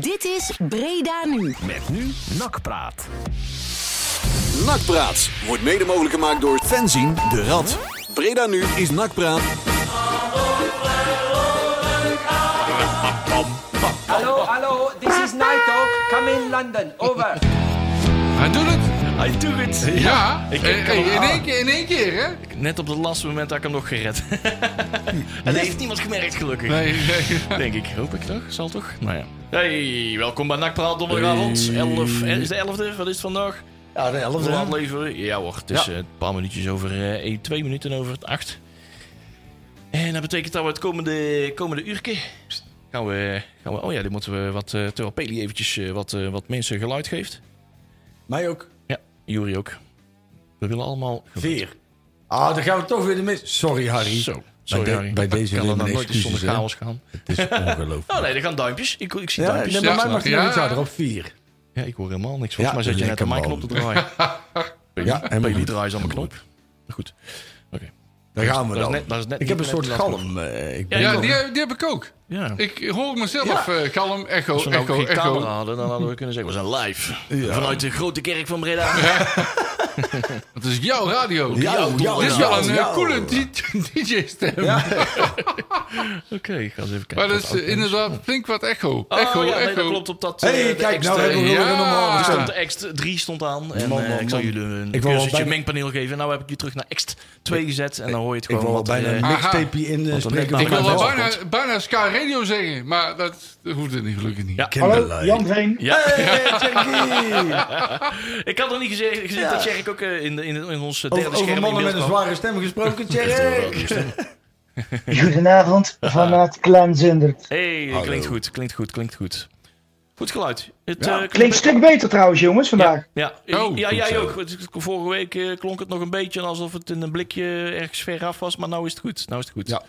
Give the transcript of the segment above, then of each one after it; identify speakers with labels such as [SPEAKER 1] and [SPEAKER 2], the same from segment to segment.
[SPEAKER 1] Dit is Breda Nu.
[SPEAKER 2] Met nu Nakpraat.
[SPEAKER 3] Nakpraat wordt mede mogelijk gemaakt door Fenzien de Rad. Breda nu is Nakpraat.
[SPEAKER 4] Hallo, hallo, this is Night Talk. Come in London, over.
[SPEAKER 5] Hij doet het.
[SPEAKER 2] I do it.
[SPEAKER 5] Ja.
[SPEAKER 2] Ik- ik
[SPEAKER 5] Eh,
[SPEAKER 2] kan
[SPEAKER 5] eh,
[SPEAKER 2] hem
[SPEAKER 5] in,
[SPEAKER 2] aan.
[SPEAKER 5] één keer, in één keer, hè?
[SPEAKER 2] Net op het laatste moment had ik hem nog gered. En heeft niemand gemerkt, gelukkig.
[SPEAKER 5] Nee, nee.
[SPEAKER 2] Denk ik. Hoop ik toch? Zal toch? Nou ja. Hey, welkom bij Nakpraat donderdagavond. 11. eh, Is de 11e? Wat is het vandaag?
[SPEAKER 6] Ja, de 11
[SPEAKER 2] Hoe laat leven we? Ja hoor, het is eh, een paar minuutjes over... eh, eh, twee minuten over het acht. En dat betekent dat we het komende, komende uurtje... Gaan we, gaan we... Oh ja, dit moeten we wat... eh terwijl Peli eventjes eh, wat, eh, wat mensen geluid geeft.
[SPEAKER 6] Mij ook.
[SPEAKER 2] Ja, Juri ook. We willen allemaal...
[SPEAKER 6] Vier. Ah, dan gaan we toch weer de mis. Sorry, Harry.
[SPEAKER 2] Zo. Sorry,
[SPEAKER 6] de-
[SPEAKER 2] Harry.
[SPEAKER 6] bij deze
[SPEAKER 2] kan
[SPEAKER 6] nemen
[SPEAKER 2] er nou
[SPEAKER 6] de
[SPEAKER 2] nooit eens zonder
[SPEAKER 6] excuses, hè?
[SPEAKER 2] chaos gaan.
[SPEAKER 6] Het is ongelooflijk.
[SPEAKER 2] Oh nee, er gaan duimpjes. Ik, ik zie
[SPEAKER 6] ja,
[SPEAKER 2] duimpjes.
[SPEAKER 6] nee, maar mij
[SPEAKER 5] Ja,
[SPEAKER 6] mag je
[SPEAKER 5] ja.
[SPEAKER 6] nog iets harder op vier.
[SPEAKER 2] Ja, ik hoor helemaal niks. Volgens
[SPEAKER 6] Ja,
[SPEAKER 2] mij zet je net de
[SPEAKER 6] lekker
[SPEAKER 2] mic-knop te
[SPEAKER 6] man.
[SPEAKER 2] draaien.
[SPEAKER 6] Ja, en
[SPEAKER 2] Peli draait aan mijn knop. Maar Goed.
[SPEAKER 6] Daar gaan we
[SPEAKER 2] Dat is
[SPEAKER 6] dan.
[SPEAKER 2] net- dat is net
[SPEAKER 6] ik heb een
[SPEAKER 2] niet
[SPEAKER 6] soort
[SPEAKER 2] net laat
[SPEAKER 6] galm. eh, ik ben
[SPEAKER 5] Ja,
[SPEAKER 6] ook-
[SPEAKER 5] die, heb- die heb ik ook.
[SPEAKER 2] Ja.
[SPEAKER 5] Ik hoor mezelf eh kalm, echo,
[SPEAKER 2] Als we nou
[SPEAKER 5] echo,
[SPEAKER 2] geen
[SPEAKER 5] echo.
[SPEAKER 2] camera hadden, dan hadden we kunnen zeggen, we zijn live. Vanuit de grote kerk van Breda.
[SPEAKER 5] Het is jouw radio.
[SPEAKER 6] Ja, ja, ja,
[SPEAKER 5] Dit is
[SPEAKER 6] ja,
[SPEAKER 5] wel een eh,
[SPEAKER 6] ja.
[SPEAKER 5] coole DJ-stem.
[SPEAKER 2] Oké, ik ga eens even kijken.
[SPEAKER 5] Maar dat
[SPEAKER 2] wat
[SPEAKER 5] is
[SPEAKER 2] oud
[SPEAKER 5] eh, inderdaad flink wat echo.
[SPEAKER 2] Oh,
[SPEAKER 5] Echo,
[SPEAKER 2] ja, nee, dat
[SPEAKER 5] echo. Ah.
[SPEAKER 2] klopt op dat... eh,
[SPEAKER 6] hey,
[SPEAKER 2] de
[SPEAKER 6] kijk, nou
[SPEAKER 2] extra-
[SPEAKER 6] hebben we
[SPEAKER 5] ja.
[SPEAKER 6] weer een normale
[SPEAKER 2] Er stond
[SPEAKER 6] stand.
[SPEAKER 2] de Ext 3 stond aan. En
[SPEAKER 6] Man,
[SPEAKER 2] eh,
[SPEAKER 6] man,
[SPEAKER 2] ik zal
[SPEAKER 6] man.
[SPEAKER 2] jullie een
[SPEAKER 6] Ik wil wel
[SPEAKER 2] cursusje
[SPEAKER 6] bijna-
[SPEAKER 2] mengpaneel geven. Nou heb ik je terug naar Ext 2 gezet. En dan hoor je het
[SPEAKER 6] Ik
[SPEAKER 2] gewoon
[SPEAKER 6] wil al
[SPEAKER 2] wat...
[SPEAKER 6] bijna
[SPEAKER 2] eh,
[SPEAKER 6] een
[SPEAKER 5] Aha.
[SPEAKER 6] mixtape in eh,
[SPEAKER 2] Want dan net
[SPEAKER 6] spreken.
[SPEAKER 2] maar
[SPEAKER 5] Ik wil
[SPEAKER 2] wel
[SPEAKER 5] wel
[SPEAKER 2] wel
[SPEAKER 5] bijna, bijna Sky Radio zeggen, maar dat hoeft gelukkig niet.
[SPEAKER 2] Ja.
[SPEAKER 7] Hallo, Jan Veen.
[SPEAKER 2] ja,
[SPEAKER 6] Hey, Jackie.
[SPEAKER 2] ik had nog niet gezegd, gezien dat Jerk ook eh, in, de, in, in ons derde
[SPEAKER 6] Over,
[SPEAKER 2] scherm
[SPEAKER 6] over
[SPEAKER 2] in
[SPEAKER 6] mannen
[SPEAKER 2] beeld
[SPEAKER 6] met een
[SPEAKER 2] kwam.
[SPEAKER 6] zware stem gesproken, Jerry.
[SPEAKER 7] Goedenavond vanuit Klein Zundert.
[SPEAKER 2] Hé, hey, eh, klinkt goed, klinkt goed, klinkt goed. Goed geluid. Het, eh,
[SPEAKER 7] Klinkt een stuk beter trouwens, jongens, vandaag.
[SPEAKER 2] Ja,
[SPEAKER 5] Oh,
[SPEAKER 2] ja
[SPEAKER 5] goed
[SPEAKER 2] jij
[SPEAKER 5] zo.
[SPEAKER 2] ook. Want ik- Vorige week eh, klonk het nog een beetje alsof het in een blikje ergens ver af was. Maar nou is het goed. Nou is het goed.
[SPEAKER 6] Ja.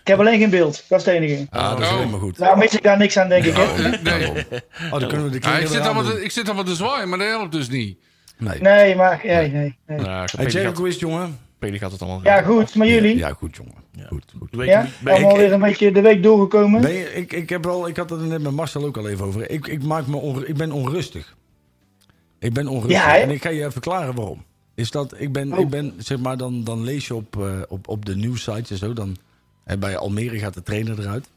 [SPEAKER 7] Ik heb alleen geen beeld, dat is het enige.
[SPEAKER 6] Ah, dat is
[SPEAKER 5] Oh.
[SPEAKER 6] helemaal goed.
[SPEAKER 7] Nou, mis ik daar niks aan, denk ik. Hè?
[SPEAKER 5] Eh, nee.
[SPEAKER 6] Oh, dan kunnen we de
[SPEAKER 5] Ah,
[SPEAKER 6] kinderen
[SPEAKER 5] ik, zit
[SPEAKER 6] eraan
[SPEAKER 5] allemaal
[SPEAKER 6] doen.
[SPEAKER 5] te, ik zit allemaal te zwaaien, maar dat helpt dus niet.
[SPEAKER 7] Nee, maar nee, nee, nee.
[SPEAKER 2] Nou,
[SPEAKER 6] Hey,
[SPEAKER 2] Peli,
[SPEAKER 6] Jerry,
[SPEAKER 2] gaat,
[SPEAKER 6] hoe is het, jongen?
[SPEAKER 2] Peli gaat het allemaal
[SPEAKER 7] Ja, goed, maar jullie? Ja,
[SPEAKER 6] Ja, goed, jongen. Goed, goed.
[SPEAKER 2] Weet je-
[SPEAKER 7] allemaal weer een beetje de week doorgekomen.
[SPEAKER 6] Nee, ik, ik, heb wel, ik had het er net met Marcel ook al even over. Ik, ik, maak me onru- ik ben onrustig. Ik ben onrustig.
[SPEAKER 7] Ja, hè?
[SPEAKER 6] en ik ga je even verklaren waarom. Is dat ik ben,
[SPEAKER 7] Oh.
[SPEAKER 6] ik ben zeg maar, dan, dan lees je op, eh, op, op de nieuwsites en zo. Dan, en bij Almere gaat de trainer eruit.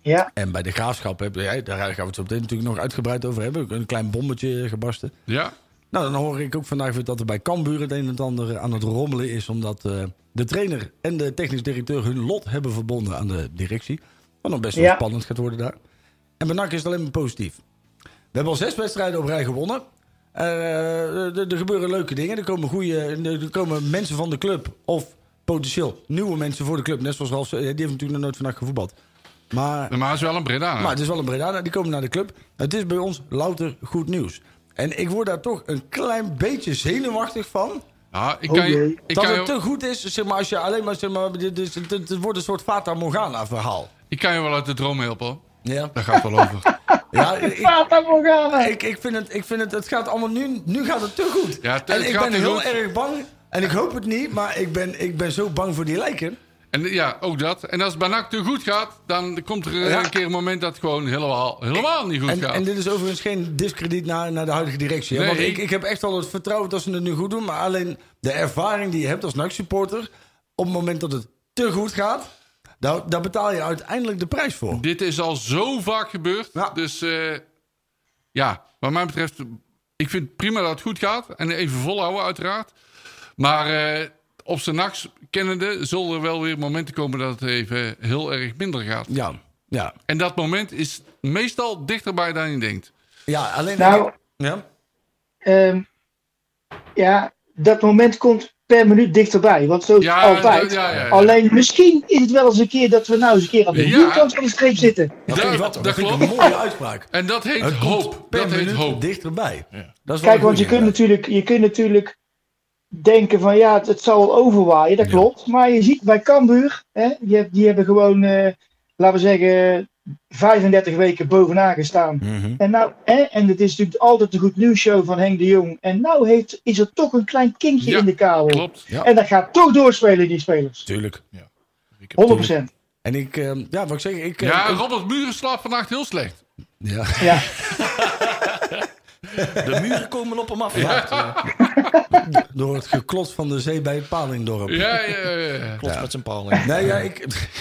[SPEAKER 7] Ja,
[SPEAKER 6] En bij de graafschap, heb, ja, daar gaan we het zo meteen natuurlijk nog uitgebreid over hebben. Een klein bommetje gebarsten.
[SPEAKER 5] Ja,
[SPEAKER 6] Nou, dan hoor ik ook vandaag weer dat er bij Cambuur het een en het ander aan het rommelen is. Omdat eh, de trainer en de technisch directeur hun lot hebben verbonden aan de directie. Wat dan best wel
[SPEAKER 7] Ja.
[SPEAKER 6] spannend gaat worden daar. En bij NAC is het alleen maar positief. We hebben al zes wedstrijden op rij gewonnen. Eh, er, er gebeuren leuke dingen. Er komen, goede, er komen mensen van de club. Of potentieel nieuwe mensen voor de club. Net zoals Ralf, eh, die heeft natuurlijk nog nooit vandaag gevoetbald. Maar
[SPEAKER 5] maar het is wel een Breda.
[SPEAKER 6] maar het is wel een Breda, die komen naar de club. Het is bij ons louter goed nieuws. En ik word daar toch een klein beetje zenuwachtig van.
[SPEAKER 5] Ja, ik kan, je-
[SPEAKER 7] jee.
[SPEAKER 5] ik,
[SPEAKER 6] dat
[SPEAKER 5] kan
[SPEAKER 6] het
[SPEAKER 5] je,
[SPEAKER 6] te goed is, zeg maar, als je alleen maar, zeg maar, dit is- het, het wordt een soort Fata Morgana verhaal.
[SPEAKER 5] ik kan je wel uit de droom helpen. hoor.
[SPEAKER 6] Ja,
[SPEAKER 5] Daar gaat het wel over.
[SPEAKER 6] ja ik,
[SPEAKER 7] Fata Morgana.
[SPEAKER 6] ik, ik vind het, ik vind het, het gaat allemaal nu, nu gaat het te goed.
[SPEAKER 5] Ja, het-
[SPEAKER 6] en
[SPEAKER 5] het
[SPEAKER 6] ik
[SPEAKER 5] gaat
[SPEAKER 6] ben
[SPEAKER 5] te
[SPEAKER 6] heel
[SPEAKER 5] goed.
[SPEAKER 6] erg bang, en ik hoop het niet, maar ik ben, ik ben zo bang voor die lijken.
[SPEAKER 5] En ja, ook dat. En als het bij NAC te goed gaat, dan komt er eh,
[SPEAKER 6] Ja.
[SPEAKER 5] een keer een moment dat het gewoon helemaal, helemaal niet goed
[SPEAKER 6] En,
[SPEAKER 5] gaat.
[SPEAKER 6] en dit is overigens geen discrediet naar, naar de huidige directie. hè?
[SPEAKER 5] Nee,
[SPEAKER 6] Want ik,
[SPEAKER 5] ik-
[SPEAKER 6] ik heb echt wel het vertrouwen dat ze het nu goed doen. Maar alleen de ervaring die je hebt als NAC-supporter... op het moment dat het te goed gaat... daar, daar betaal je uiteindelijk de prijs voor.
[SPEAKER 5] Dit is al zo vaak gebeurd.
[SPEAKER 6] Ja.
[SPEAKER 5] Dus eh, ja, wat mij betreft, ik vind het prima dat het goed gaat. En even volhouden, uiteraard. Maar eh, op zijn nachts kennende zullen er wel weer momenten komen dat het even heel erg minder gaat.
[SPEAKER 6] Ja, ja.
[SPEAKER 5] En dat moment is meestal dichterbij dan je denkt.
[SPEAKER 6] ja alleen...
[SPEAKER 7] Nou,
[SPEAKER 6] ja.
[SPEAKER 7] ehm, ja, dat moment komt per minuut dichterbij, want zo is het
[SPEAKER 5] Ja,
[SPEAKER 7] altijd.
[SPEAKER 5] ja, ja, ja.
[SPEAKER 7] Alleen misschien is het wel eens een keer dat we nou eens een keer aan de
[SPEAKER 5] Ja.
[SPEAKER 7] nieuwkant van de streep zitten.
[SPEAKER 6] Dat,
[SPEAKER 5] Ja,
[SPEAKER 6] vind ik wel-
[SPEAKER 5] dat
[SPEAKER 6] dat vind ik
[SPEAKER 5] klopt.
[SPEAKER 6] een mooie uitspraak.
[SPEAKER 5] En dat heet
[SPEAKER 6] Het komt
[SPEAKER 5] hoop.
[SPEAKER 6] per
[SPEAKER 5] Dat heet
[SPEAKER 6] minuut
[SPEAKER 5] hoop.
[SPEAKER 6] dichterbij. Dat is wel
[SPEAKER 7] Kijk,
[SPEAKER 6] een
[SPEAKER 7] want je
[SPEAKER 6] goeie,
[SPEAKER 7] kunt,
[SPEAKER 6] ja.
[SPEAKER 7] natuurlijk, je kunt natuurlijk denken van ja, het, het zal wel overwaaien, dat klopt. Maar je ziet bij Cambuur, hè, die, heb- die hebben gewoon, eh, laten we zeggen, 35 weken bovenaan gestaan.
[SPEAKER 5] Hm. Mhm,
[SPEAKER 7] En, nou, hè, en het is natuurlijk altijd de goed nieuws show van Henk de Jong. En nou heeft, is er toch een klein kinkje
[SPEAKER 5] Ja,
[SPEAKER 7] in de kabel.
[SPEAKER 5] Klopt.
[SPEAKER 6] Ja.
[SPEAKER 7] En dat gaat toch doorspelen, die spelers.
[SPEAKER 6] Tuurlijk.
[SPEAKER 7] 100%.
[SPEAKER 6] En ik, eh, ja, wat ik zeg, ik... eh,
[SPEAKER 5] Ja,
[SPEAKER 6] ik-
[SPEAKER 5] Robert Muren slaapt vannacht heel slecht.
[SPEAKER 6] Ja.
[SPEAKER 7] Ja,
[SPEAKER 2] De muren komen op hem af.
[SPEAKER 6] Door het geklot van de zee bij het Palingdorp.
[SPEAKER 5] Ja, ja, ja.
[SPEAKER 2] Klopt met zijn paling.
[SPEAKER 6] Nee, ja, ik...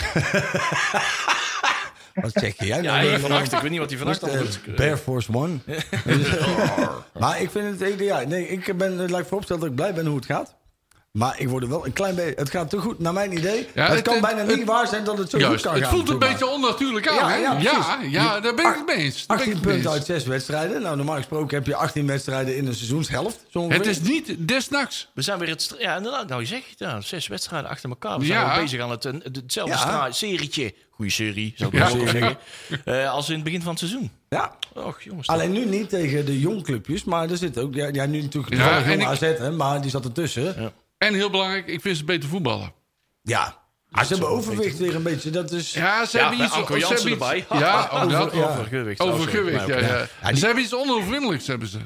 [SPEAKER 6] Wat zeg jij
[SPEAKER 2] Ja,
[SPEAKER 6] nou?
[SPEAKER 2] hij
[SPEAKER 6] weer?
[SPEAKER 2] vannacht. Ik weet niet wat hij vannacht
[SPEAKER 6] Moest,
[SPEAKER 2] allemaal
[SPEAKER 6] eh,
[SPEAKER 2] doet.
[SPEAKER 6] Bear Force One. maar ik vind het... Ja, nee, ik ben, eh, laat ik vooropstellen dat ik blij ben hoe het gaat. Maar ik word er wel een klein beetje... Het gaat te goed, naar mijn idee.
[SPEAKER 5] Ja,
[SPEAKER 6] het,
[SPEAKER 5] het-
[SPEAKER 6] kan
[SPEAKER 5] het-
[SPEAKER 6] bijna niet
[SPEAKER 5] het-
[SPEAKER 6] waar zijn dat het zo goed
[SPEAKER 5] Juist.
[SPEAKER 6] kan
[SPEAKER 5] Het
[SPEAKER 6] gaan.
[SPEAKER 5] voelt een
[SPEAKER 6] zeg maar.
[SPEAKER 5] beetje onnatuurlijk aan,
[SPEAKER 6] Ja,
[SPEAKER 5] hè?
[SPEAKER 6] ja,
[SPEAKER 5] Ja,
[SPEAKER 6] precies.
[SPEAKER 5] ja, daar ben ik het mee eens. Daar ben
[SPEAKER 6] 18
[SPEAKER 5] ik het mee
[SPEAKER 6] punten
[SPEAKER 5] eens.
[SPEAKER 6] uit 6 wedstrijden. Nou, normaal gesproken heb je 18 wedstrijden in een seizoenshelft. zo ongeveer.
[SPEAKER 5] Het is niet desnachts.
[SPEAKER 2] We zijn weer het... stra- Ja, inderdaad. Nou, je zegt het. Ja, zes wedstrijden achter elkaar. We zijn
[SPEAKER 5] Ja.
[SPEAKER 2] weer bezig aan het, eh, het- hetzelfde
[SPEAKER 6] Ja.
[SPEAKER 2] stra- serietje. Goeie serie, zou ik
[SPEAKER 5] Ja.
[SPEAKER 2] wel zeggen. Eh, als in het begin van het seizoen.
[SPEAKER 6] Ja.
[SPEAKER 2] Och, jongens.
[SPEAKER 6] Alleen nu niet tegen de jongclubjes, maar er zit ook... Ja, ja nu natuurlijk
[SPEAKER 5] Ja,
[SPEAKER 6] ja,
[SPEAKER 5] en ik-
[SPEAKER 6] AZ, hè, maar die zat ertussen. Ja,
[SPEAKER 5] En heel belangrijk, ik vind ze beter voetballen.
[SPEAKER 6] Ah, ze hebben overwicht weer een beetje. Dat is...
[SPEAKER 5] Ja, ze
[SPEAKER 2] Ja,
[SPEAKER 5] hebben
[SPEAKER 2] bij
[SPEAKER 5] iets...
[SPEAKER 2] Anko
[SPEAKER 5] ze
[SPEAKER 2] Jansen
[SPEAKER 5] hebben iets-
[SPEAKER 2] erbij.
[SPEAKER 5] Ja, ook
[SPEAKER 2] over,
[SPEAKER 5] dat.
[SPEAKER 2] over, overgewicht. Oh, sorry.
[SPEAKER 5] Overgewicht, ja,
[SPEAKER 2] Maar,
[SPEAKER 5] ja.
[SPEAKER 6] Ja, die-
[SPEAKER 5] Ze hebben iets onvervriendelijks, hebben ze.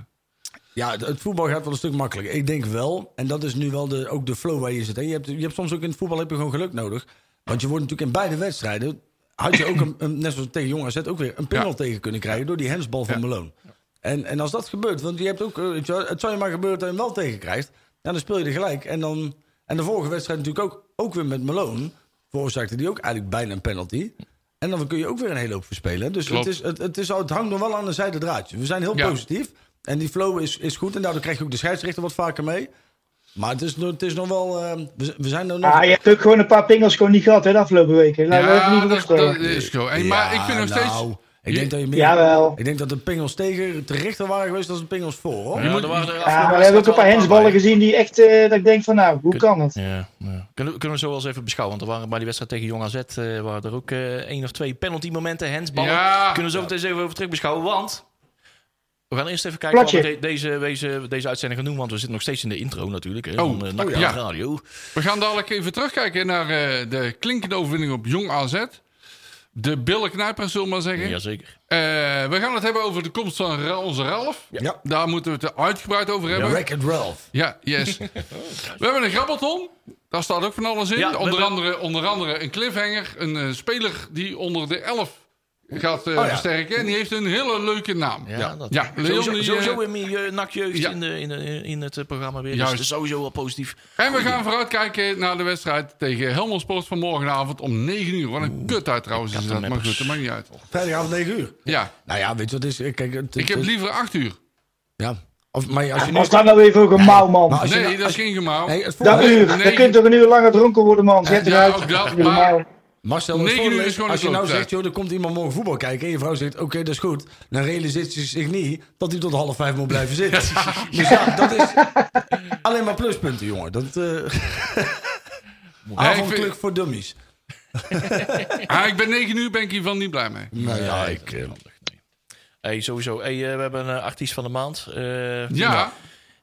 [SPEAKER 6] Ja, d- het voetbal gaat wel een stuk makkelijker. Ik denk wel, en dat is nu wel de, ook de flow waar je zit. hè. Je hebt, je hebt soms ook in het voetbal heb je gewoon geluk nodig. Want je wordt natuurlijk in beide wedstrijden... had je ook, een, een- net zoals tegen Jong AZ, ook weer een pingel
[SPEAKER 5] Ja.
[SPEAKER 6] tegen kunnen krijgen... door die hensbal van
[SPEAKER 5] Ja.
[SPEAKER 6] Malone. En, en als dat gebeurt, want je hebt ook, eh, weet je wel, het zou je maar gebeuren dat je hem wel tegen krijgt... Ja, dan speel je er gelijk. En, dan, en de vorige wedstrijd natuurlijk ook, ook weer met Malone... veroorzaakte die ook eigenlijk bijna een penalty... En dan kun je ook weer een hele hoop verspelen. Dus het,
[SPEAKER 5] Klopt.
[SPEAKER 6] is, het, het, is, al- het hangt nog wel aan een zijde draadje. We zijn heel
[SPEAKER 5] Ja.
[SPEAKER 6] positief. En die flow is, is goed. En daardoor krijg je ook de scheidsrechter wat vaker mee. Maar het is, nog- het is nog wel... eh, we, z- we zijn er nog...
[SPEAKER 7] ah, je hebt ook gewoon een paar pingels gewoon niet gehad hè, de afgelopen weken. Laten we even
[SPEAKER 5] Ja,
[SPEAKER 7] niet
[SPEAKER 5] dat,
[SPEAKER 7] voorstellen.
[SPEAKER 5] dat is zo. En, maar ik vind nog steeds...
[SPEAKER 6] nou, ik denk dat je meer,
[SPEAKER 7] Jawel.
[SPEAKER 6] Ik denk dat de pingels tegen terechter waren geweest... dan de pingels voor, hoor.
[SPEAKER 2] Ja, er waren er
[SPEAKER 7] Ja, maar we hebben ook een paar hensballen gezien die echt, eh, dat ik denk van nou, hoe kan dat?
[SPEAKER 2] Ja, ja. Kunnen, we- kunnen we zo wel eens even beschouwen. Want er waren bij die wedstrijd tegen Jong AZ eh, waren er ook eh, één of twee penalty momenten, handsballen.
[SPEAKER 5] Ja.
[SPEAKER 2] Kunnen we zo meteen eens even over terug beschouwen. Want we gaan eerst even kijken wat we
[SPEAKER 7] Platje.
[SPEAKER 2] de- deze, deze, deze uitzending gaan doen. Want we zitten nog steeds in de intro natuurlijk. Hè,
[SPEAKER 5] Oh,
[SPEAKER 2] van eh,
[SPEAKER 5] oh
[SPEAKER 2] NAC
[SPEAKER 5] ja.
[SPEAKER 2] Praat Radio.
[SPEAKER 5] We gaan dadelijk even terugkijken naar eh, de klinkende overwinning op Jong AZ. De billenknijper, zullen we maar zeggen.
[SPEAKER 2] Jazeker.
[SPEAKER 5] Eh, we gaan het hebben over de komst van Ra- onze Ralf.
[SPEAKER 6] Ja.
[SPEAKER 5] Daar moeten we het uitgebreid over hebben. Ja,
[SPEAKER 6] Wreck-It Ralph.
[SPEAKER 5] yes. we hebben een grabbelton. Daar staat ook van alles in.
[SPEAKER 2] Ja, we
[SPEAKER 5] onder,
[SPEAKER 2] hebben-
[SPEAKER 5] andere, onder andere een cliffhanger. Een eh, speler die onder de 11 gaat eh,
[SPEAKER 6] ja.
[SPEAKER 5] versterken. En die heeft een hele leuke naam.
[SPEAKER 2] Oh Ja, dat-
[SPEAKER 5] ja Leon,
[SPEAKER 2] sowieso,
[SPEAKER 5] die, eh,
[SPEAKER 2] sowieso in mijn eh, NAC jeugd
[SPEAKER 5] ja.
[SPEAKER 2] in, de, in, de- in het eh, programma weer.
[SPEAKER 5] Juist.
[SPEAKER 2] Dus sowieso wel positief.
[SPEAKER 5] En we gaan vooruitkijken naar de wedstrijd tegen Helmond Sport van morgenavond om 9 uur. Wat een kut uit trouwens is dat. Maar
[SPEAKER 2] kattenmeppers.
[SPEAKER 5] goed, dat maakt niet uit.
[SPEAKER 6] Vrijdagavond 9 uur.
[SPEAKER 5] Ja,
[SPEAKER 6] Nou ja, weet je wat het is? Kijk, het-
[SPEAKER 5] ik heb
[SPEAKER 6] het-
[SPEAKER 5] liever 8 uur.
[SPEAKER 6] Ja. Of, maar als je nu...
[SPEAKER 7] Was daar nou even ook een mouw,
[SPEAKER 6] Maar
[SPEAKER 7] man?
[SPEAKER 6] als je
[SPEAKER 5] Nee,
[SPEAKER 6] nou-
[SPEAKER 5] dat is geen gemaal.
[SPEAKER 6] Nee, het
[SPEAKER 7] Dat
[SPEAKER 6] vorige-
[SPEAKER 7] uur,
[SPEAKER 5] nee.
[SPEAKER 7] dat kunt toch een uur langer dronken worden, man. Zet
[SPEAKER 5] Ja,
[SPEAKER 7] eruit.
[SPEAKER 5] ook dat,
[SPEAKER 7] Doe
[SPEAKER 5] maar-
[SPEAKER 7] normaal.
[SPEAKER 6] Marcel, het
[SPEAKER 5] Negen uur
[SPEAKER 6] voordeel
[SPEAKER 5] is
[SPEAKER 6] is,
[SPEAKER 5] gewoon
[SPEAKER 6] als je
[SPEAKER 5] een
[SPEAKER 6] nou
[SPEAKER 5] kloktijd.
[SPEAKER 6] zegt, joh, er komt iemand morgen voetbal kijken... en je vrouw zegt, oké, dat is goed... dan realiseert ze zich niet dat hij tot half vijf moet blijven zitten. dus ja, dat is alleen maar pluspunten, jongen. Dat, eh avondkluk
[SPEAKER 5] vind-
[SPEAKER 6] voor dummies.
[SPEAKER 5] Ah, ik ben 9 uur, ben ik hiervan niet blij mee.
[SPEAKER 6] Nou ja,
[SPEAKER 2] Nee,
[SPEAKER 6] ik...
[SPEAKER 5] eh,
[SPEAKER 2] dat is niet handig, nee. Hey, sowieso. Hey, eh, we hebben een eh, artiest van de maand. eh,
[SPEAKER 5] Ja,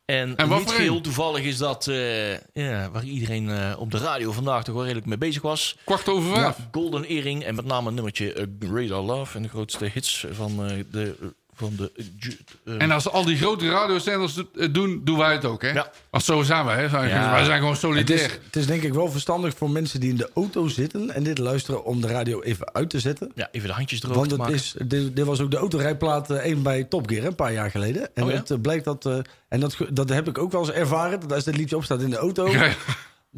[SPEAKER 2] En,
[SPEAKER 5] En wat
[SPEAKER 2] niet
[SPEAKER 5] voor een?
[SPEAKER 2] geheel toevallig is dat eh, ja, waar iedereen eh, op de radio vandaag toch wel redelijk mee bezig was.
[SPEAKER 5] kwart over vijf.
[SPEAKER 2] Golden Earring en met name het nummertje eh, Radar Love. En de grootste hits van eh, de... Van de eh, ju- eh,
[SPEAKER 5] En als al die grote radiozenders het doen, doen wij het ook, hè?
[SPEAKER 2] Ja.
[SPEAKER 5] Want zo zijn wij, hè? Zijn-
[SPEAKER 2] Ja.
[SPEAKER 5] Wij zijn gewoon
[SPEAKER 6] Het
[SPEAKER 5] solidair.
[SPEAKER 6] is, het is denk ik wel verstandig voor mensen die in de auto zitten... en dit luisteren om de radio even uit te zetten.
[SPEAKER 2] ja, even de handjes droog
[SPEAKER 6] Want
[SPEAKER 2] te
[SPEAKER 6] het
[SPEAKER 2] maken.
[SPEAKER 6] is, dit, dit was ook de autorijplaat 1 bij Top Gear hè, een paar jaar geleden. En
[SPEAKER 2] Oh ja?
[SPEAKER 6] het eh, blijkt dat... eh, en dat, ge- dat heb ik ook wel eens ervaren. Dat als dit liedje opstaat in de auto...
[SPEAKER 5] Ja.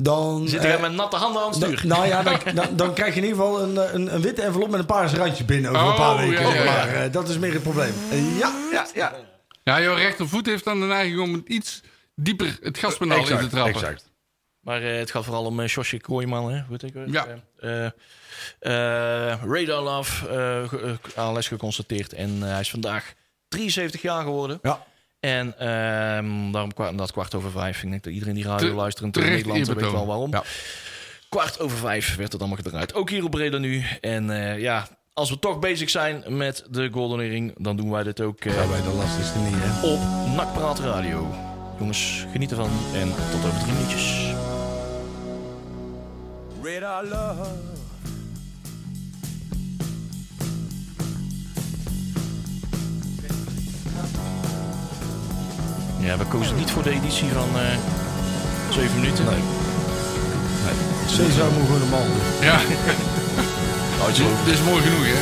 [SPEAKER 6] Dan,
[SPEAKER 2] Zit er
[SPEAKER 6] eh,
[SPEAKER 2] met natte handen aan het
[SPEAKER 6] Dan-
[SPEAKER 2] stuur.
[SPEAKER 6] nou ja, dan, dan, dan krijg je in ieder geval een, eh, een, een witte envelop met een paarse randje binnen over
[SPEAKER 5] Oh,
[SPEAKER 6] een paar weken.
[SPEAKER 5] ja, ja, ja.
[SPEAKER 6] Maar eh, dat is meer het probleem. Eh, ja, ja, ja.
[SPEAKER 5] ja, jouw rechtervoet heeft dan de neiging om iets dieper het gaspedaal in te trappen.
[SPEAKER 6] exact.
[SPEAKER 2] Maar eh, het gaat vooral om eh Josje Kooijman, hè? Weet ik wel.
[SPEAKER 5] Ja.
[SPEAKER 2] Eh, eh, Radar Love, eh, ge- eh, ALS geconstateerd. En eh, hij is vandaag 73 jaar geworden.
[SPEAKER 6] Ja.
[SPEAKER 2] En ehm, daarom kwa- dat kwart over vijf. Ik denk dat iedereen die radio
[SPEAKER 5] Te-
[SPEAKER 2] luistert in
[SPEAKER 5] terecht
[SPEAKER 2] Nederland weet
[SPEAKER 5] eerbetoon.
[SPEAKER 2] wel waarom.
[SPEAKER 5] Ja.
[SPEAKER 2] Kwart over vijf werd het allemaal gedraaid. Ook hier op Breda nu. En eh, ja, als we toch bezig zijn met de Golden Earring, dan doen wij dit ook eh,
[SPEAKER 6] Bij de lastigste niet, hè.
[SPEAKER 2] op Nakpraat Radio. Jongens, geniet ervan en tot over drie minuutjes.
[SPEAKER 4] Radar love.
[SPEAKER 2] Ja, we kozen niet voor de editie van eh 7 minuten. Nee.
[SPEAKER 6] Cesar moet gewoon een man doen.
[SPEAKER 5] Ja,
[SPEAKER 2] Oh, het is
[SPEAKER 5] dit is mooi genoeg, hè?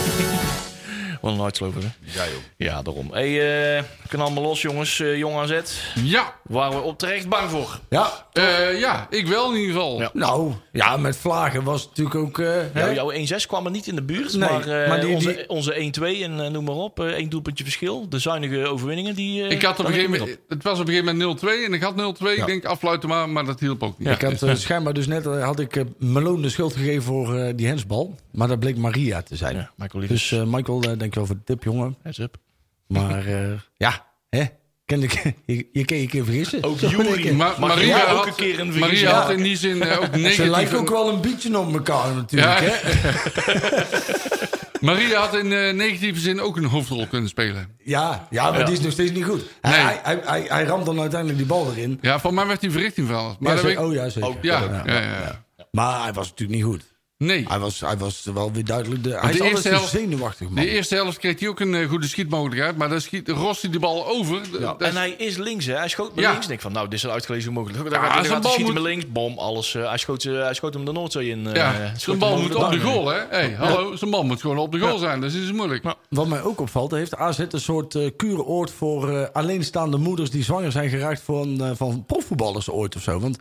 [SPEAKER 2] Wat een uitsloper, hè?
[SPEAKER 8] Ja, joh.
[SPEAKER 2] Ja, daarom. Hé, hey, eh, kan allemaal los, jongens. eh, jong AZ.
[SPEAKER 5] Ja,
[SPEAKER 2] Waar we op terecht bang voor.
[SPEAKER 6] Ja.
[SPEAKER 5] eh, ja, ik wel in ieder geval.
[SPEAKER 2] Ja.
[SPEAKER 6] Nou, ja, met vlagen was het natuurlijk ook... eh, hè?
[SPEAKER 2] Nou, jouw 1-6 kwam er niet in de buurt.
[SPEAKER 6] Nee,
[SPEAKER 2] maar eh,
[SPEAKER 6] maar die-
[SPEAKER 2] onze,
[SPEAKER 6] die-
[SPEAKER 2] onze 1-2 en eh, noem maar op. eh, één doelpuntje verschil. De zuinige overwinningen. Die, eh,
[SPEAKER 5] Ik had op een
[SPEAKER 2] daar
[SPEAKER 5] gegeven
[SPEAKER 2] ben ik
[SPEAKER 5] moment, het was op een gegeven moment 0-2 en ik had 0-2. Ik denk afluiten maar, maar dat hielp ook niet.
[SPEAKER 6] Ik had eh, schijnbaar dus net eh, had ik eh, Malone de schuld gegeven voor eh, die hensbal. Maar dat bleek Maria te zijn.
[SPEAKER 2] op. Ja, Michael Leaders.
[SPEAKER 6] Dus eh, Michael, eh, dankjewel voor de tip, jongen.
[SPEAKER 2] Heads up.
[SPEAKER 6] Maar eh, ja, hè? Ken ik, je, je kan je een keer vergissen.
[SPEAKER 2] Ook
[SPEAKER 6] Zo
[SPEAKER 2] Jury.
[SPEAKER 6] in één keer.
[SPEAKER 5] Maar
[SPEAKER 2] Maria
[SPEAKER 5] Maria,
[SPEAKER 2] ook
[SPEAKER 5] had,
[SPEAKER 2] een keer een verlies,
[SPEAKER 5] Maria
[SPEAKER 2] ja.
[SPEAKER 5] had in die zin eh, ook
[SPEAKER 6] Ze lijken
[SPEAKER 5] negatieve...
[SPEAKER 6] ook wel een beetje op elkaar natuurlijk.
[SPEAKER 5] Ja.
[SPEAKER 6] Hè?
[SPEAKER 5] Maria had in eh, negatieve zin ook een hoofdrol kunnen spelen.
[SPEAKER 6] Ja, ja, maar die is nog steeds niet goed. Hij,
[SPEAKER 5] Nee.
[SPEAKER 6] hij, hij, hij, hij ramt dan uiteindelijk die bal erin.
[SPEAKER 5] Ja, van mij werd hij verrichting veranderd. Maar
[SPEAKER 6] Ja,
[SPEAKER 5] dat
[SPEAKER 6] ze-
[SPEAKER 5] weet ik-
[SPEAKER 6] oh ja, Ah, zeker.
[SPEAKER 5] ja, ja, ja, ja.
[SPEAKER 6] Maar hij was natuurlijk niet goed.
[SPEAKER 5] Nee.
[SPEAKER 6] Hij was, hij was wel weer duidelijk... De, hij is altijd
[SPEAKER 5] eerste
[SPEAKER 6] zo
[SPEAKER 5] helft-
[SPEAKER 6] zenuwachtig, man.
[SPEAKER 5] De eerste helft kreeg hij ook een eh, goede schietmogelijkheid. Maar dan schiet, rost hij de bal over. De- dat-
[SPEAKER 2] En hij is links, hè? Hij schoot met
[SPEAKER 5] Ja.
[SPEAKER 2] links. Ik denk van, nou, dit is een uitgelezen mogelijk. Dan
[SPEAKER 5] Ah,
[SPEAKER 2] gaat hij
[SPEAKER 5] zo'n
[SPEAKER 2] gaat hij
[SPEAKER 5] bal
[SPEAKER 2] schieten
[SPEAKER 5] moet-
[SPEAKER 2] met links. Bom, alles. eh, hij, schoot, ze- hij schoot hem de Noordzee in. eh,
[SPEAKER 5] ja,
[SPEAKER 2] schoot
[SPEAKER 5] zijn
[SPEAKER 2] hem
[SPEAKER 5] bal
[SPEAKER 2] over
[SPEAKER 5] moet
[SPEAKER 2] de
[SPEAKER 5] op de
[SPEAKER 2] paal.
[SPEAKER 5] goal, hè? Hey, hallo, zijn bal moet gewoon op de goal zijn. Dat is dus moeilijk.
[SPEAKER 6] Wat mij ook opvalt, heeft AZ een soort eh kuuroord voor eh, alleenstaande moeders die zwanger zijn geraakt van, eh, van profvoetballers ooit of zo. Want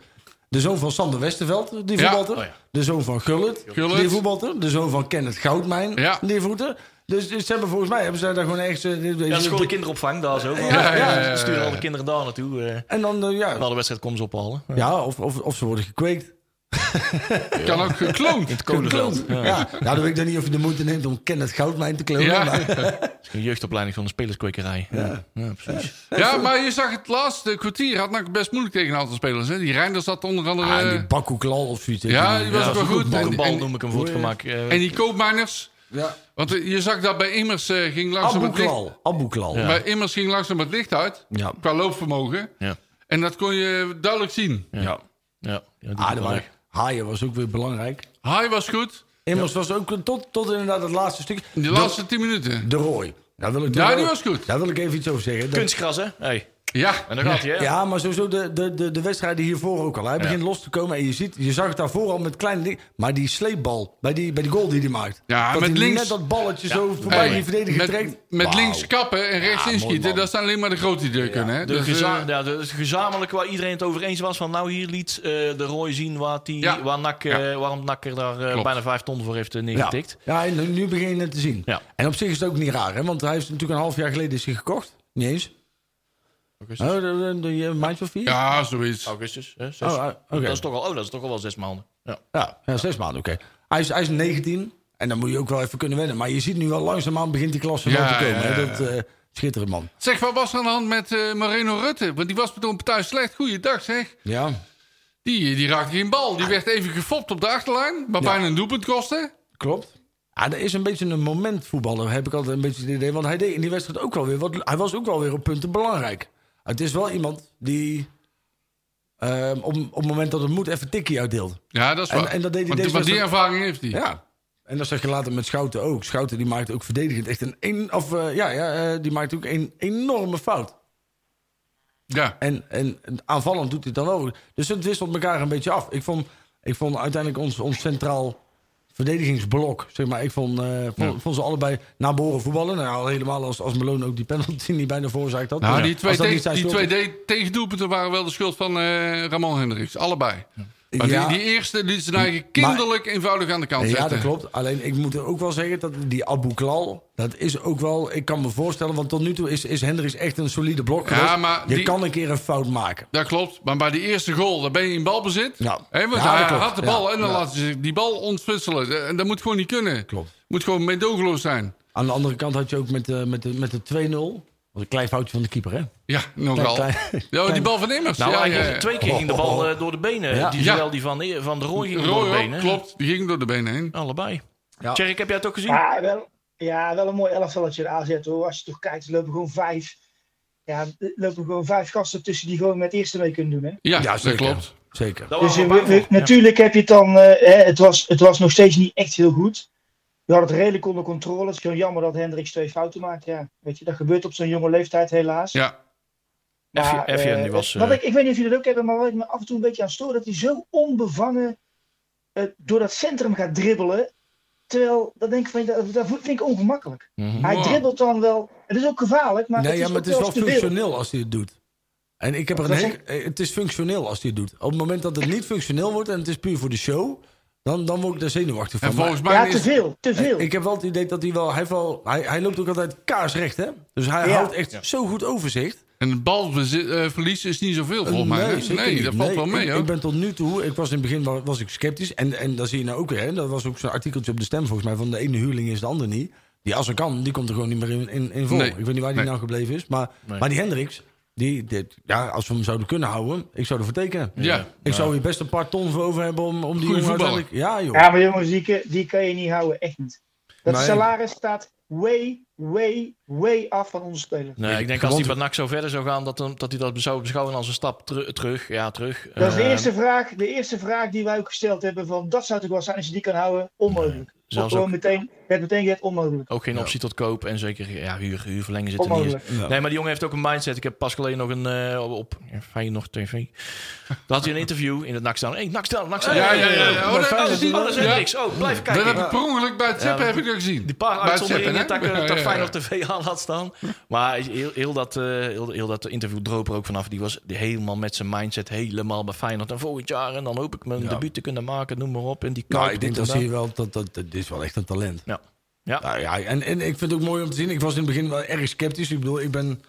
[SPEAKER 6] de zoon van Sander Westerveld, die
[SPEAKER 5] Ja.
[SPEAKER 6] voetbalt er.
[SPEAKER 2] Oh ja.
[SPEAKER 6] De zoon van Gullit,
[SPEAKER 5] Gullit.
[SPEAKER 6] die voetbalt er. De zoon van Kenneth Goudmijn,
[SPEAKER 5] Ja.
[SPEAKER 6] die voetbalt er. Dus, dus ze hebben volgens mij hebben ze daar gewoon eh, echt...
[SPEAKER 2] Ja, dat is gewoon de kinderopvang daar zo. Ja,
[SPEAKER 5] ja, ja, ja.
[SPEAKER 2] Sturen alle kinderen daar naartoe. eh
[SPEAKER 6] en dan, eh, ja,
[SPEAKER 2] na de wedstrijd komen ze ophalen. Ja.
[SPEAKER 6] ja of, of, of ze worden gekweekt.
[SPEAKER 5] Kan ook gekloond.
[SPEAKER 2] Het Kolenveld.
[SPEAKER 6] Ja. Nou, dan weet ik dan niet of je de moeite neemt om Kenneth Goudmijn te kleuren.
[SPEAKER 5] Ja.
[SPEAKER 6] maar-
[SPEAKER 2] Een jeugdopleiding van de spelerskwekerij. Ja, precies.
[SPEAKER 5] ja, maar je zag het laatste kwartier. Had NAC best moeilijk tegen een aantal spelers. Hè? Die Reinders zat onder andere...
[SPEAKER 6] Ah, en
[SPEAKER 5] eh,
[SPEAKER 6] die Bakkoeklal of zoiets.
[SPEAKER 5] ja, die was
[SPEAKER 2] Ja,
[SPEAKER 5] ook wel
[SPEAKER 2] voor
[SPEAKER 5] goed. En,
[SPEAKER 2] Bal
[SPEAKER 5] en,
[SPEAKER 2] noem ik hem voor het gemak. eh,
[SPEAKER 5] en die koopmijners.
[SPEAKER 6] Ja.
[SPEAKER 5] Want eh, je zag dat bij Immers eh, ging
[SPEAKER 6] Ah,
[SPEAKER 5] langzaam het licht...
[SPEAKER 6] Aboeklal. Aboeklal.
[SPEAKER 5] Bij Immers ging langzaam het licht uit.
[SPEAKER 6] Ja.
[SPEAKER 5] Qua loopvermogen.
[SPEAKER 2] Ja.
[SPEAKER 5] En dat kon je duidelijk zien.
[SPEAKER 6] ja.
[SPEAKER 2] ja, ja,
[SPEAKER 6] Ah,
[SPEAKER 2] die doet
[SPEAKER 6] dat
[SPEAKER 2] wel
[SPEAKER 6] waren-
[SPEAKER 2] echt.
[SPEAKER 6] Haaien was ook weer belangrijk.
[SPEAKER 5] Hij was goed.
[SPEAKER 6] Immers was ook een- tot, tot inderdaad het laatste stuk.
[SPEAKER 5] In de
[SPEAKER 6] de,
[SPEAKER 5] laatste 10 minuten.
[SPEAKER 6] de Roy. Daar wil ik
[SPEAKER 5] Ja,
[SPEAKER 6] daar-
[SPEAKER 5] die was goed.
[SPEAKER 6] Daar wil ik even iets over zeggen. Dat-
[SPEAKER 2] Kunstgras, hè? Hey.
[SPEAKER 5] Ja.
[SPEAKER 2] En dan gaat hij, hè?
[SPEAKER 6] ja, maar sowieso de, de, de, de wedstrijden hiervoor ook al. Hij begint los te komen en je, ziet, je zag het daarvoor al met kleine dingen. Maar die sleepbal, bij die, bij die goal die hij maakt.
[SPEAKER 5] Ja,
[SPEAKER 6] dat
[SPEAKER 5] met
[SPEAKER 6] hij
[SPEAKER 5] links-
[SPEAKER 6] net dat balletje zo voorbij
[SPEAKER 5] Hey,
[SPEAKER 6] die verdediger trekt.
[SPEAKER 5] met, met
[SPEAKER 6] Wauw.
[SPEAKER 5] links kappen en rechts inschieten, dat zijn alleen maar de grote die deur kunnen. Hè?
[SPEAKER 2] De
[SPEAKER 5] Dus, eh,
[SPEAKER 2] geza- ja, de- het gezamenlijk waar iedereen het over eens was. Van nou, hier liet eh, de Roy zien waar die,
[SPEAKER 5] Ja.
[SPEAKER 2] waar Nak, eh,
[SPEAKER 5] Ja.
[SPEAKER 2] waarom Nakker daar eh,
[SPEAKER 5] Klopt.
[SPEAKER 2] bijna vijf ton voor heeft eh,
[SPEAKER 6] Ja,
[SPEAKER 2] neergetikt.
[SPEAKER 6] ja en nu- nu begin je het te zien.
[SPEAKER 2] Ja.
[SPEAKER 6] En op zich is het ook niet raar, hè? want hij heeft natuurlijk een half jaar geleden is hij gekocht. Niet eens.
[SPEAKER 2] Augustus.
[SPEAKER 6] Oh, de, de, de- een maandje of vier?
[SPEAKER 5] ja, zoiets.
[SPEAKER 2] Augustus. Hè, zes.
[SPEAKER 6] Oh, ah, oké.
[SPEAKER 2] dat, is toch al, oh, dat is toch al wel zes maanden. Ja.
[SPEAKER 6] Ja, ja, zes maanden, oké. Hij, is, hij is 19 en dan moet je ook wel even kunnen wennen. Maar je ziet nu al langzaamaan begint die klasse wel
[SPEAKER 5] Ja,
[SPEAKER 6] te komen.
[SPEAKER 5] ja,
[SPEAKER 6] hè.
[SPEAKER 5] ja.
[SPEAKER 6] Dat eh, schitterend man.
[SPEAKER 5] Zeg, wat was er aan de hand met eh, Moreno Rutte? Want die was toen partij slecht. Goeiedag zeg.
[SPEAKER 6] Ja.
[SPEAKER 5] Die, eh, die raakte geen bal. Die werd even gefopt op de achterlijn, maar bijna een doelpunt kostte.
[SPEAKER 6] Klopt. Ah, dat is een beetje een momentvoetballer, heb ik altijd een beetje het idee. Want hij deed in die wedstrijd ook wel weer wat. Hij was ook wel weer op punten belangrijk. Het is wel iemand die ehm, op, op het moment dat het moet even tikkie uitdeelt.
[SPEAKER 5] Ja, dat is
[SPEAKER 6] En-
[SPEAKER 5] waar.
[SPEAKER 6] en dat deed hij
[SPEAKER 5] Want,
[SPEAKER 6] deze
[SPEAKER 5] want die
[SPEAKER 6] wedstrijd-
[SPEAKER 5] ervaring heeft hij.
[SPEAKER 6] Ja. En dat zag je later met Schouten ook. Schouten die maakte ook verdedigend echt een... een of, eh, ja, ja eh, die maakte ook een enorme fout.
[SPEAKER 5] Ja.
[SPEAKER 6] En, en aanvallend doet hij het dan wel goed. Dus het wisselt elkaar een beetje af. Ik vond, ik vond uiteindelijk ons, ons centraal verdedigingsblok, zeg maar. Ik vond, eh, vond, vond ze allebei naar boren voetballen. Nou, al helemaal als, als Malone ook die penalty niet bijna veroorzaakt had.
[SPEAKER 5] Nou,
[SPEAKER 6] Dus
[SPEAKER 5] die
[SPEAKER 6] als
[SPEAKER 5] twee,
[SPEAKER 6] dat
[SPEAKER 5] te-
[SPEAKER 6] niet zijn
[SPEAKER 5] die
[SPEAKER 6] schuld
[SPEAKER 5] twee
[SPEAKER 6] was-
[SPEAKER 5] de- tegendoelpunten waren wel de schuld van eh, Ramon Hendricks. Allebei. Maar
[SPEAKER 6] Ja.
[SPEAKER 5] die, die eerste liet zijn eigen kinderlijk eenvoudig aan de kant zetten.
[SPEAKER 6] Ja, dat klopt. Alleen ik moet er ook wel zeggen dat die Abu Klal, dat is ook wel, ik kan me voorstellen, want tot nu toe is, is Hendricks echt een solide blok.
[SPEAKER 5] Ja,
[SPEAKER 6] geweest.
[SPEAKER 5] maar
[SPEAKER 6] Je
[SPEAKER 5] die-
[SPEAKER 6] kan een keer een fout maken.
[SPEAKER 5] Dat klopt, maar bij die eerste goal, daar ben je in balbezit.
[SPEAKER 6] Ja.
[SPEAKER 5] Hè, want
[SPEAKER 6] Ja, dat
[SPEAKER 5] hij
[SPEAKER 6] klopt.
[SPEAKER 5] had de bal
[SPEAKER 6] Ja.
[SPEAKER 5] en dan
[SPEAKER 6] Ja.
[SPEAKER 5] laat hij zich die bal ontfutselen. Eh, En dat moet gewoon niet kunnen.
[SPEAKER 6] Klopt.
[SPEAKER 5] Moet gewoon meedogenloos zijn.
[SPEAKER 6] Aan de andere kant had je ook met, de- met, de- met de 2-0, was een klein foutje van de keeper, hè?
[SPEAKER 5] Ja, nogal.
[SPEAKER 6] Klein-
[SPEAKER 5] ja, die bal van Immers.
[SPEAKER 2] Nou,
[SPEAKER 5] ja,
[SPEAKER 2] hij
[SPEAKER 5] ja,
[SPEAKER 2] ging-
[SPEAKER 5] ja. Oh,
[SPEAKER 2] twee keer ging de bal eh, door de benen.
[SPEAKER 6] Ja.
[SPEAKER 2] Die,
[SPEAKER 5] Ja.
[SPEAKER 2] Zowel die van, eh, van de Roy ging door
[SPEAKER 5] Roy
[SPEAKER 2] de
[SPEAKER 5] ook,
[SPEAKER 2] benen. hè?
[SPEAKER 5] klopt. Die ging door de benen heen.
[SPEAKER 2] Allebei.
[SPEAKER 6] Ja.
[SPEAKER 2] Tjerk, heb jij het ook gezien?
[SPEAKER 7] Ja, wel, ja, wel een mooi elftalletje aanzetten hoor. Als je toch kijkt, er lopen gewoon vijf. Ja, er lopen gewoon vijf gasten tussen die gewoon met het eerste mee kunnen doen. Hè?
[SPEAKER 5] Ja,
[SPEAKER 6] Ja,
[SPEAKER 5] dat
[SPEAKER 6] zeker.
[SPEAKER 5] klopt.
[SPEAKER 6] Zeker.
[SPEAKER 5] Oh,
[SPEAKER 2] Daar
[SPEAKER 7] Dus
[SPEAKER 2] waren we
[SPEAKER 7] eh,
[SPEAKER 2] bang voor.
[SPEAKER 7] we- we- natuurlijk heb je het dan. eh, hè, het, was, het was nog steeds niet echt heel goed. Je had het redelijk onder controle. Het is gewoon jammer dat Hendricks twee fouten maakt. Ja, weet je, dat gebeurt op zo'n jonge leeftijd helaas.
[SPEAKER 5] Ja,
[SPEAKER 2] F-
[SPEAKER 7] eh,
[SPEAKER 2] FJN, die was,
[SPEAKER 7] wat
[SPEAKER 2] eh,
[SPEAKER 7] ik, ik weet niet of jullie dat ook hebben, maar wat ik me af en toe een beetje aan stoor, dat hij zo onbevangen eh, door dat centrum gaat dribbelen. Terwijl, dat denk ik van, dat, dat vind ik ongemakkelijk.
[SPEAKER 2] Mhm.
[SPEAKER 7] Hij
[SPEAKER 5] Wow.
[SPEAKER 7] dribbelt dan wel. Het is ook gevaarlijk, maar
[SPEAKER 6] nee,
[SPEAKER 7] het is,
[SPEAKER 6] ja, maar
[SPEAKER 7] ook
[SPEAKER 6] het is wel
[SPEAKER 7] wel stabiel.
[SPEAKER 6] functioneel als hij het doet. En ik heb er een
[SPEAKER 7] Dat
[SPEAKER 6] hek- eh, Het is functioneel als hij het doet. Op het moment dat het niet functioneel wordt en het is puur voor de show, dan, dan word ik daar zenuwachtig van.
[SPEAKER 5] En volgens mij
[SPEAKER 7] Ja,
[SPEAKER 5] is
[SPEAKER 7] te veel, te veel.
[SPEAKER 6] Eh, Ik heb wel het idee dat hij wel... Hij, heeft wel, hij, hij loopt ook altijd kaarsrecht, hè? Dus hij
[SPEAKER 7] Ja.
[SPEAKER 6] houdt echt zo goed overzicht.
[SPEAKER 5] En het balverlies is niet zoveel volgens mij. hè?
[SPEAKER 6] zeker
[SPEAKER 5] nee
[SPEAKER 6] niet.
[SPEAKER 5] dat valt
[SPEAKER 6] Nee,
[SPEAKER 5] wel mee
[SPEAKER 6] ik,
[SPEAKER 5] hoor.
[SPEAKER 6] ik ben tot nu toe, ik was in het begin wa- was ik sceptisch. En, en dat zie je nou ook weer. Hè? Dat was ook zo'n artikeltje op de stem volgens mij. Van de ene huurling is de ander niet. Die als er kan, die komt er gewoon niet meer in, in, in voor.
[SPEAKER 5] Nee.
[SPEAKER 6] Ik weet niet waar die
[SPEAKER 5] Nee.
[SPEAKER 6] nou gebleven is. Maar,
[SPEAKER 2] Nee.
[SPEAKER 6] maar die Hendricks, die, dit- ja, als we hem zouden kunnen houden, ik zou ervoor tekenen.
[SPEAKER 5] Ja.
[SPEAKER 6] Ik zou hier best een paar ton voor over hebben om, om die
[SPEAKER 5] Goeie
[SPEAKER 6] jongen
[SPEAKER 5] voetballer.
[SPEAKER 6] uiteindelijk- Ja joh.
[SPEAKER 7] Ja, maar jongens, die, ke- die kan je niet houden, echt niet. Dat
[SPEAKER 6] Nee.
[SPEAKER 7] salaris staat way, way, way af van onze speler.
[SPEAKER 2] Nee, ik denk als hij bij NAC zo verder zou gaan, dat, hem- dat hij dat zou beschouwen als een stap teru- terug. Ja, terug.
[SPEAKER 7] Dat is de
[SPEAKER 2] Eh,
[SPEAKER 7] eerste vraag, de eerste vraag die wij ook gesteld hebben: van dat zou toch wel zijn als je die kan houden? Onmogelijk.
[SPEAKER 2] zelfs
[SPEAKER 7] Of gewoon
[SPEAKER 2] ook-
[SPEAKER 7] meteen, werd meteen gezegd onmogelijk.
[SPEAKER 2] Ook geen optie tot koop en zeker ja, huur, huurverlengen zit er niet in.
[SPEAKER 7] Onmogelijk.
[SPEAKER 6] Ja.
[SPEAKER 2] Nee, maar die jongen heeft ook een mindset. Ik heb pas geleden nog een eh, op, op ja, Feyenoord TV. Daar had hij een interview in het Nakstaan. Hé, Nakstaan, Nakstaan.
[SPEAKER 5] Ja, ja, ja.
[SPEAKER 2] Oh,
[SPEAKER 5] ja. Oh, dat,
[SPEAKER 6] Feyenoord
[SPEAKER 5] dat
[SPEAKER 2] dat
[SPEAKER 5] is die-
[SPEAKER 2] is
[SPEAKER 5] ja.
[SPEAKER 2] niks. Oh, blijf
[SPEAKER 5] Dat
[SPEAKER 2] kijken.
[SPEAKER 5] heb ik per ongeluk bij het
[SPEAKER 2] Ja,
[SPEAKER 5] Zeppen heb
[SPEAKER 2] die-
[SPEAKER 5] ik dat gezien.
[SPEAKER 2] Die paar
[SPEAKER 5] bij het Zeppen,
[SPEAKER 2] uitzonderingen
[SPEAKER 5] hè?
[SPEAKER 2] dat ik eh, dat
[SPEAKER 5] Ja,
[SPEAKER 2] Feyenoord TV aan had staan. Maar heel, heel, dat, eh, heel, heel dat interview droop er ook vanaf. Die was helemaal met zijn mindset helemaal bij Feyenoord. En volgend jaar, en dan hoop ik mijn debuut te kunnen maken, noem maar op. En die
[SPEAKER 6] Nou,
[SPEAKER 2] Kuip,
[SPEAKER 6] ik
[SPEAKER 2] dit
[SPEAKER 6] denk
[SPEAKER 2] en
[SPEAKER 6] dat
[SPEAKER 2] dat.
[SPEAKER 6] zie je wel, dat, dat, dat dit is wel echt een talent.
[SPEAKER 2] Ja. Ja.
[SPEAKER 6] Nou ja, en, en ik vind het ook mooi om te zien. Ik was in het begin wel erg sceptisch. Ik bedoel, ik ben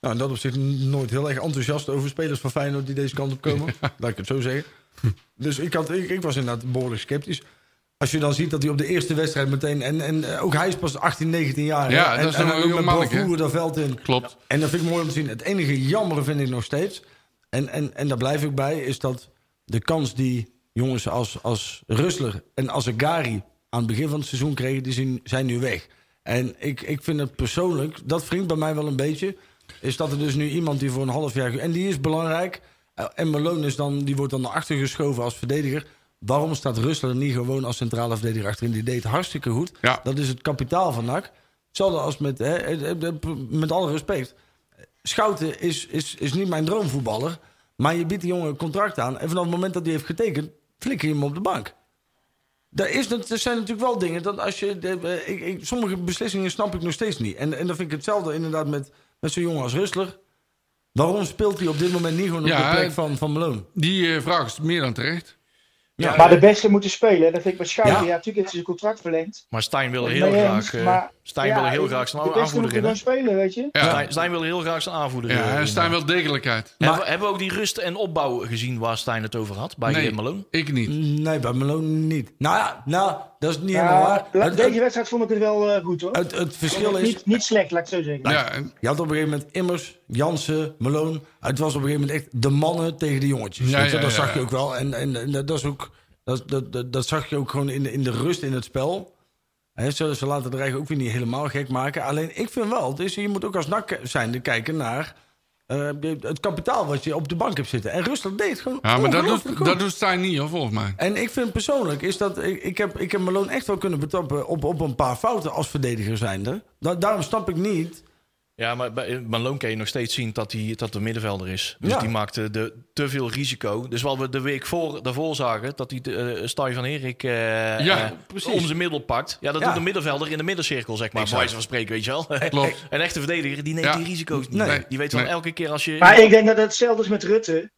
[SPEAKER 6] nou, in dat opzicht nooit heel erg enthousiast over spelers van Feyenoord die deze kant op komen. Laat ik het zo zeggen. Dus ik, had, ik, ik was inderdaad behoorlijk sceptisch. Als je dan ziet dat hij op de eerste wedstrijd meteen... En, en eh, ook hij is pas 18, 19 jaar. hè?
[SPEAKER 5] Ja, dat
[SPEAKER 6] en,
[SPEAKER 5] is
[SPEAKER 6] en
[SPEAKER 5] nog
[SPEAKER 6] dan
[SPEAKER 5] een
[SPEAKER 6] ook
[SPEAKER 5] jong
[SPEAKER 6] met
[SPEAKER 5] manneke.
[SPEAKER 6] bravoure dat veld in.
[SPEAKER 5] Klopt.
[SPEAKER 6] En dat vind ik mooi om te zien. Het enige jammer vind ik nog steeds, en, en, en daar blijf ik bij, is dat de kans die jongens als, als Rustler en Azegari aan het begin van het seizoen kregen, die zijn, zijn nu weg. En ik, ik vind het persoonlijk, dat wringt bij mij wel een beetje, is dat er dus nu iemand die voor een half jaar... En die is belangrijk. eh, En Malone is dan, die wordt dan naar achter geschoven als verdediger. Waarom staat Rustler niet gewoon als centrale verdediger achterin? Die deed het hartstikke goed.
[SPEAKER 5] Ja.
[SPEAKER 6] Dat is het kapitaal van NAC. Hetzelfde als met, hè, eh, eh, eh, met alle respect. Schouten is, is, is niet mijn droomvoetballer. Maar je biedt die jongen een contract aan. En vanaf het moment dat hij heeft getekend, flikker je hem op de bank. Er, is, nat- er zijn natuurlijk wel dingen dat als je. de- eh, ik, ik- sommige beslissingen snap ik nog steeds niet. En, en dan vind ik hetzelfde inderdaad met, met zo'n jongen als Rustler. Waarom speelt hij op dit moment niet gewoon
[SPEAKER 5] Ja,
[SPEAKER 6] op de plek
[SPEAKER 5] eh,
[SPEAKER 6] van, van Malone?
[SPEAKER 5] Die eh, vraag is meer dan terecht.
[SPEAKER 2] Ja,
[SPEAKER 7] Maar de beste moeten spelen, hè. dat vind ik met Schouten.
[SPEAKER 6] Ja.
[SPEAKER 7] Ja, natuurlijk heeft hij zijn contract verlengd.
[SPEAKER 2] Maar Stijn wil
[SPEAKER 7] Nee,
[SPEAKER 2] heel
[SPEAKER 7] eens,
[SPEAKER 2] graag, eh,
[SPEAKER 7] maar-
[SPEAKER 2] Stijn
[SPEAKER 7] ja,
[SPEAKER 2] wil heel graag zijn
[SPEAKER 7] De beste
[SPEAKER 2] aanvoerder
[SPEAKER 7] moeten
[SPEAKER 2] in.
[SPEAKER 7] gewoon
[SPEAKER 2] hè?
[SPEAKER 7] spelen, weet je.
[SPEAKER 5] Ja.
[SPEAKER 2] Stijn, Stijn wil heel graag zijn aanvoerder
[SPEAKER 5] Ja,
[SPEAKER 2] eh,
[SPEAKER 5] er
[SPEAKER 2] in.
[SPEAKER 5] staan wel degelijkheid.
[SPEAKER 2] Hebben, we- hebben we ook die rust en opbouw gezien waar Stijn het over had bij eh, Malone?
[SPEAKER 5] ik niet.
[SPEAKER 6] Nee, bij Malone niet. Nou ja, nou, dat is niet helemaal
[SPEAKER 7] Ja,
[SPEAKER 6] waar.
[SPEAKER 7] la-
[SPEAKER 6] Het,
[SPEAKER 7] deze
[SPEAKER 6] het,
[SPEAKER 7] wedstrijd vond ik het wel eh, goed hoor.
[SPEAKER 6] het- het verschil is.
[SPEAKER 7] niet, niet slecht, laat ik het zo zeggen.
[SPEAKER 5] Ja, en-
[SPEAKER 6] Je had op een gegeven moment Immers, Jansen, Malone. Het was op een gegeven moment echt de mannen tegen de jongetjes.
[SPEAKER 5] Ja,
[SPEAKER 6] Weet je,
[SPEAKER 5] ja,
[SPEAKER 6] dat
[SPEAKER 5] ja,
[SPEAKER 6] zag je
[SPEAKER 5] ja.
[SPEAKER 6] ook wel. En, en, en dat, is ook, dat, dat, dat, dat zag je ook gewoon in de, in de rust in het spel. Hè, ze, ze laten het eigen ook weer niet helemaal gek maken. Alleen ik vind wel, dus je moet ook als nak zijnde kijken naar eh, het kapitaal wat je op de bank hebt zitten. En Rusland deed het gewoon.
[SPEAKER 5] ja, maar dat
[SPEAKER 6] ongelooflijk
[SPEAKER 5] doet,
[SPEAKER 6] goed.
[SPEAKER 5] dat doet Stijn niet hoor, volgens mij.
[SPEAKER 6] En ik vind persoonlijk is dat ik, ik heb ik heb Malone echt wel kunnen betrappen op, op een paar fouten als verdediger zijnde. Da- daarom snap ik niet
[SPEAKER 2] Ja, maar bij eh, Malone kan je nog steeds zien dat hij dat de middenvelder is. Dus
[SPEAKER 6] Ja.
[SPEAKER 2] die maakte de, te veel risico. Dus wat we de week voor, daarvoor zagen, dat hij de, eh, Stijn van Erik eh,
[SPEAKER 5] Ja,
[SPEAKER 2] eh,
[SPEAKER 5] precies.
[SPEAKER 2] om zijn middel pakt. Ja, dat
[SPEAKER 6] Ja.
[SPEAKER 2] doet de middenvelder in de middencirkel, zeg maar, bij wijze van spreken, weet je wel.
[SPEAKER 5] Klopt.
[SPEAKER 2] Een echte verdediger, die neemt
[SPEAKER 5] Ja.
[SPEAKER 2] die risico's niet.
[SPEAKER 5] Nee.
[SPEAKER 2] Die weet wel
[SPEAKER 5] Nee.
[SPEAKER 2] elke keer als je...
[SPEAKER 7] Maar ik denk dat het hetzelfde is met Rutte.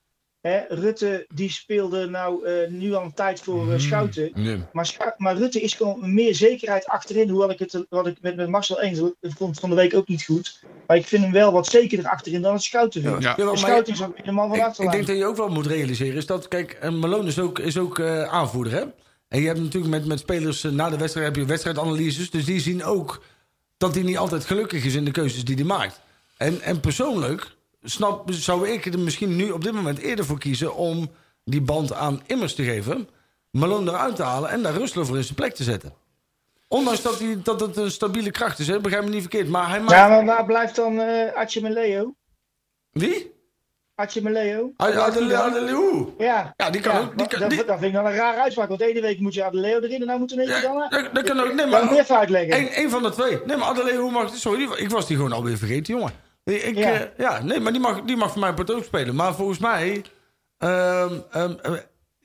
[SPEAKER 7] Hè, Rutte die speelde nou eh, nu al een tijd voor
[SPEAKER 2] Mm.
[SPEAKER 7] eh, Schouten. Maar, Scha- maar Rutte is gewoon meer zekerheid achterin. Hoewel ik het eh, wat ik met, met Marcel eens vond van de week ook niet goed. Maar ik vind hem wel wat zekerder achterin dan het Schouten. vind ik.
[SPEAKER 5] Ja.
[SPEAKER 6] Jawel,
[SPEAKER 7] En
[SPEAKER 6] maar-
[SPEAKER 7] Schouten is ook weer de man van
[SPEAKER 6] Ik, ik denk
[SPEAKER 7] achterlijn.
[SPEAKER 6] dat je ook wel moet realiseren is dat, kijk, en Malone is ook, is ook eh, aanvoerder, hè? En je hebt natuurlijk met, met spelers eh, na de wedstrijd heb je wedstrijdanalyses, dus die zien ook dat hij niet altijd gelukkig is in de keuzes die hij maakt. En, en persoonlijk snap, zou ik er misschien nu op dit moment eerder voor kiezen om die band aan Immers te geven, Malone eruit te halen en daar Rustler voor in zijn plek te zetten. Ondanks dat, hij, dat het een stabiele kracht is, hè? begrijp me niet verkeerd. Maar hij maakt...
[SPEAKER 7] Ja, maar waar blijft dan eh Atje Meleo?
[SPEAKER 6] Wie?
[SPEAKER 7] Atje Meleo?
[SPEAKER 6] Uit, uit de, uit de Leeuw.
[SPEAKER 7] Ja.
[SPEAKER 6] Ja, die kan ook- die kan-
[SPEAKER 7] dat,
[SPEAKER 6] die-
[SPEAKER 7] dat vind ik dan een rare uitspraak. Want de ene week moet je Adeleo erin en dan moet in één keer dan...
[SPEAKER 6] Ja,
[SPEAKER 7] eh,
[SPEAKER 6] dat, dat kan ook. Nee,
[SPEAKER 7] Kan ik
[SPEAKER 6] maar
[SPEAKER 7] het even uitleggen?
[SPEAKER 6] Eén één van de twee. Nee, maar Adelaide, hoe mag... Sorry, die- ik was die gewoon alweer vergeten, jongen. Nee, Ik,
[SPEAKER 7] Ja.
[SPEAKER 6] ja. ja, nee, maar die mag, die mag voor mij een part ook spelen. Maar volgens mij... ehm, ehm, eh,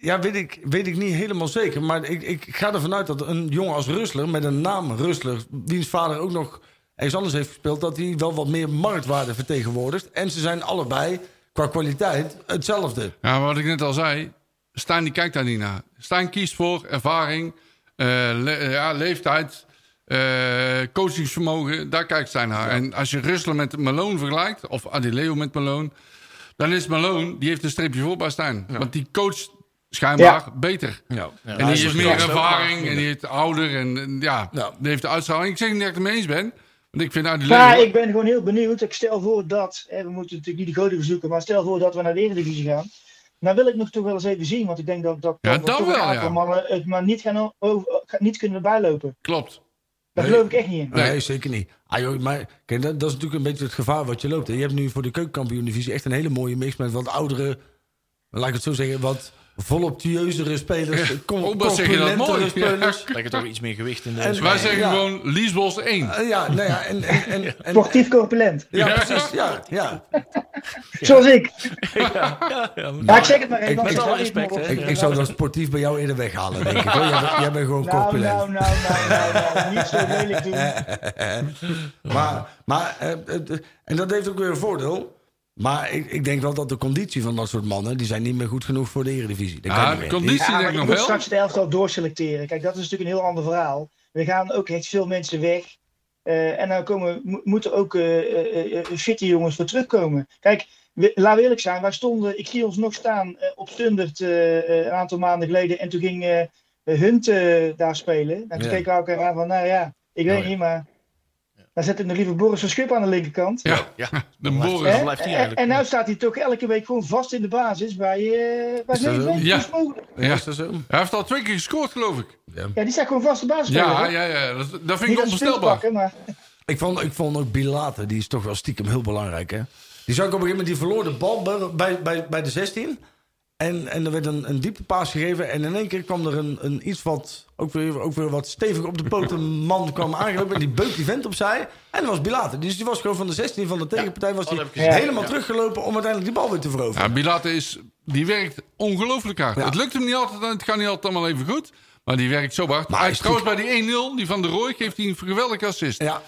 [SPEAKER 6] Ja, weet ik, weet ik niet helemaal zeker. Maar ik, ik ga ervan uit dat een jongen als Rustler, met een naam Rustler, wiens vader ook nog ergens anders heeft gespeeld, dat hij wel wat meer marktwaarde vertegenwoordigt. En ze zijn allebei qua kwaliteit hetzelfde.
[SPEAKER 5] Ja, maar wat ik net al zei, Stijn die kijkt daar niet naar. Stijn kiest voor ervaring, eh, le- ja, leeftijd, eh, coachingsvermogen. Daar kijkt Stijn naar. En als je Russell met Malone vergelijkt, of Adileo met Malone... dan is Malone, die heeft een streepje voor bij Stijn. Want die coacht schijnbaar beter. en die heeft meer ervaring en die heeft ouder en, en ja,
[SPEAKER 6] Ja.
[SPEAKER 5] die heeft de uitstraling. Ik zeg niet dat ik het mee eens ben, want ik vind Adileo...
[SPEAKER 7] Maar ik ben gewoon heel benieuwd. Ik stel voor dat, hè, we moeten natuurlijk niet de goden verzoeken, maar stel voor dat we naar de Eredivisie gaan. Dan wil ik nog toch wel eens even zien, want ik denk dat dat
[SPEAKER 5] Ja,
[SPEAKER 7] dat
[SPEAKER 5] dan
[SPEAKER 7] toch
[SPEAKER 5] wel,
[SPEAKER 7] een
[SPEAKER 5] ja.
[SPEAKER 7] aantal mannen het maar niet, gaan o- over, niet kunnen bijlopen.
[SPEAKER 5] Klopt.
[SPEAKER 7] Daar geloof ik echt niet in.
[SPEAKER 6] Nee, zeker niet. Ah, joh, maar kijk, dat, dat is natuurlijk een beetje het gevaar wat je loopt. hè. Je hebt nu voor de keukenkampioen-divisie echt een hele mooie mix met wat oudere, laat ik het zo zeggen, wat volop tuieuzere spelers.
[SPEAKER 5] Ja,
[SPEAKER 6] com-
[SPEAKER 5] ook wat zeg je dat
[SPEAKER 6] complimentere
[SPEAKER 5] mooi.
[SPEAKER 6] spelers.
[SPEAKER 2] Lekker toch iets meer gewicht in de...
[SPEAKER 6] En-
[SPEAKER 5] Wij
[SPEAKER 6] Ja,
[SPEAKER 5] zeggen
[SPEAKER 6] ja.
[SPEAKER 5] gewoon Liesbos 1.
[SPEAKER 6] Eh, Ja, nou ja, en, en, en, en-
[SPEAKER 7] Sportief corpulent.
[SPEAKER 6] ja, precies. Ja, ja.
[SPEAKER 7] Zoals ik.
[SPEAKER 2] Ja, ja, maar-
[SPEAKER 7] Ja, ik zeg het maar even. want
[SPEAKER 6] met
[SPEAKER 7] ik
[SPEAKER 2] alle
[SPEAKER 7] zal niet
[SPEAKER 2] respect,
[SPEAKER 7] meer op-
[SPEAKER 2] hè.
[SPEAKER 6] Ik, ik zou dat sportief bij jou eerder weghalen, denk ik. hoor. Jij, bent- jij bent gewoon
[SPEAKER 7] Nou,
[SPEAKER 6] corpulent.
[SPEAKER 7] nou, nou, nou, nou, nou, niet zo lelijk doen.
[SPEAKER 6] Maar, maar eh, eh, en dat heeft ook weer een voordeel. Maar ik, ik denk wel dat de conditie van dat soort mannen... die zijn niet meer goed genoeg voor de eredivisie. Dat kan
[SPEAKER 5] Ja,
[SPEAKER 6] niet
[SPEAKER 5] de
[SPEAKER 6] meer.
[SPEAKER 5] Ah, conditie
[SPEAKER 7] Ja,
[SPEAKER 5] denk
[SPEAKER 7] maar
[SPEAKER 5] ik
[SPEAKER 7] je
[SPEAKER 5] nog
[SPEAKER 7] moet
[SPEAKER 5] wel.
[SPEAKER 7] straks het elftal doorselecteren. Kijk, dat is natuurlijk een heel ander verhaal. We gaan ook echt veel mensen weg. Eh, en dan komen, mo- moeten ook eh, eh, eh, fitte jongens voor terugkomen. Kijk, we, laten we eerlijk zijn. Wij stonden, ik zie ons nog staan eh, op Stundert eh, eh, een aantal maanden geleden. En toen ging eh, Hunt eh, daar spelen. En toen
[SPEAKER 6] Ja.
[SPEAKER 7] keken we elkaar aan van, nou ja, ik weet
[SPEAKER 2] Oh, ja.
[SPEAKER 7] niet, maar... Dan zet ik nog liever Boris van Schip aan de linkerkant.
[SPEAKER 5] Ja,
[SPEAKER 2] Ja.
[SPEAKER 5] de
[SPEAKER 2] Blijft-
[SPEAKER 5] Boris.
[SPEAKER 2] Waar
[SPEAKER 7] Hè?
[SPEAKER 2] blijft hij
[SPEAKER 7] En-
[SPEAKER 2] eigenlijk?
[SPEAKER 7] En nou staat hij toch elke week gewoon vast in de basis bij, eh bij
[SPEAKER 6] dat
[SPEAKER 7] Nederland.
[SPEAKER 6] zo?
[SPEAKER 5] Ja.
[SPEAKER 7] Dat is mogelijk.
[SPEAKER 5] Ja.
[SPEAKER 6] Is dat zo?
[SPEAKER 5] Hij heeft al twee keer gescoord, geloof ik.
[SPEAKER 7] Ja, die staat gewoon vast de basis.
[SPEAKER 5] Ja, ja, ja. Dat, dat vind
[SPEAKER 7] Niet
[SPEAKER 5] ik
[SPEAKER 7] als
[SPEAKER 5] onvoorstelbaar.
[SPEAKER 7] speelpak, hè, maar
[SPEAKER 6] Ik vond, ik vond ook Bilate, die is toch wel stiekem heel belangrijk, hè? Die zag ik op een gegeven moment, die verloor de bal bij- bij, bij, bij de 16. En, en er werd een, een diepe paas gegeven. En in één keer kwam er een, een iets wat, ook weer, ook weer wat stevig op de poot, een man kwam aangelopen. En die beuk die vent opzij. En dat was Bilate. Dus die was gewoon van de 16 van de tegenpartij, was
[SPEAKER 2] Oh, dat
[SPEAKER 6] die
[SPEAKER 2] heb ik gezien.
[SPEAKER 6] helemaal teruggelopen om uiteindelijk die bal weer te veroveren.
[SPEAKER 5] Ja, Bilate is, die werkt ongelooflijk hard.
[SPEAKER 6] Ja.
[SPEAKER 5] Het lukt hem niet altijd en het gaat niet altijd allemaal even goed. Maar die werkt zo hard. Maar hij is trouwens bij die 1-0, die van de Roy, geeft hij een geweldige assist.
[SPEAKER 6] Ja,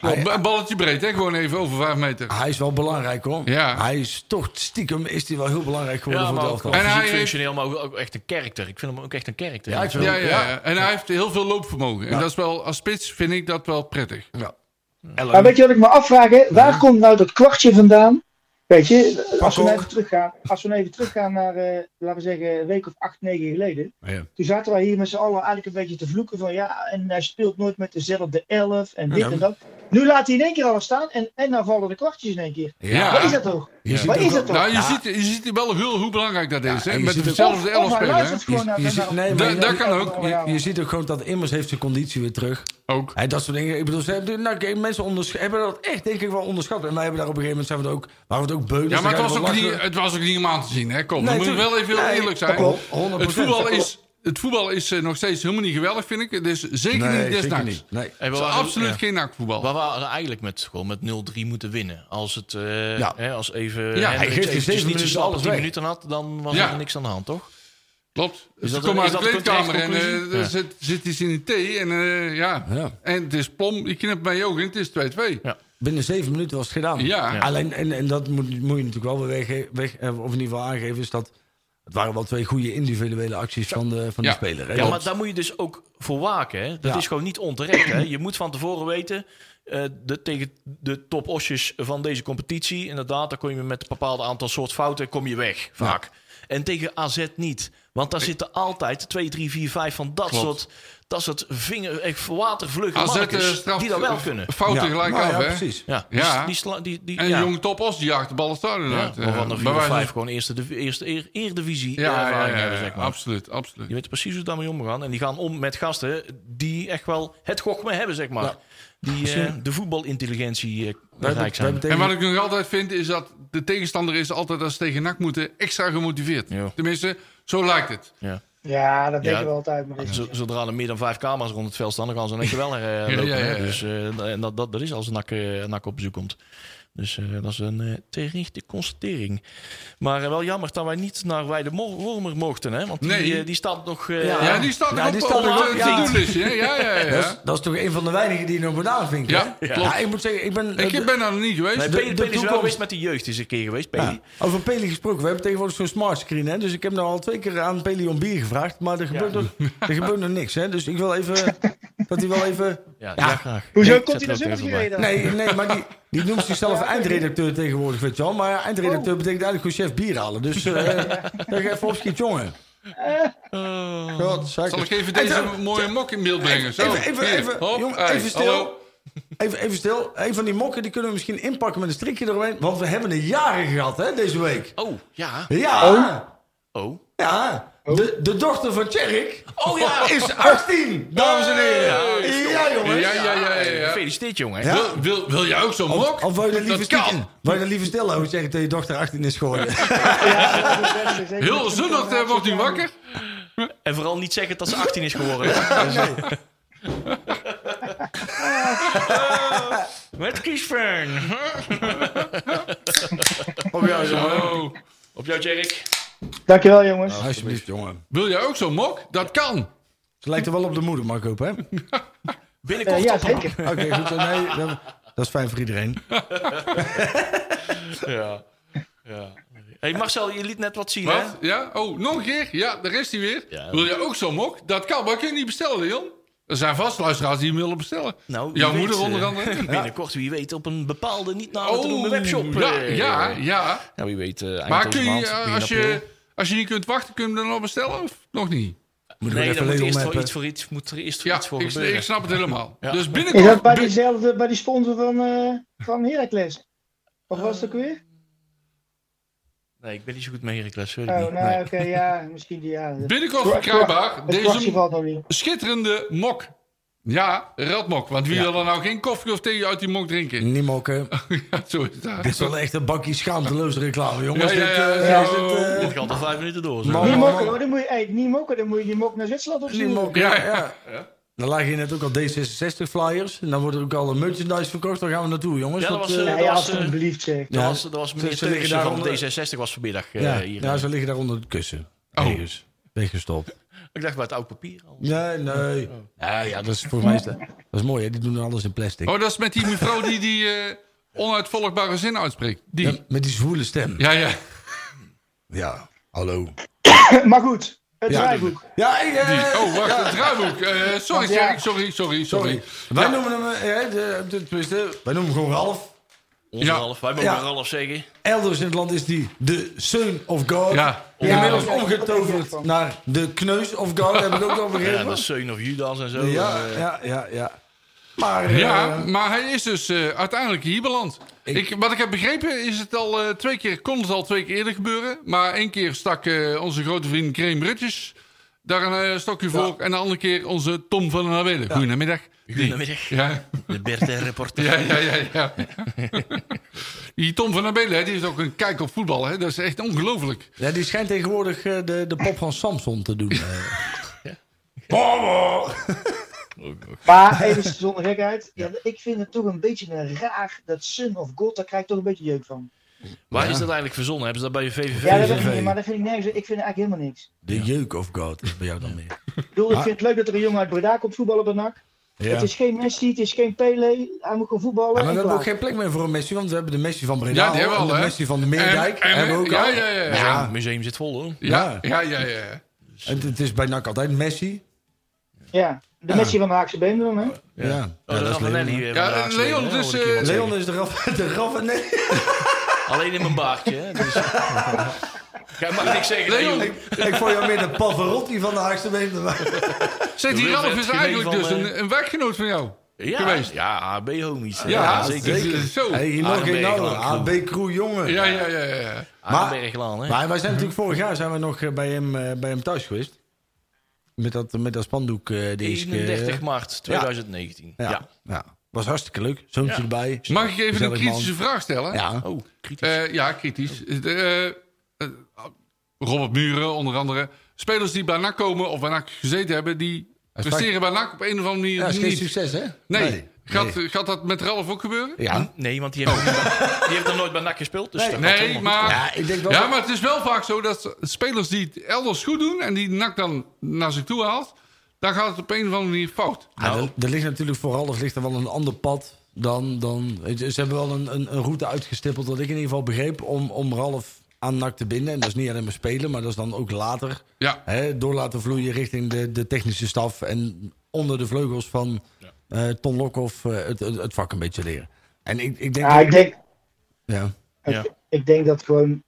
[SPEAKER 6] Ah,
[SPEAKER 5] Op- Een balletje breed, hè? gewoon even over 5 meter.
[SPEAKER 6] hij is wel belangrijk, hoor.
[SPEAKER 5] Ja.
[SPEAKER 6] Hij is toch stiekem is die wel heel belangrijk geworden
[SPEAKER 2] Ja,
[SPEAKER 6] voor
[SPEAKER 2] maar
[SPEAKER 6] het
[SPEAKER 2] ook
[SPEAKER 6] elftal.
[SPEAKER 2] wel
[SPEAKER 5] En hij
[SPEAKER 2] fysiek
[SPEAKER 5] heeft-
[SPEAKER 2] functioneel, maar ook, ook echt een karakter. Ik vind hem ook echt een karakter.
[SPEAKER 6] Ja, ik vind
[SPEAKER 5] Ja,
[SPEAKER 6] ook,
[SPEAKER 5] ja, ja. En hij heeft heel veel loopvermogen. En dat is wel, als spits vind ik dat wel prettig.
[SPEAKER 6] Ja.
[SPEAKER 7] maar weet je wat ik me afvraag? hè? Waar komt nou dat kwartje vandaan? Weet je, als we nou
[SPEAKER 6] ook.
[SPEAKER 7] even teruggaan, als we nou even teruggaan naar, eh, laten we zeggen, een week of acht, negen geleden.
[SPEAKER 5] Ja.
[SPEAKER 7] Toen zaten wij hier met z'n allen eigenlijk een beetje te vloeken van ja, en hij speelt nooit met dezelfde elf en dit
[SPEAKER 6] Ja.
[SPEAKER 7] en dat. Nu laat hij in één keer alles staan en, en dan vallen de kwartjes in één keer.
[SPEAKER 5] Ja.
[SPEAKER 7] Wat is dat toch?
[SPEAKER 6] Je ziet
[SPEAKER 7] Wat
[SPEAKER 6] ook
[SPEAKER 7] is
[SPEAKER 6] wel-
[SPEAKER 7] dat toch?
[SPEAKER 5] Nou, je, ziet, je ziet wel heel, hoe belangrijk dat is.
[SPEAKER 6] en
[SPEAKER 5] Hè?
[SPEAKER 6] je
[SPEAKER 5] Met
[SPEAKER 6] ziet ook-
[SPEAKER 5] dezelfde
[SPEAKER 7] Of- of
[SPEAKER 5] elf
[SPEAKER 7] hij
[SPEAKER 5] spelen.
[SPEAKER 7] luistert
[SPEAKER 5] hè?
[SPEAKER 7] gewoon naar
[SPEAKER 6] Je ziet- nee,
[SPEAKER 5] maar je- dat kan ook.
[SPEAKER 6] Je, je ziet ook gewoon dat Immers heeft zijn conditie weer terug.
[SPEAKER 5] Ook.
[SPEAKER 6] Hè, dat soort dingen. Ik bedoel, ze hebben, nou, oké, mensen ondersch- hebben dat echt denk ik wel onderschat. En wij hebben daar op een gegeven moment zijn we er ook, waren we het ook beu.
[SPEAKER 5] Ja, maar het was, ook niet, het was ook niet om aan te zien. Hè? Kom,
[SPEAKER 6] Nee,
[SPEAKER 5] we moeten wel
[SPEAKER 6] tuurlijk.
[SPEAKER 5] even heel
[SPEAKER 6] Nee,
[SPEAKER 5] eerlijk
[SPEAKER 6] dat
[SPEAKER 5] zijn.
[SPEAKER 6] klopt. 100%.
[SPEAKER 5] Het voetbal is, het voetbal is eh, nog steeds helemaal niet geweldig, vind ik. Het is zeker niet desnachts.
[SPEAKER 6] Nee.
[SPEAKER 5] Het is
[SPEAKER 2] eh,
[SPEAKER 5] absoluut geen nachtvoetbal.
[SPEAKER 2] Waar we hadden eigenlijk met, gewoon met 0-3 moeten winnen. Als het eh,
[SPEAKER 6] Ja.
[SPEAKER 2] hè, als even
[SPEAKER 5] hij
[SPEAKER 2] Hendricks
[SPEAKER 5] geeft
[SPEAKER 6] in
[SPEAKER 2] eventjes
[SPEAKER 6] zeven
[SPEAKER 2] niet
[SPEAKER 6] minuten
[SPEAKER 2] zo snel
[SPEAKER 6] alles
[SPEAKER 2] 10
[SPEAKER 6] weg.
[SPEAKER 2] minuten had, dan was
[SPEAKER 5] Ja.
[SPEAKER 2] er niks aan de hand, toch?
[SPEAKER 5] Klopt. Dus
[SPEAKER 2] dat
[SPEAKER 5] ik kom
[SPEAKER 2] een-
[SPEAKER 5] uit
[SPEAKER 2] is
[SPEAKER 5] de
[SPEAKER 2] dat een
[SPEAKER 5] kleedkamer en eh,
[SPEAKER 2] contractconclusie?
[SPEAKER 5] er
[SPEAKER 2] Ja.
[SPEAKER 5] zit, zit iets in de thee. En, eh, ja.
[SPEAKER 6] Ja.
[SPEAKER 5] en het is plom. Je knipt bij je ogen en het is 2-2.
[SPEAKER 2] Ja.
[SPEAKER 6] Binnen zeven minuten was het gedaan.
[SPEAKER 5] Ja. Ja.
[SPEAKER 6] Alleen, en, en dat moet, moet je natuurlijk wel weer weg, weg, eh, of in ieder geval aangeven, is dat het waren wel twee goede individuele acties van, de, van die
[SPEAKER 5] Ja.
[SPEAKER 6] speler. hè.
[SPEAKER 2] Ja, maar daar moet je dus ook voor waken. Hè? Dat
[SPEAKER 6] Ja.
[SPEAKER 2] is gewoon niet onterecht. Hè? Je moet van tevoren weten, eh, de, tegen de toposjes van deze competitie, inderdaad, daar kom je met een bepaald aantal soort fouten kom je weg, vaak. En tegen AZ niet. Want daar zitten altijd 2, 3, 4, 5 van dat
[SPEAKER 5] Klopt.
[SPEAKER 2] soort, dat soort vinger, echt watervlugge
[SPEAKER 5] AZ eh,
[SPEAKER 2] mannetjes
[SPEAKER 5] straft
[SPEAKER 2] die dat wel
[SPEAKER 5] eh,
[SPEAKER 2] kunnen.
[SPEAKER 5] fouten
[SPEAKER 6] Ja.
[SPEAKER 5] gelijk
[SPEAKER 6] Nou
[SPEAKER 5] af.
[SPEAKER 6] ja,
[SPEAKER 5] hè?
[SPEAKER 6] precies.
[SPEAKER 2] Ja,
[SPEAKER 5] Ja.
[SPEAKER 2] Die, die, sla- die, die,
[SPEAKER 5] En
[SPEAKER 2] ja.
[SPEAKER 5] jong topos die jaagt de bal het stadion
[SPEAKER 2] Ja,
[SPEAKER 5] uit. eh,
[SPEAKER 2] waarvan er
[SPEAKER 5] bij
[SPEAKER 2] 4 of
[SPEAKER 5] wijze van-
[SPEAKER 2] 5 gewoon eerste, de eerste eer, eerdivisie
[SPEAKER 5] Ja, ja,
[SPEAKER 2] ervaring
[SPEAKER 5] ja,
[SPEAKER 2] hebben,
[SPEAKER 5] ja,
[SPEAKER 2] zeg maar.
[SPEAKER 5] absoluut. absoluut.
[SPEAKER 2] Je weet precies hoe ze daarmee omgaan. En die gaan om met gasten die echt wel het gochme hebben, zeg maar. Die eh, de voetbalintelligentie eh
[SPEAKER 6] Wij hebben-
[SPEAKER 2] rijk
[SPEAKER 6] wij hebben
[SPEAKER 2] zijn.
[SPEAKER 5] En
[SPEAKER 6] tegen-
[SPEAKER 5] wat ik nog altijd vind is dat de tegenstander is altijd als ze tegen NAC moeten extra gemotiveerd.
[SPEAKER 2] Ja.
[SPEAKER 5] Tenminste, zo lijkt het.
[SPEAKER 2] Ja.
[SPEAKER 7] Ja, dat denken
[SPEAKER 2] Ja.
[SPEAKER 7] we altijd. Maar dit-
[SPEAKER 2] Z- Zodra er meer dan vijf kamers rond het veld staan, dan gaan ze in één keer wel naar eh,
[SPEAKER 5] Ja,
[SPEAKER 2] lopen.
[SPEAKER 5] ja, ja,
[SPEAKER 2] hè.
[SPEAKER 5] ja.
[SPEAKER 2] Dus eh, en dat, dat is als een nak, eh, een nak op bezoek komt. Dus eh, dat is een eh, terechte constatering. Maar eh, wel jammer dat wij niet naar Weide Mo- Wormer mochten. Hè? Want die,
[SPEAKER 5] Nee.
[SPEAKER 2] eh, die staat nog... eh,
[SPEAKER 6] Ja.
[SPEAKER 5] Ja, die staat nog
[SPEAKER 6] Ja,
[SPEAKER 5] op,
[SPEAKER 6] die
[SPEAKER 5] op,
[SPEAKER 6] staat nog
[SPEAKER 5] het
[SPEAKER 6] op, ja.
[SPEAKER 5] to-do-listje. hè? Ja, ja, ja.
[SPEAKER 6] Dat, is, dat is toch een van de weinigen die nog benaderd vindt.
[SPEAKER 5] Ja,
[SPEAKER 6] hè?
[SPEAKER 5] klopt.
[SPEAKER 6] Ja, ik moet zeggen, ik ben... eh,
[SPEAKER 5] Ik ben daar nog niet geweest.
[SPEAKER 2] Nee,
[SPEAKER 6] de-
[SPEAKER 2] Dus Peli
[SPEAKER 6] de
[SPEAKER 2] Peli is wel
[SPEAKER 6] toekomst-
[SPEAKER 2] geweest met de jeugd is een keer geweest, Peli.
[SPEAKER 6] Ja. Over Peli gesproken. We hebben tegenwoordig zo'n smartscreen. Hè? Dus ik heb nou al twee keer aan Peli om bier gevraagd. Maar er gebeurt, nog, er gebeurt nog niks. Hè? Dus ik wil even... dat hij wel even...
[SPEAKER 2] Ja,
[SPEAKER 6] Ja.
[SPEAKER 2] ja, graag.
[SPEAKER 7] Hoezo
[SPEAKER 2] Ik
[SPEAKER 7] komt
[SPEAKER 2] zet
[SPEAKER 7] hij er
[SPEAKER 2] er ook
[SPEAKER 7] zelf
[SPEAKER 2] even bij.
[SPEAKER 7] gereden?
[SPEAKER 6] Nee, nee maar die, die noemt zichzelf eindredacteur tegenwoordig, weet je wel. Maar ja, eindredacteur
[SPEAKER 5] Oh.
[SPEAKER 6] betekent eigenlijk gewoon chef bier halen. Dus eh zeg even opschiet, jongen. God, zeker.
[SPEAKER 5] Zal ik even deze mooie mok in beeld brengen? Zo,
[SPEAKER 6] Even, even,
[SPEAKER 5] hier.
[SPEAKER 6] even,
[SPEAKER 5] Hop,
[SPEAKER 6] jongen,
[SPEAKER 5] hey,
[SPEAKER 6] even
[SPEAKER 5] hallo.
[SPEAKER 6] stil. Even, even stil. Een van die mokken die kunnen we misschien inpakken met een strikje eromheen. Want we hebben een jaren gehad, hè, deze week.
[SPEAKER 2] Oh, ja.
[SPEAKER 6] Ja.
[SPEAKER 2] Oh.
[SPEAKER 6] Ja, de, de dochter van Tjerk is 18, dames en heren. Ja, jongens.
[SPEAKER 5] Ja, ja, ja, ja, ja.
[SPEAKER 2] Gefeliciteerd, jongen.
[SPEAKER 6] Ja.
[SPEAKER 5] Wil, wil, wil jij ook zo'n mok?
[SPEAKER 6] Of, of wou je dat liever
[SPEAKER 5] kan.
[SPEAKER 6] stiekem- wou je dat liever stil houden zeggen dat je dochter 18 is geworden?
[SPEAKER 5] Heel zonnig eh, wordt hij wakker.
[SPEAKER 2] En vooral niet zeggen dat ze 18 is geworden. hè. Dus, eh. Met kiesfern.
[SPEAKER 6] Op jou, jongen.
[SPEAKER 5] Zo.
[SPEAKER 2] Op jou, Jerk.
[SPEAKER 7] Dankjewel jongens.
[SPEAKER 6] Alsjeblieft, jongen.
[SPEAKER 5] Wil jij ook zo'n mok? Dat kan.
[SPEAKER 6] Ze lijkt er wel op de moeder, maar ik hoop, hè? Oké,
[SPEAKER 2] Binnenkort
[SPEAKER 7] Eh, ja,
[SPEAKER 2] op een-
[SPEAKER 7] zeker.
[SPEAKER 6] goed. dan- Nee, dan- dat is fijn voor iedereen.
[SPEAKER 2] Ja. ja. Hey Marcel, je liet net wat zien, hè?
[SPEAKER 5] Wat? Ja? Oh, nog een keer? Ja, daar is hij weer.
[SPEAKER 2] Ja.
[SPEAKER 5] Wil jij ook zo'n mok? Dat kan, maar kun je niet bestellen, Leon. Er zijn vast luisteraars die hem willen bestellen.
[SPEAKER 2] Nou, wie
[SPEAKER 5] Jouw
[SPEAKER 2] weet,
[SPEAKER 5] moeder
[SPEAKER 2] eh,
[SPEAKER 5] onder andere. Oh,
[SPEAKER 2] Binnenkort, wie weet, op een bepaalde niet nader te noemen webshop.
[SPEAKER 5] ja,
[SPEAKER 2] eh.
[SPEAKER 5] ja, ja.
[SPEAKER 2] Nou, wie weet. eh, eind
[SPEAKER 5] Maar
[SPEAKER 2] deze
[SPEAKER 5] kun je,
[SPEAKER 2] maand,
[SPEAKER 5] eh,
[SPEAKER 2] begin
[SPEAKER 5] als
[SPEAKER 2] april.
[SPEAKER 5] je, als je niet kunt wachten, kun je hem dan al bestellen? Of nog niet?
[SPEAKER 6] Moeten
[SPEAKER 2] Nee,
[SPEAKER 6] we even
[SPEAKER 2] dan moet
[SPEAKER 6] label
[SPEAKER 2] eerst voor
[SPEAKER 6] mappen.
[SPEAKER 2] iets voor iets, moet er eerst voor
[SPEAKER 5] Ja,
[SPEAKER 2] iets voor
[SPEAKER 5] ik,
[SPEAKER 2] gebeuren.
[SPEAKER 5] ik snap het helemaal.
[SPEAKER 2] Ja.
[SPEAKER 5] Dus
[SPEAKER 7] Is
[SPEAKER 5] binnenkort...
[SPEAKER 7] dat bij
[SPEAKER 5] bi-
[SPEAKER 7] diezelfde, bij die sponsor van, eh van Heracles? Of was het ook weer?
[SPEAKER 2] Nee, ik ben niet zo goed mee, Heracles. weet ik
[SPEAKER 7] Oh,
[SPEAKER 2] niet.
[SPEAKER 7] nou
[SPEAKER 2] Eh, Nee.
[SPEAKER 7] oké, ja, misschien die, ja. Het
[SPEAKER 5] Binnenkort
[SPEAKER 7] kwart-
[SPEAKER 5] verkrijgbaar
[SPEAKER 7] het kwartje
[SPEAKER 5] deze
[SPEAKER 7] valt nog niet.
[SPEAKER 5] schitterende mok. Ja, radmok. Want wie wil er nou geen koffie of thee uit die mok drinken?
[SPEAKER 6] Niet mokken.
[SPEAKER 5] Ja, zo is dat.
[SPEAKER 6] Dit is wel echt een bakje schaamteloze reclame, jongens.
[SPEAKER 5] Ja, ja, ja,
[SPEAKER 6] Dit, eh,
[SPEAKER 7] ja.
[SPEAKER 6] is het, eh,
[SPEAKER 2] Dit gaat al vijf minuten door. zo.
[SPEAKER 6] Man.
[SPEAKER 7] Niet mokken hoor, dan moet je, hey, niet mokken, dan moet je die mok naar Zwitserland opsturen.
[SPEAKER 6] niet mokken.
[SPEAKER 5] Ja,
[SPEAKER 6] Ja,
[SPEAKER 5] ja.
[SPEAKER 6] Dan lagen hier net ook al D66 flyers. En dan wordt er ook al een merchandise verkocht. Daar gaan we naartoe, jongens.
[SPEAKER 2] Ja, dat
[SPEAKER 6] Want,
[SPEAKER 2] was,
[SPEAKER 6] eh,
[SPEAKER 2] eh,
[SPEAKER 7] Ja, ja, alsjeblieft zeg.
[SPEAKER 2] Dat
[SPEAKER 6] Ja.
[SPEAKER 2] was, dat was meneer
[SPEAKER 6] Ze- ze liggen
[SPEAKER 2] Teunissen van
[SPEAKER 6] daaronder.
[SPEAKER 2] D66 was vanmiddag eh,
[SPEAKER 6] ja,
[SPEAKER 2] hier.
[SPEAKER 6] ja, ze liggen daar onder het kussen.
[SPEAKER 5] Oh.
[SPEAKER 6] Ergens. Weggestopt.
[SPEAKER 2] eh. Ik dacht bij het oud papier al.
[SPEAKER 6] Nee, nee. Hm. Ja, ja, dat is voor mij... is Dat dat is mooi, hè? Die doen alles in plastic.
[SPEAKER 5] Oh, dat is met die mevrouw die die eh, onuitvolgbare zin uitspreekt.
[SPEAKER 6] Ja,
[SPEAKER 5] Die.
[SPEAKER 6] met die zwoele stem.
[SPEAKER 5] Ja, ja.
[SPEAKER 6] Ja, hallo.
[SPEAKER 7] Maar goed, het
[SPEAKER 6] Ja,
[SPEAKER 7] draaiboek.
[SPEAKER 6] Ja, ik, eh,
[SPEAKER 5] Die. Oh, wacht, het draaiboek. Eh, sorry,
[SPEAKER 7] Ja.
[SPEAKER 5] Jerry, sorry, sorry, sorry. Nou.
[SPEAKER 6] sorry. Wij noemen hem, eh, de, de, tenminste, wij noemen hem gewoon Ralf.
[SPEAKER 2] Onze
[SPEAKER 5] Ja.
[SPEAKER 2] Ralf, wij mogen
[SPEAKER 6] Ja.
[SPEAKER 2] Ralf zeggen.
[SPEAKER 6] Elders in het land is die de Son of God.
[SPEAKER 5] Ja.
[SPEAKER 6] Inmiddels
[SPEAKER 7] Ja, dat is echt
[SPEAKER 6] omgetoverd
[SPEAKER 7] van.
[SPEAKER 6] naar de Kneus of God, heb ik ook al
[SPEAKER 2] Ja,
[SPEAKER 6] begrepen.
[SPEAKER 2] dat is Seun of Judas en zo.
[SPEAKER 6] ja,
[SPEAKER 2] Eh,
[SPEAKER 6] ja, ja, ja. Maar, eh,
[SPEAKER 5] Ja, maar hij is dus eh, uiteindelijk hier beland. Ik, wat ik heb begrepen is het al eh, twee keer, kon het al twee keer eerder gebeuren. Maar één keer stak eh, onze grote vriend Graham Bridges daar een eh, stokje voor. En de andere keer onze Tom van den Abelen. Goedemiddag.
[SPEAKER 2] Goedemiddag.
[SPEAKER 5] Ja,
[SPEAKER 2] De Bert en reporter.
[SPEAKER 5] ja, ja, ja. ja. die Tom van den Abelen, hè, die is ook een kijk op voetbal. Hè. Dat is echt ongelooflijk.
[SPEAKER 6] ja, die schijnt tegenwoordig eh, de, de pop van Samson te doen. eh.
[SPEAKER 7] Maar even zonder gekheid, ja, ik vind het toch een beetje een raar, dat Sun of God, daar krijg ik toch een beetje jeuk van.
[SPEAKER 2] Waar is dat eigenlijk verzonnen? Hebben ze dat bij je VVV?
[SPEAKER 7] Ja, dat
[SPEAKER 6] VVV.
[SPEAKER 7] weet ik niet, maar dat vind ik nergens, ik vind eigenlijk helemaal niks.
[SPEAKER 6] de jeuk of God is bij jou dan meer.
[SPEAKER 7] Ik bedoel, ik
[SPEAKER 6] Maar-
[SPEAKER 7] vind het leuk dat er een jongen uit Breda komt voetballen bij NAC. Het is geen Messi, het is geen Pele, hij moet gewoon voetballen
[SPEAKER 6] Ja, maar
[SPEAKER 7] en
[SPEAKER 6] we hebben ook
[SPEAKER 7] klaar.
[SPEAKER 6] geen plek meer voor een Messi, want we hebben de Messi van Breda
[SPEAKER 5] Ja, die
[SPEAKER 6] al,
[SPEAKER 5] hebben we
[SPEAKER 6] en
[SPEAKER 5] al,
[SPEAKER 6] de
[SPEAKER 5] hè?
[SPEAKER 6] Messi van de Meerdijk
[SPEAKER 5] En- en-
[SPEAKER 6] hebben we ook
[SPEAKER 5] ja,
[SPEAKER 6] al.
[SPEAKER 5] ja, ja, ja.
[SPEAKER 2] Ja, het museum zit vol hoor. Oh,
[SPEAKER 5] Ja, ja, ja, ja.
[SPEAKER 6] Het, het is bij NAC altijd Messi.
[SPEAKER 7] Ja, de Messi van de Haagse Been dan, hè?
[SPEAKER 6] Ja, Ja,
[SPEAKER 2] Oh,
[SPEAKER 6] dat is
[SPEAKER 2] Raffanelli,
[SPEAKER 6] Leon.
[SPEAKER 2] eh,
[SPEAKER 5] Ja,
[SPEAKER 2] vandaag
[SPEAKER 5] Leon,
[SPEAKER 2] geleden, hè,
[SPEAKER 5] dus,
[SPEAKER 2] hoorde ik iemand
[SPEAKER 5] eh,
[SPEAKER 2] zeggen.
[SPEAKER 6] Leon is de Raf, de Raf en nee.
[SPEAKER 2] Alleen in mijn baardje. Hè? Dus... Jij mag niks zeggen, Leon.
[SPEAKER 5] Leon,
[SPEAKER 6] ik, ik vond jou meer de Pavarotti van de Haagse Been.
[SPEAKER 5] Zet
[SPEAKER 2] De
[SPEAKER 5] die
[SPEAKER 2] Wilfred
[SPEAKER 5] Ralf is
[SPEAKER 2] Genee
[SPEAKER 5] eigenlijk
[SPEAKER 2] van,
[SPEAKER 5] dus
[SPEAKER 2] eh,
[SPEAKER 5] een, een werkgenoot van jou.
[SPEAKER 2] Ja,
[SPEAKER 5] geweest.
[SPEAKER 2] ja AB-homies. Ja,
[SPEAKER 5] zeker.
[SPEAKER 2] zeker.
[SPEAKER 5] Zo.
[SPEAKER 6] Hey, hier nog geen
[SPEAKER 2] Arenberg,
[SPEAKER 6] nou,
[SPEAKER 2] Lang,
[SPEAKER 6] AB Crew, jongen.
[SPEAKER 5] Ja, ja, ja, ja.
[SPEAKER 2] Arenberglaan, hè?
[SPEAKER 6] Maar wij zijn natuurlijk vorig jaar zijn we nog eh, bij hem, eh, bij hem thuis geweest. Met dat, met dat spandoek eh, de eerste keer.
[SPEAKER 2] 31 maart 2019.
[SPEAKER 6] Ja.
[SPEAKER 2] Ja.
[SPEAKER 6] Ja. Was hartstikke leuk. Zoontje
[SPEAKER 2] Ja.
[SPEAKER 6] erbij.
[SPEAKER 5] Mag ik even een
[SPEAKER 6] Gezellig man.
[SPEAKER 5] kritische vraag stellen?
[SPEAKER 6] Ja.
[SPEAKER 2] Oh, kritisch.
[SPEAKER 5] Eh, ja, kritisch. Eh, eh, Robert Muren, onder andere. Spelers die bij NAC komen of bij NAC gezeten hebben, die presteren bij NAC op een of andere manier
[SPEAKER 6] Ja, is geen
[SPEAKER 5] niet.
[SPEAKER 6] succes, hè?
[SPEAKER 5] Nee. Gaat, gaat dat met Ralf ook gebeuren?
[SPEAKER 6] Ja.
[SPEAKER 2] Nee, want die heeft, die heeft nog nooit bij NAC gespeeld. Dus dat gaat
[SPEAKER 5] Oh. Nee,
[SPEAKER 2] helemaal
[SPEAKER 5] maar,
[SPEAKER 6] Ja, ik denk wel-
[SPEAKER 5] Ah. ja, maar het is wel vaak zo dat spelers die het elders goed doen... en die NAC dan naar zich toe haalt... dan gaat het op een of andere manier fout.
[SPEAKER 6] Ja, Ah, er, er ligt natuurlijk vooral er ligt er wel een ander pad dan. dan weet je, ze hebben wel een, een, een route uitgestippeld, wat ik in ieder geval begreep, om, om Ralf aan NAC te binden. En dat is niet alleen maar spelen, maar dat is dan ook later
[SPEAKER 5] Ja.
[SPEAKER 6] hè, door laten vloeien richting de, de technische staf en onder de vleugels van eh, Ton Lokhoff eh, het, het, het vak een beetje leren. En ik, ik denk.
[SPEAKER 7] Ja, ik denk,
[SPEAKER 6] ja.
[SPEAKER 2] Ja.
[SPEAKER 7] ik denk dat gewoon.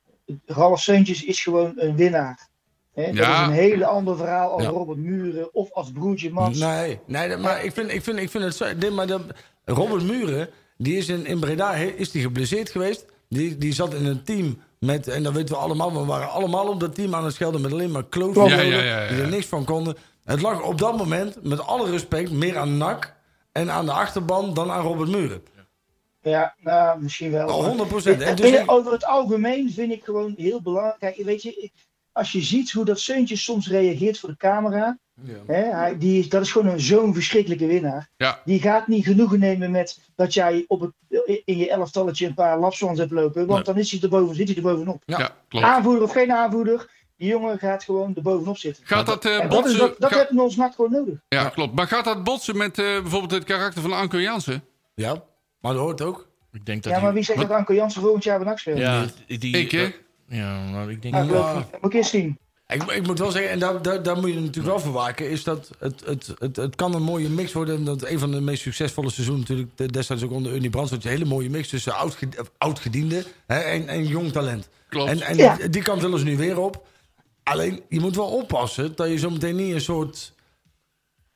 [SPEAKER 7] Ralf Seuntjes is gewoon een winnaar. Hè, dat
[SPEAKER 5] Ja.
[SPEAKER 7] is een hele ander verhaal als
[SPEAKER 6] Ja.
[SPEAKER 7] Robert Muren of als Broertje Mans.
[SPEAKER 6] Nee, nee dat- maar ik vind, ik vind, ik vind het zo. Nee, maar dat- Robert Muren, die is in, in Breda he- is die geblesseerd geweest. Die, die zat in een team met, en dat weten we allemaal, we waren allemaal op dat team aan het schelden met alleen maar kloven
[SPEAKER 5] Ja, ja, ja, ja.
[SPEAKER 6] die er niks van konden. Het lag op dat moment, met alle respect, meer aan NAC en aan de achterban dan aan Robert Muren.
[SPEAKER 7] Ja, nou, misschien wel.
[SPEAKER 6] Al
[SPEAKER 7] maar-
[SPEAKER 6] 100%. En
[SPEAKER 7] Ik-
[SPEAKER 6] dus
[SPEAKER 7] in-
[SPEAKER 6] ik-
[SPEAKER 7] Over het algemeen vind ik gewoon heel belangrijk. Kijk, weet je, ik- als je ziet hoe dat Seuntje soms reageert voor de camera. Hè, hij, die is, dat is gewoon een zo'n verschrikkelijke winnaar.
[SPEAKER 5] Ja.
[SPEAKER 7] Die gaat niet genoegen nemen met dat jij op het, in je elftalletje een paar lapswans hebt lopen. Want dan is hij erboven, zit hij er bovenop.
[SPEAKER 5] Ja, klopt.
[SPEAKER 7] Aanvoerder of geen aanvoerder, die jongen gaat gewoon er bovenop zitten.
[SPEAKER 5] Gaat dat eh,
[SPEAKER 7] En dat, is,
[SPEAKER 5] botsen?
[SPEAKER 7] dat, dat
[SPEAKER 5] ga-
[SPEAKER 7] hebben we ons nacht gewoon nodig.
[SPEAKER 5] ja, klopt. Maar gaat dat botsen met eh, bijvoorbeeld het karakter van Anko Jansen?
[SPEAKER 6] Ja, maar dat hoort ook.
[SPEAKER 2] goed. Ik denk dat
[SPEAKER 7] Ja, maar
[SPEAKER 2] die-
[SPEAKER 7] wie zegt dat Anko Jansen volgend jaar bij NAC speelt?
[SPEAKER 2] Ja, die, eh,
[SPEAKER 5] Ik, hè?
[SPEAKER 2] Ja, nou, ik denk...
[SPEAKER 7] Nou,
[SPEAKER 6] Ja.
[SPEAKER 7] Moet ik eens zien.
[SPEAKER 6] Ik, ik moet wel zeggen, en daar, daar, daar moet je natuurlijk wel voor waken, is dat het, het, het, het kan een mooie mix worden. En dat een van de meest succesvolle seizoenen natuurlijk de- destijds ook onder Unie Brandt. Dat je een hele mooie mix tussen oud, ged- eh, oud-gediende hè, en, en jong talent.
[SPEAKER 5] Klopt.
[SPEAKER 6] En, en
[SPEAKER 7] Ja.
[SPEAKER 6] die, die kant willen ze nu weer op. Alleen, je moet wel oppassen dat je zo meteen niet een soort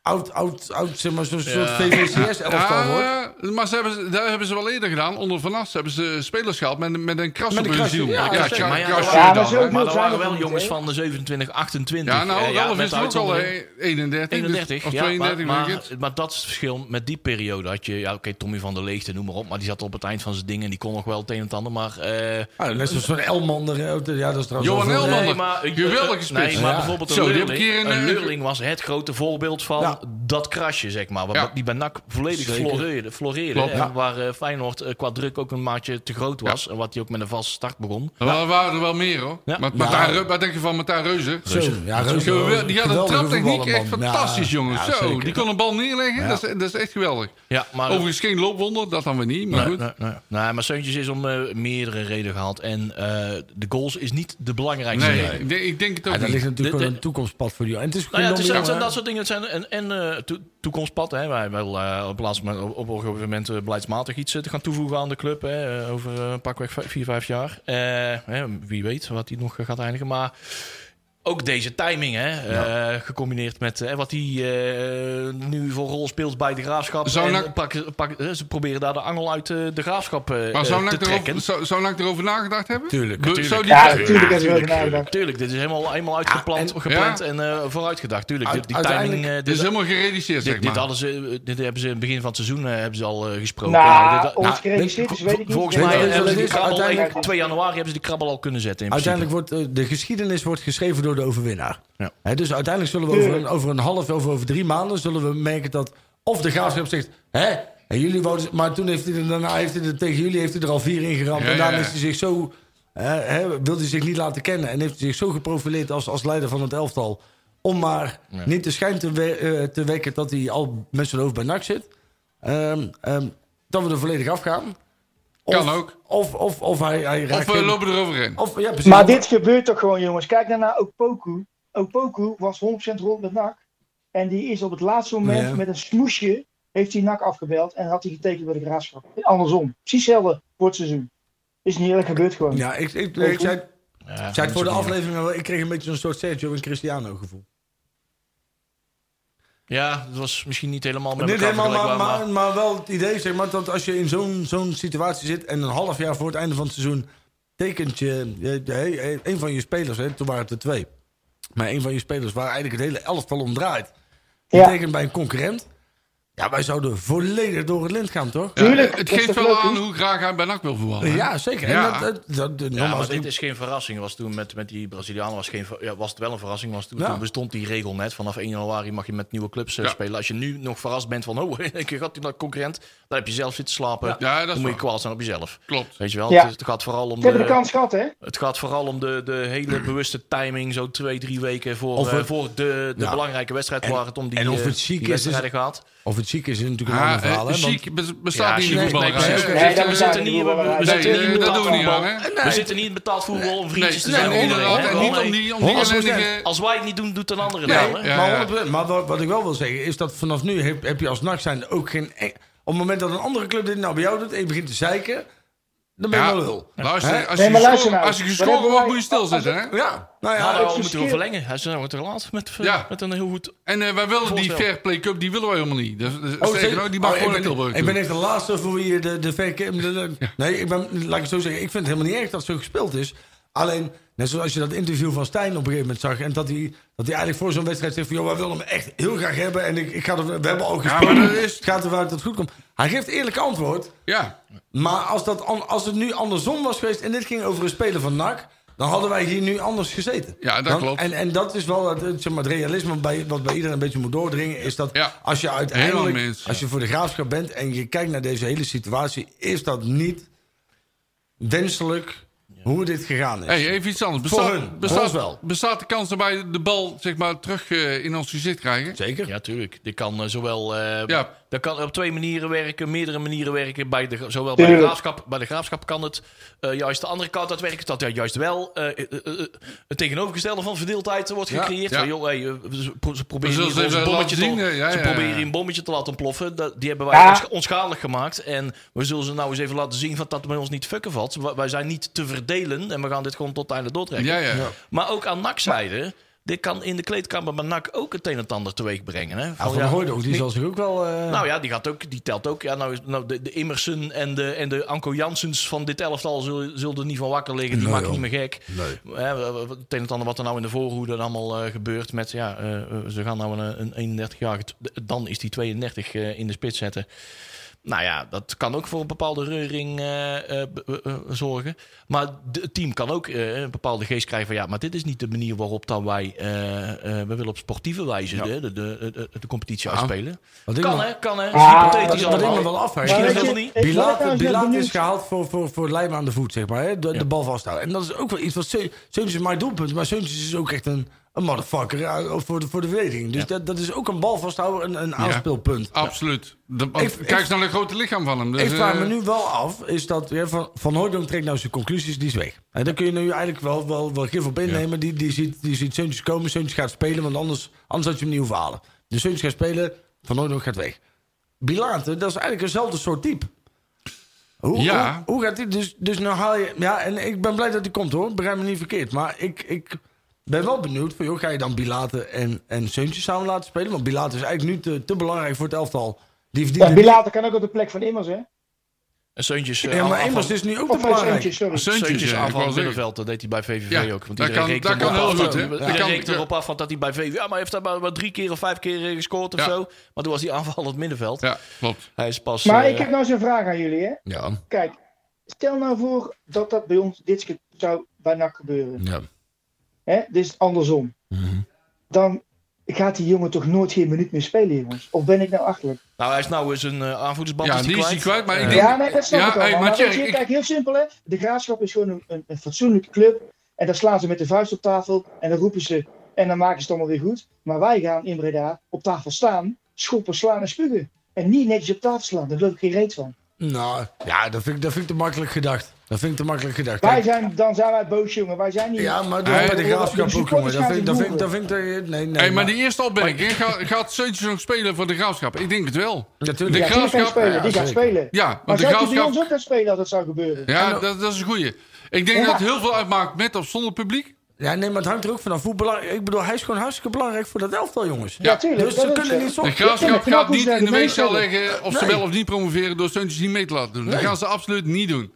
[SPEAKER 6] oud, oud, oud, zeg maar, zo'n soort VVCS-elftal wordt.
[SPEAKER 5] Ja, Ah, maar ze hebben, dat hebben ze wel eerder gedaan. Onder Van As hebben ze spelers gehaald met, met een kras
[SPEAKER 6] Met
[SPEAKER 5] op
[SPEAKER 6] een
[SPEAKER 5] hun
[SPEAKER 6] kras,
[SPEAKER 5] ziel.
[SPEAKER 6] ja, ja,
[SPEAKER 5] kras-
[SPEAKER 6] zeker.
[SPEAKER 2] maar ja,
[SPEAKER 5] krasje
[SPEAKER 7] ja, maar
[SPEAKER 5] dan,
[SPEAKER 7] zo-
[SPEAKER 5] hè.
[SPEAKER 2] Maar er
[SPEAKER 7] zijn
[SPEAKER 2] waren
[SPEAKER 7] er
[SPEAKER 2] wel
[SPEAKER 7] niet,
[SPEAKER 2] jongens
[SPEAKER 7] hè?
[SPEAKER 2] van de 27, 28.
[SPEAKER 5] Ja, nou,
[SPEAKER 2] Eh,
[SPEAKER 5] Ralf
[SPEAKER 2] met
[SPEAKER 5] is
[SPEAKER 2] de
[SPEAKER 5] er ook al
[SPEAKER 2] uitzondering.
[SPEAKER 5] eh, 31, dus-
[SPEAKER 2] 31,
[SPEAKER 5] of
[SPEAKER 2] ja,
[SPEAKER 5] 32.
[SPEAKER 2] maar,
[SPEAKER 5] denk
[SPEAKER 2] maar,
[SPEAKER 5] ik.
[SPEAKER 2] maar dat is het verschil met die periode. Had je, ja, oké, Tommy van der Leegte, noem maar op. Maar die zat op het eind van zijn ding en die kon nog wel het een en het ander. Maar, eh,
[SPEAKER 6] Ah, net zoals zo'n Elmander. eh, Ja, dat is trouwens
[SPEAKER 5] Johan
[SPEAKER 6] wel veel-
[SPEAKER 5] Elmander.
[SPEAKER 2] nee, maar, eh,
[SPEAKER 5] Geweldige
[SPEAKER 2] eh,
[SPEAKER 5] spits.
[SPEAKER 2] Nee, maar
[SPEAKER 6] Ja.
[SPEAKER 2] bijvoorbeeld een,
[SPEAKER 5] Zo, die heb
[SPEAKER 2] Leurling,
[SPEAKER 5] ik hier in,
[SPEAKER 2] een
[SPEAKER 5] eh,
[SPEAKER 2] Leurling was het grote voorbeeld van
[SPEAKER 6] Ja.
[SPEAKER 2] dat krasje, zeg maar. Waar
[SPEAKER 5] Ja.
[SPEAKER 2] Die bij NAC volledig
[SPEAKER 6] Zeker.
[SPEAKER 2] floreerde. floreerde
[SPEAKER 5] Klopt.
[SPEAKER 2] en
[SPEAKER 5] Ja.
[SPEAKER 2] Waar eh, Feyenoord eh, qua druk ook een maatje te groot was. En wat hij ook met een vaste start begon.
[SPEAKER 5] Er wa- waren er wel meer, hoor.
[SPEAKER 2] Ja.
[SPEAKER 5] Maar,
[SPEAKER 6] Ja.
[SPEAKER 5] Martijn Reu- wat denk je van Martijn Reuzen?
[SPEAKER 6] Zo, ja, Reuzen.
[SPEAKER 5] Gewel- Die had een
[SPEAKER 6] Geweldige
[SPEAKER 5] traptechniek
[SPEAKER 6] voetballer,
[SPEAKER 5] echt
[SPEAKER 6] man.
[SPEAKER 5] fantastisch,
[SPEAKER 6] Ja,
[SPEAKER 5] jongens.
[SPEAKER 6] ja,
[SPEAKER 5] Zo,
[SPEAKER 6] zeker.
[SPEAKER 5] die kon een bal neerleggen. Dat, is, dat is echt geweldig.
[SPEAKER 2] Ja, maar eh,
[SPEAKER 5] Overigens geen loopwonder, dat dan weer niet. Maar
[SPEAKER 2] Nee,
[SPEAKER 5] goed.
[SPEAKER 2] nee, nee. Nee, maar Seuntjes is om eh, meerdere redenen gehaald. En eh, de goals is niet de belangrijkste
[SPEAKER 5] Nee,
[SPEAKER 2] reden.
[SPEAKER 5] ik denk- ik denk het ook
[SPEAKER 6] Ja, dat
[SPEAKER 5] niet.
[SPEAKER 6] ligt natuurlijk
[SPEAKER 2] Dit-
[SPEAKER 6] gewoon
[SPEAKER 2] dit-
[SPEAKER 6] een toekomstpad voor die jongen. En het is
[SPEAKER 2] Nou ja, het, is,
[SPEAKER 6] gewoon
[SPEAKER 2] het zijn
[SPEAKER 6] jammer,
[SPEAKER 2] dat soort dingen. Het zijn en en eh, to- toekomstpad. Hè. Wij wel eh, op, laatst, maar op, op een gegeven moment eh, beleidsmatig iets eh, te gaan toevoegen aan de club. Hè. eh, Over eh, een pakweg vijf- vier, vijf jaar. Eh, hè, wie weet wat die nog eh, gaat eindigen. Maar ook deze timing, hè, eh, gecombineerd met eh, wat hij eh, nu voor rol speelt bij de graafschap.
[SPEAKER 5] Zou
[SPEAKER 2] en
[SPEAKER 5] NAC-
[SPEAKER 2] pakken- pakken- eh, ze proberen daar de angel uit eh, de graafschap eh,
[SPEAKER 5] Maar zou
[SPEAKER 2] eh, te
[SPEAKER 5] Nak
[SPEAKER 2] trekken.
[SPEAKER 5] erover, zou, zou Nak erover nagedacht hebben?
[SPEAKER 6] Tuurlijk,
[SPEAKER 5] Be-
[SPEAKER 2] tuurlijk.
[SPEAKER 5] Zou die
[SPEAKER 7] Ja, natuurlijk hebben we erover
[SPEAKER 2] Tuurlijk,
[SPEAKER 7] nagedacht.
[SPEAKER 2] tuurlijk, dit is helemaal, helemaal uitgepland,
[SPEAKER 6] Ja,
[SPEAKER 5] en-
[SPEAKER 2] gepland
[SPEAKER 5] ja.
[SPEAKER 2] en eh, vooruitgedacht. Tuurlijk,
[SPEAKER 6] Uit-
[SPEAKER 2] dit- die
[SPEAKER 6] uiteindelijk-
[SPEAKER 2] timing... eh,
[SPEAKER 5] Dit
[SPEAKER 2] dit,
[SPEAKER 5] is helemaal gereduceerd,
[SPEAKER 2] dit,
[SPEAKER 5] zeg
[SPEAKER 2] dit
[SPEAKER 5] maar.
[SPEAKER 2] hadden ze, eh, dit hebben ze in het begin van het seizoen eh, hebben ze al eh, gesproken.
[SPEAKER 7] Nou,
[SPEAKER 2] dit-
[SPEAKER 7] of het
[SPEAKER 2] nou,
[SPEAKER 7] gerealiseerd is, weet ik niet.
[SPEAKER 2] volgens
[SPEAKER 7] Weet
[SPEAKER 2] mij
[SPEAKER 7] je,
[SPEAKER 6] dat
[SPEAKER 2] hebben ze
[SPEAKER 6] het
[SPEAKER 2] die
[SPEAKER 6] is?
[SPEAKER 2] krabbel
[SPEAKER 6] Uiteindelijk-
[SPEAKER 2] eigenlijk 2 januari hebben ze die krabbel al kunnen zetten. In principe.
[SPEAKER 6] Uiteindelijk wordt eh, de geschiedenis wordt geschreven door de overwinnaar.
[SPEAKER 2] Ja.
[SPEAKER 6] Hè, dus uiteindelijk zullen we over een, over een half, over, over drie maanden zullen we merken dat of de graafschap zegt, hè, en jullie wouden, maar toen heeft hij er, daarna heeft hij er tegen jullie heeft hij er al vier in geramd
[SPEAKER 5] Ja,
[SPEAKER 6] en daarna
[SPEAKER 5] ja, ja.
[SPEAKER 6] is hij zich zo, eh, hè, wilde hij zich niet laten kennen en heeft hij zich zo geprofileerd als, als leider van het elftal om maar niet de schijn te, we- eh, te wekken dat hij al met zijn hoofd bij NAC zit. Ehm, ehm, dat we er volledig afgaan. Of,
[SPEAKER 5] Kan ook.
[SPEAKER 6] Of, of, of hij, hij raakt
[SPEAKER 5] Of eh, we
[SPEAKER 6] in-
[SPEAKER 5] lopen eroverheen.
[SPEAKER 6] of, ja, precies.
[SPEAKER 7] Maar dit gebeurt toch gewoon, jongens. Kijk daarna Opoku. Opoku was 100% rond met NAC. En die is op het laatste moment
[SPEAKER 6] Ja.
[SPEAKER 7] met een smoesje. Heeft hij NAC afgebeld en had hij getekend bij de graafschap. Andersom. Precies hetzelfde voor het seizoen. Is niet eerlijk gebeurd gewoon.
[SPEAKER 6] Ja, ik, ik,
[SPEAKER 7] Heel
[SPEAKER 6] ik
[SPEAKER 7] goed.
[SPEAKER 6] zei, ik
[SPEAKER 2] Ja, dat
[SPEAKER 6] zei
[SPEAKER 2] is
[SPEAKER 6] het voor de
[SPEAKER 2] ook niet-
[SPEAKER 6] aflevering wel, ik kreeg een beetje zo'n soort Sergio en Cristiano gevoel.
[SPEAKER 2] Ja, dat was misschien niet helemaal met
[SPEAKER 6] Niet
[SPEAKER 2] elkaar
[SPEAKER 6] helemaal, maar,
[SPEAKER 2] vergelijkbaar.
[SPEAKER 6] maar, maar wel het idee zeg maar, dat als je in zo'n zo'n situatie zit en een half jaar voor het einde van het seizoen eh, tekent je, je- je- he- een van je spelers, hè, toen waren het er twee, maar een van je spelers waar eigenlijk het hele elftal om draait, die
[SPEAKER 7] Ja.
[SPEAKER 6] tekent bij een concurrent. Ja, wij zouden volledig door het lint gaan, toch?
[SPEAKER 5] Ja,
[SPEAKER 7] Tuurlijk,
[SPEAKER 5] het
[SPEAKER 7] dat is
[SPEAKER 5] geeft
[SPEAKER 7] toch
[SPEAKER 5] wel
[SPEAKER 7] leuk,
[SPEAKER 5] aan
[SPEAKER 7] hè?
[SPEAKER 5] hoe graag hij bij NAC wil voetballen. hè?
[SPEAKER 6] Ja, zeker.
[SPEAKER 5] Ja.
[SPEAKER 6] En dat, dat, dat,
[SPEAKER 2] Ja, maar
[SPEAKER 6] nogmaals,
[SPEAKER 2] dit is geen verrassing. Was toen met, met die Brazilianen was, geen, ver- ja, was het wel een verrassing. Was toen,
[SPEAKER 6] Ja.
[SPEAKER 2] toen bestond die regel net. Vanaf 1 januari mag je met nieuwe clubs eh,
[SPEAKER 5] Ja.
[SPEAKER 2] spelen. Als je nu nog verrast bent van, oh, in één keer gaat die naar concurrent. Dan heb je zelf zitten slapen.
[SPEAKER 5] Ja, dat is
[SPEAKER 2] dan moet je
[SPEAKER 5] waar.
[SPEAKER 2] kwaad zijn op jezelf.
[SPEAKER 5] Klopt.
[SPEAKER 2] Weet je wel,
[SPEAKER 7] Ja.
[SPEAKER 2] het, is- het gaat vooral om
[SPEAKER 7] Ze hebben de
[SPEAKER 2] de,
[SPEAKER 7] kans gehad, hè?
[SPEAKER 2] het gaat vooral om de, de hele bewuste timing. Zo twee, drie weken voor,
[SPEAKER 6] Of
[SPEAKER 2] eh,
[SPEAKER 6] het-
[SPEAKER 2] voor de, de
[SPEAKER 6] Ja.
[SPEAKER 2] belangrijke wedstrijd waar het om die,
[SPEAKER 6] en of
[SPEAKER 2] eh,
[SPEAKER 6] het chic
[SPEAKER 2] die
[SPEAKER 6] is, is-
[SPEAKER 2] wedstrijden gaat.
[SPEAKER 6] Of het ziek is, is natuurlijk een
[SPEAKER 5] Ah,
[SPEAKER 6] ander verhaal.
[SPEAKER 5] eh,
[SPEAKER 6] hè, want-
[SPEAKER 5] chic bes- bestaat
[SPEAKER 2] Ja,
[SPEAKER 5] niet in de
[SPEAKER 2] chic-
[SPEAKER 5] voetballerij.
[SPEAKER 2] nee,
[SPEAKER 5] hè?
[SPEAKER 2] precies.
[SPEAKER 7] Nee,
[SPEAKER 2] zitten-
[SPEAKER 7] dat
[SPEAKER 2] we
[SPEAKER 7] bestaat
[SPEAKER 2] zitten niet-
[SPEAKER 7] niet
[SPEAKER 2] we- we
[SPEAKER 7] in de
[SPEAKER 2] zitten
[SPEAKER 5] Nee,
[SPEAKER 2] niet in
[SPEAKER 5] nee, dat doen we niet aan,
[SPEAKER 2] betaald
[SPEAKER 5] hè? Nee,
[SPEAKER 2] We zitten niet in betaald voetbal om vriendjes
[SPEAKER 5] nee,
[SPEAKER 2] te zijn.
[SPEAKER 5] nee,
[SPEAKER 2] onder
[SPEAKER 5] inderdaad. En
[SPEAKER 2] iedereen,
[SPEAKER 5] niet
[SPEAKER 2] hè?
[SPEAKER 5] om die, om die
[SPEAKER 2] Nee.
[SPEAKER 6] Honderd procent.
[SPEAKER 5] ellendige-
[SPEAKER 2] Als wij het niet doen, doet een andere
[SPEAKER 5] Nee.
[SPEAKER 2] wel. Hè?
[SPEAKER 5] Ja, ja.
[SPEAKER 6] maar, 100%. maar wat, wat ik wel wil zeggen is dat vanaf nu heb, heb je als nacht zijn ook geen. eng- Op het moment dat een andere club dit nou bij jou doet en je begint te zeiken, dan ben je
[SPEAKER 5] Ja,
[SPEAKER 6] wel lul.
[SPEAKER 5] luister,
[SPEAKER 6] Hè?
[SPEAKER 5] als
[SPEAKER 7] Nee,
[SPEAKER 5] je
[SPEAKER 7] maar luister
[SPEAKER 5] gescoord-
[SPEAKER 7] nou.
[SPEAKER 5] als je
[SPEAKER 7] Wat
[SPEAKER 5] gescoord
[SPEAKER 7] hebben
[SPEAKER 5] wordt,
[SPEAKER 7] wij-
[SPEAKER 5] moet je stilzitten. hè?
[SPEAKER 6] Ja, nou ja.
[SPEAKER 2] Ja,
[SPEAKER 6] ik-
[SPEAKER 2] daarom moeten we
[SPEAKER 7] verschil-
[SPEAKER 2] verlengen. Hij is nou te laat met, eh,
[SPEAKER 5] Ja.
[SPEAKER 2] met een heel goed...
[SPEAKER 5] En eh, wij willen die
[SPEAKER 2] Voorstel.
[SPEAKER 5] Fair Play Cup, die willen wij helemaal niet. Dus, dus,
[SPEAKER 6] Oh,
[SPEAKER 5] sterker
[SPEAKER 6] zeker.
[SPEAKER 5] nog, die mag
[SPEAKER 6] Oh,
[SPEAKER 5] gewoon
[SPEAKER 6] ik
[SPEAKER 5] naar
[SPEAKER 6] ben-
[SPEAKER 5] Tilburg
[SPEAKER 6] Ik
[SPEAKER 5] toe.
[SPEAKER 6] ben echt de laatste voor wie je de, de fair game- de- de- Nee, ik ben, laat ik het zo zeggen. Ik vind het helemaal niet erg dat zo gespeeld is. Alleen, net zoals je dat interview van Stijn op een gegeven moment zag. En dat hij, dat hij eigenlijk voor zo'n wedstrijd zegt van... joh, wij willen hem echt heel graag hebben. En ik, ik ga er, we hebben al gespeeld.
[SPEAKER 5] maar dat is-
[SPEAKER 6] Het gaat ervan uit dat het goed komt. Hij geeft eerlijk antwoord.
[SPEAKER 5] Ja,
[SPEAKER 6] Maar als, dat, an- als het nu andersom was geweest... en dit ging over een speler van NAC... dan hadden wij hier nu anders gezeten.
[SPEAKER 5] Ja, dat
[SPEAKER 6] Dan-
[SPEAKER 5] klopt.
[SPEAKER 6] En, en dat is wel het, het, zeg maar, het realisme bij, wat bij iedereen een beetje moet doordringen... is dat
[SPEAKER 5] Ja.
[SPEAKER 6] als je uit
[SPEAKER 5] Helemaal mee
[SPEAKER 6] Eindelijk,
[SPEAKER 5] eens.
[SPEAKER 6] als je voor de graafschap bent en je kijkt naar deze hele situatie, is dat niet wenselijk hoe dit gegaan is.
[SPEAKER 5] hey, even iets anders.
[SPEAKER 6] Voor
[SPEAKER 5] Bestaat,
[SPEAKER 6] hun. Voor
[SPEAKER 5] bestaat,
[SPEAKER 6] ons wel.
[SPEAKER 5] bestaat de kans dat wij de bal zeg maar, terug eh, in ons gezicht krijgen?
[SPEAKER 6] Zeker.
[SPEAKER 2] Ja, tuurlijk. Dit kan eh, zowel... eh,
[SPEAKER 5] Ja.
[SPEAKER 2] Dat kan op twee manieren werken, meerdere manieren werken. Bij de, zowel bij de,
[SPEAKER 7] Tuurlijk.
[SPEAKER 2] graafschap, bij de graafschap kan het eh, juist de andere kant uitwerken. Dat ja, juist wel eh, eh, eh, eh, het tegenovergestelde van verdeeldheid wordt
[SPEAKER 6] Ja,
[SPEAKER 2] gecreëerd.
[SPEAKER 5] ja.
[SPEAKER 2] Van, joh, hey, eh, ze, pro- ze
[SPEAKER 5] We
[SPEAKER 2] proberen
[SPEAKER 5] zullen
[SPEAKER 2] hier
[SPEAKER 5] ze
[SPEAKER 2] ons
[SPEAKER 5] even
[SPEAKER 2] bommetje
[SPEAKER 5] laten
[SPEAKER 2] te-
[SPEAKER 5] zien, eh, ja,
[SPEAKER 2] ze
[SPEAKER 5] ja,
[SPEAKER 2] proberen
[SPEAKER 5] ja.
[SPEAKER 2] hier een bommetje te laten ontploffen. Dat, die hebben wij
[SPEAKER 7] Ja.
[SPEAKER 2] ons onschadelijk gemaakt. En we zullen ze nou eens even laten zien van, dat het met ons niet fucken valt. Wij- Wij zijn niet te verdelen en we gaan dit gewoon tot het einde doortrekken.
[SPEAKER 5] Ja, ja.
[SPEAKER 2] Maar ook aan NAC-zijde. Dit kan in de kleedkamer bij NAC ook het een en ander teweeg brengen. Hè?
[SPEAKER 6] Ja, van
[SPEAKER 2] ja,
[SPEAKER 6] ja, ook, die zal zich ook wel... eh,
[SPEAKER 2] Nou ja, die, gaat ook, die telt ook. Ja, nou, is- nou, de, de Immersen en de, en de Anko Janssens van dit elftal zullen, zullen er niet van wakker liggen. Die
[SPEAKER 6] Nee,
[SPEAKER 2] maken
[SPEAKER 6] joh.
[SPEAKER 2] niet meer gek. Hè, we- we- we- het een en ander wat er nou in de voorhoede allemaal eh, gebeurt. Met, ja, eh, eh, ze gaan nou een, een 31 jaar, dan is die 32 eh, in de spits zetten. Nou ja, dat kan ook voor een bepaalde reuring eh, eh, b- eh, eh, zorgen. Maar de- het team kan ook eh, een bepaalde geest krijgen van... ja, maar dit is niet de manier waarop dan wij... eh, eh, we willen op sportieve wijze de, de, de, de, de competitie uitspelen.
[SPEAKER 6] Wat ik
[SPEAKER 2] Kan
[SPEAKER 6] nog-
[SPEAKER 2] hè, kan hè.
[SPEAKER 7] Ah,
[SPEAKER 6] Wat,
[SPEAKER 2] Hypothetisch
[SPEAKER 6] wat ik me
[SPEAKER 2] allemaal.
[SPEAKER 6] wel afvraag.
[SPEAKER 2] Misschien
[SPEAKER 7] Maar
[SPEAKER 2] is
[SPEAKER 7] weet
[SPEAKER 2] het
[SPEAKER 7] je-
[SPEAKER 2] helemaal niet.
[SPEAKER 7] ik ben ook wel
[SPEAKER 6] Bilaat,
[SPEAKER 7] eens
[SPEAKER 6] Bilaat
[SPEAKER 7] benieuwd.
[SPEAKER 6] is gehaald voor, voor, voor lijm aan de voet, zeg maar. Hè? De, de bal vasthouden. En dat is ook wel iets wat... Seu- Seuntjes is mijn doelpunt, maar Seuntjes is ook echt een, een motherfucker eh, voor de, voor de verdediging. Dus dat, dat is ook een bal vasthouden, een, een aanspeelpunt.
[SPEAKER 5] Absoluut. De-
[SPEAKER 6] Ik-
[SPEAKER 5] Kijk eens naar het grote lichaam van hem. Dus,
[SPEAKER 6] Ik vraag
[SPEAKER 5] eh,
[SPEAKER 6] me nu wel af, is dat ja, Van, van Hooydonk trekt nou zijn conclusies, die is weg. En daar kun je nu eigenlijk wel, wel, wel gif op innemen. Die, die ziet, die ziet Seuntjes komen, Seuntjes gaat spelen, want anders, anders had je hem niet hoeven halen. Dus Seuntjes gaat spelen, Van Hooydonk gaat weg. Bilate, dat is eigenlijk eenzelfde soort type. Hoe,
[SPEAKER 5] Ja.
[SPEAKER 6] hoe, hoe gaat dit? Dus, dus nou haal je... Ja, en ik ben blij dat hij komt hoor, begrijp me niet verkeerd. Maar ik, ik ben wel benieuwd, van, joh, ga je dan Bilate en, en Seuntjes samen laten spelen? Want Bilate is eigenlijk nu te, te belangrijk voor het elftal. Die verdient
[SPEAKER 7] Ja,
[SPEAKER 6] het
[SPEAKER 7] Bilater kan ook op de plek van Immers, hè?
[SPEAKER 2] En Seuntjes eh,
[SPEAKER 6] ja, maar
[SPEAKER 2] af-
[SPEAKER 6] Immers
[SPEAKER 2] af-
[SPEAKER 6] is nu ook te
[SPEAKER 7] Of van
[SPEAKER 6] belangrijk.
[SPEAKER 7] Seuntje, sorry.
[SPEAKER 5] Seuntjes,
[SPEAKER 2] Seuntjes
[SPEAKER 5] ja, ik
[SPEAKER 2] aan
[SPEAKER 5] wou
[SPEAKER 2] van
[SPEAKER 5] zeggen.
[SPEAKER 2] middenveld, dat deed hij bij VVV
[SPEAKER 5] Ja,
[SPEAKER 2] ook. Want
[SPEAKER 5] dat
[SPEAKER 2] iedereen
[SPEAKER 5] kan-
[SPEAKER 2] reekt
[SPEAKER 5] dat
[SPEAKER 2] erop
[SPEAKER 5] kan
[SPEAKER 2] af.
[SPEAKER 5] heel goed, hè?
[SPEAKER 2] Iedereen
[SPEAKER 5] Dat kan-
[SPEAKER 2] reekt erop af want dat hij bij VVV... Ja, maar hij heeft daar maar, maar drie keer of vijf keer eh, gescoord of
[SPEAKER 5] Ja.
[SPEAKER 2] zo. Maar toen was hij aanvallend middenveld.
[SPEAKER 5] Ja, klopt.
[SPEAKER 2] Hij is pas...
[SPEAKER 7] Maar
[SPEAKER 2] eh,
[SPEAKER 7] ik heb nou zo'n vraag aan jullie, hè?
[SPEAKER 6] Ja.
[SPEAKER 7] Kijk, stel nou voor dat dat bij ons dit keer zou bij NAC gebeuren.
[SPEAKER 6] ja.
[SPEAKER 7] Hè? Dus andersom.
[SPEAKER 5] Mhm.
[SPEAKER 7] Dan gaat die jongen toch nooit geen minuut meer spelen, jongens? Of ben ik nou achterlijk?
[SPEAKER 2] Nou, hij is nou eens een eh, aanvoerdersband.
[SPEAKER 5] Ja,
[SPEAKER 2] is die
[SPEAKER 5] die is hij kwijt, maar ik
[SPEAKER 2] Eh,
[SPEAKER 5] denk-
[SPEAKER 7] Ja, nee, dat snap
[SPEAKER 5] Ja,
[SPEAKER 7] ik wel.
[SPEAKER 5] hey,
[SPEAKER 7] maar
[SPEAKER 5] maar
[SPEAKER 7] weet
[SPEAKER 5] Tjerk,
[SPEAKER 7] je,
[SPEAKER 5] ik-
[SPEAKER 7] kijk, heel simpel hè. De Graafschap is gewoon een, een, een fatsoenlijke club. En dan slaan ze met de vuist op tafel. En dan roepen ze. En dan maken ze het allemaal weer goed. Maar wij gaan in Breda op tafel staan. Schoppen, slaan en spugen. En niet netjes op tafel slaan. Daar geloof ik geen reet van.
[SPEAKER 6] Nou, ja, dat vind, ik, dat vind ik te makkelijk gedacht. Dat vind ik te makkelijk gedacht.
[SPEAKER 7] Wij
[SPEAKER 6] Kijk,
[SPEAKER 7] zijn, dan zijn wij boos, jongen. Wij zijn niet...
[SPEAKER 6] ja, maar dat
[SPEAKER 5] Hey.
[SPEAKER 6] bij de graafschap ook, jongen. Dat vind ik... Dat vind, ik- dat vind ik eh, nee, nee.
[SPEAKER 5] Hey, maar die eerste opmerking, gaat, gaat Seuntjes nog spelen voor de Graafschap? Ik denk het wel.
[SPEAKER 6] Natuurlijk.
[SPEAKER 5] de
[SPEAKER 7] ja, die gaan
[SPEAKER 5] Graafschap-
[SPEAKER 7] spelen.
[SPEAKER 6] ja,
[SPEAKER 7] die gaan
[SPEAKER 6] zeker.
[SPEAKER 7] spelen.
[SPEAKER 5] Ja,
[SPEAKER 7] maar
[SPEAKER 5] want de
[SPEAKER 7] zou die bij ons
[SPEAKER 5] Graafschap...
[SPEAKER 7] ook gaan spelen als dat zou gebeuren?
[SPEAKER 5] Ja, dat, dat is een goeie. Ik denk
[SPEAKER 7] Ja.
[SPEAKER 5] dat het heel veel uitmaakt met of zonder publiek.
[SPEAKER 6] Ja, nee, maar het hangt er ook vanaf hoe belangrijk... Ik bedoel, hij is gewoon hartstikke belangrijk voor dat elftal, jongens.
[SPEAKER 5] Ja,
[SPEAKER 7] tuurlijk,
[SPEAKER 6] Dus
[SPEAKER 7] dat
[SPEAKER 6] ze
[SPEAKER 7] is
[SPEAKER 6] kunnen
[SPEAKER 7] zo.
[SPEAKER 6] niet
[SPEAKER 5] De
[SPEAKER 6] zonder...
[SPEAKER 7] Ja,
[SPEAKER 5] Graafschap
[SPEAKER 7] maar
[SPEAKER 5] gaat
[SPEAKER 7] knap
[SPEAKER 5] niet
[SPEAKER 7] hoe ze
[SPEAKER 5] in de
[SPEAKER 7] daar
[SPEAKER 5] weegschaal
[SPEAKER 7] mee spelen.
[SPEAKER 5] leggen of ze
[SPEAKER 6] Nee.
[SPEAKER 5] wel of niet promoveren door Seuntjes niet mee te laten doen. Dat
[SPEAKER 6] Nee.
[SPEAKER 5] gaan ze absoluut niet doen.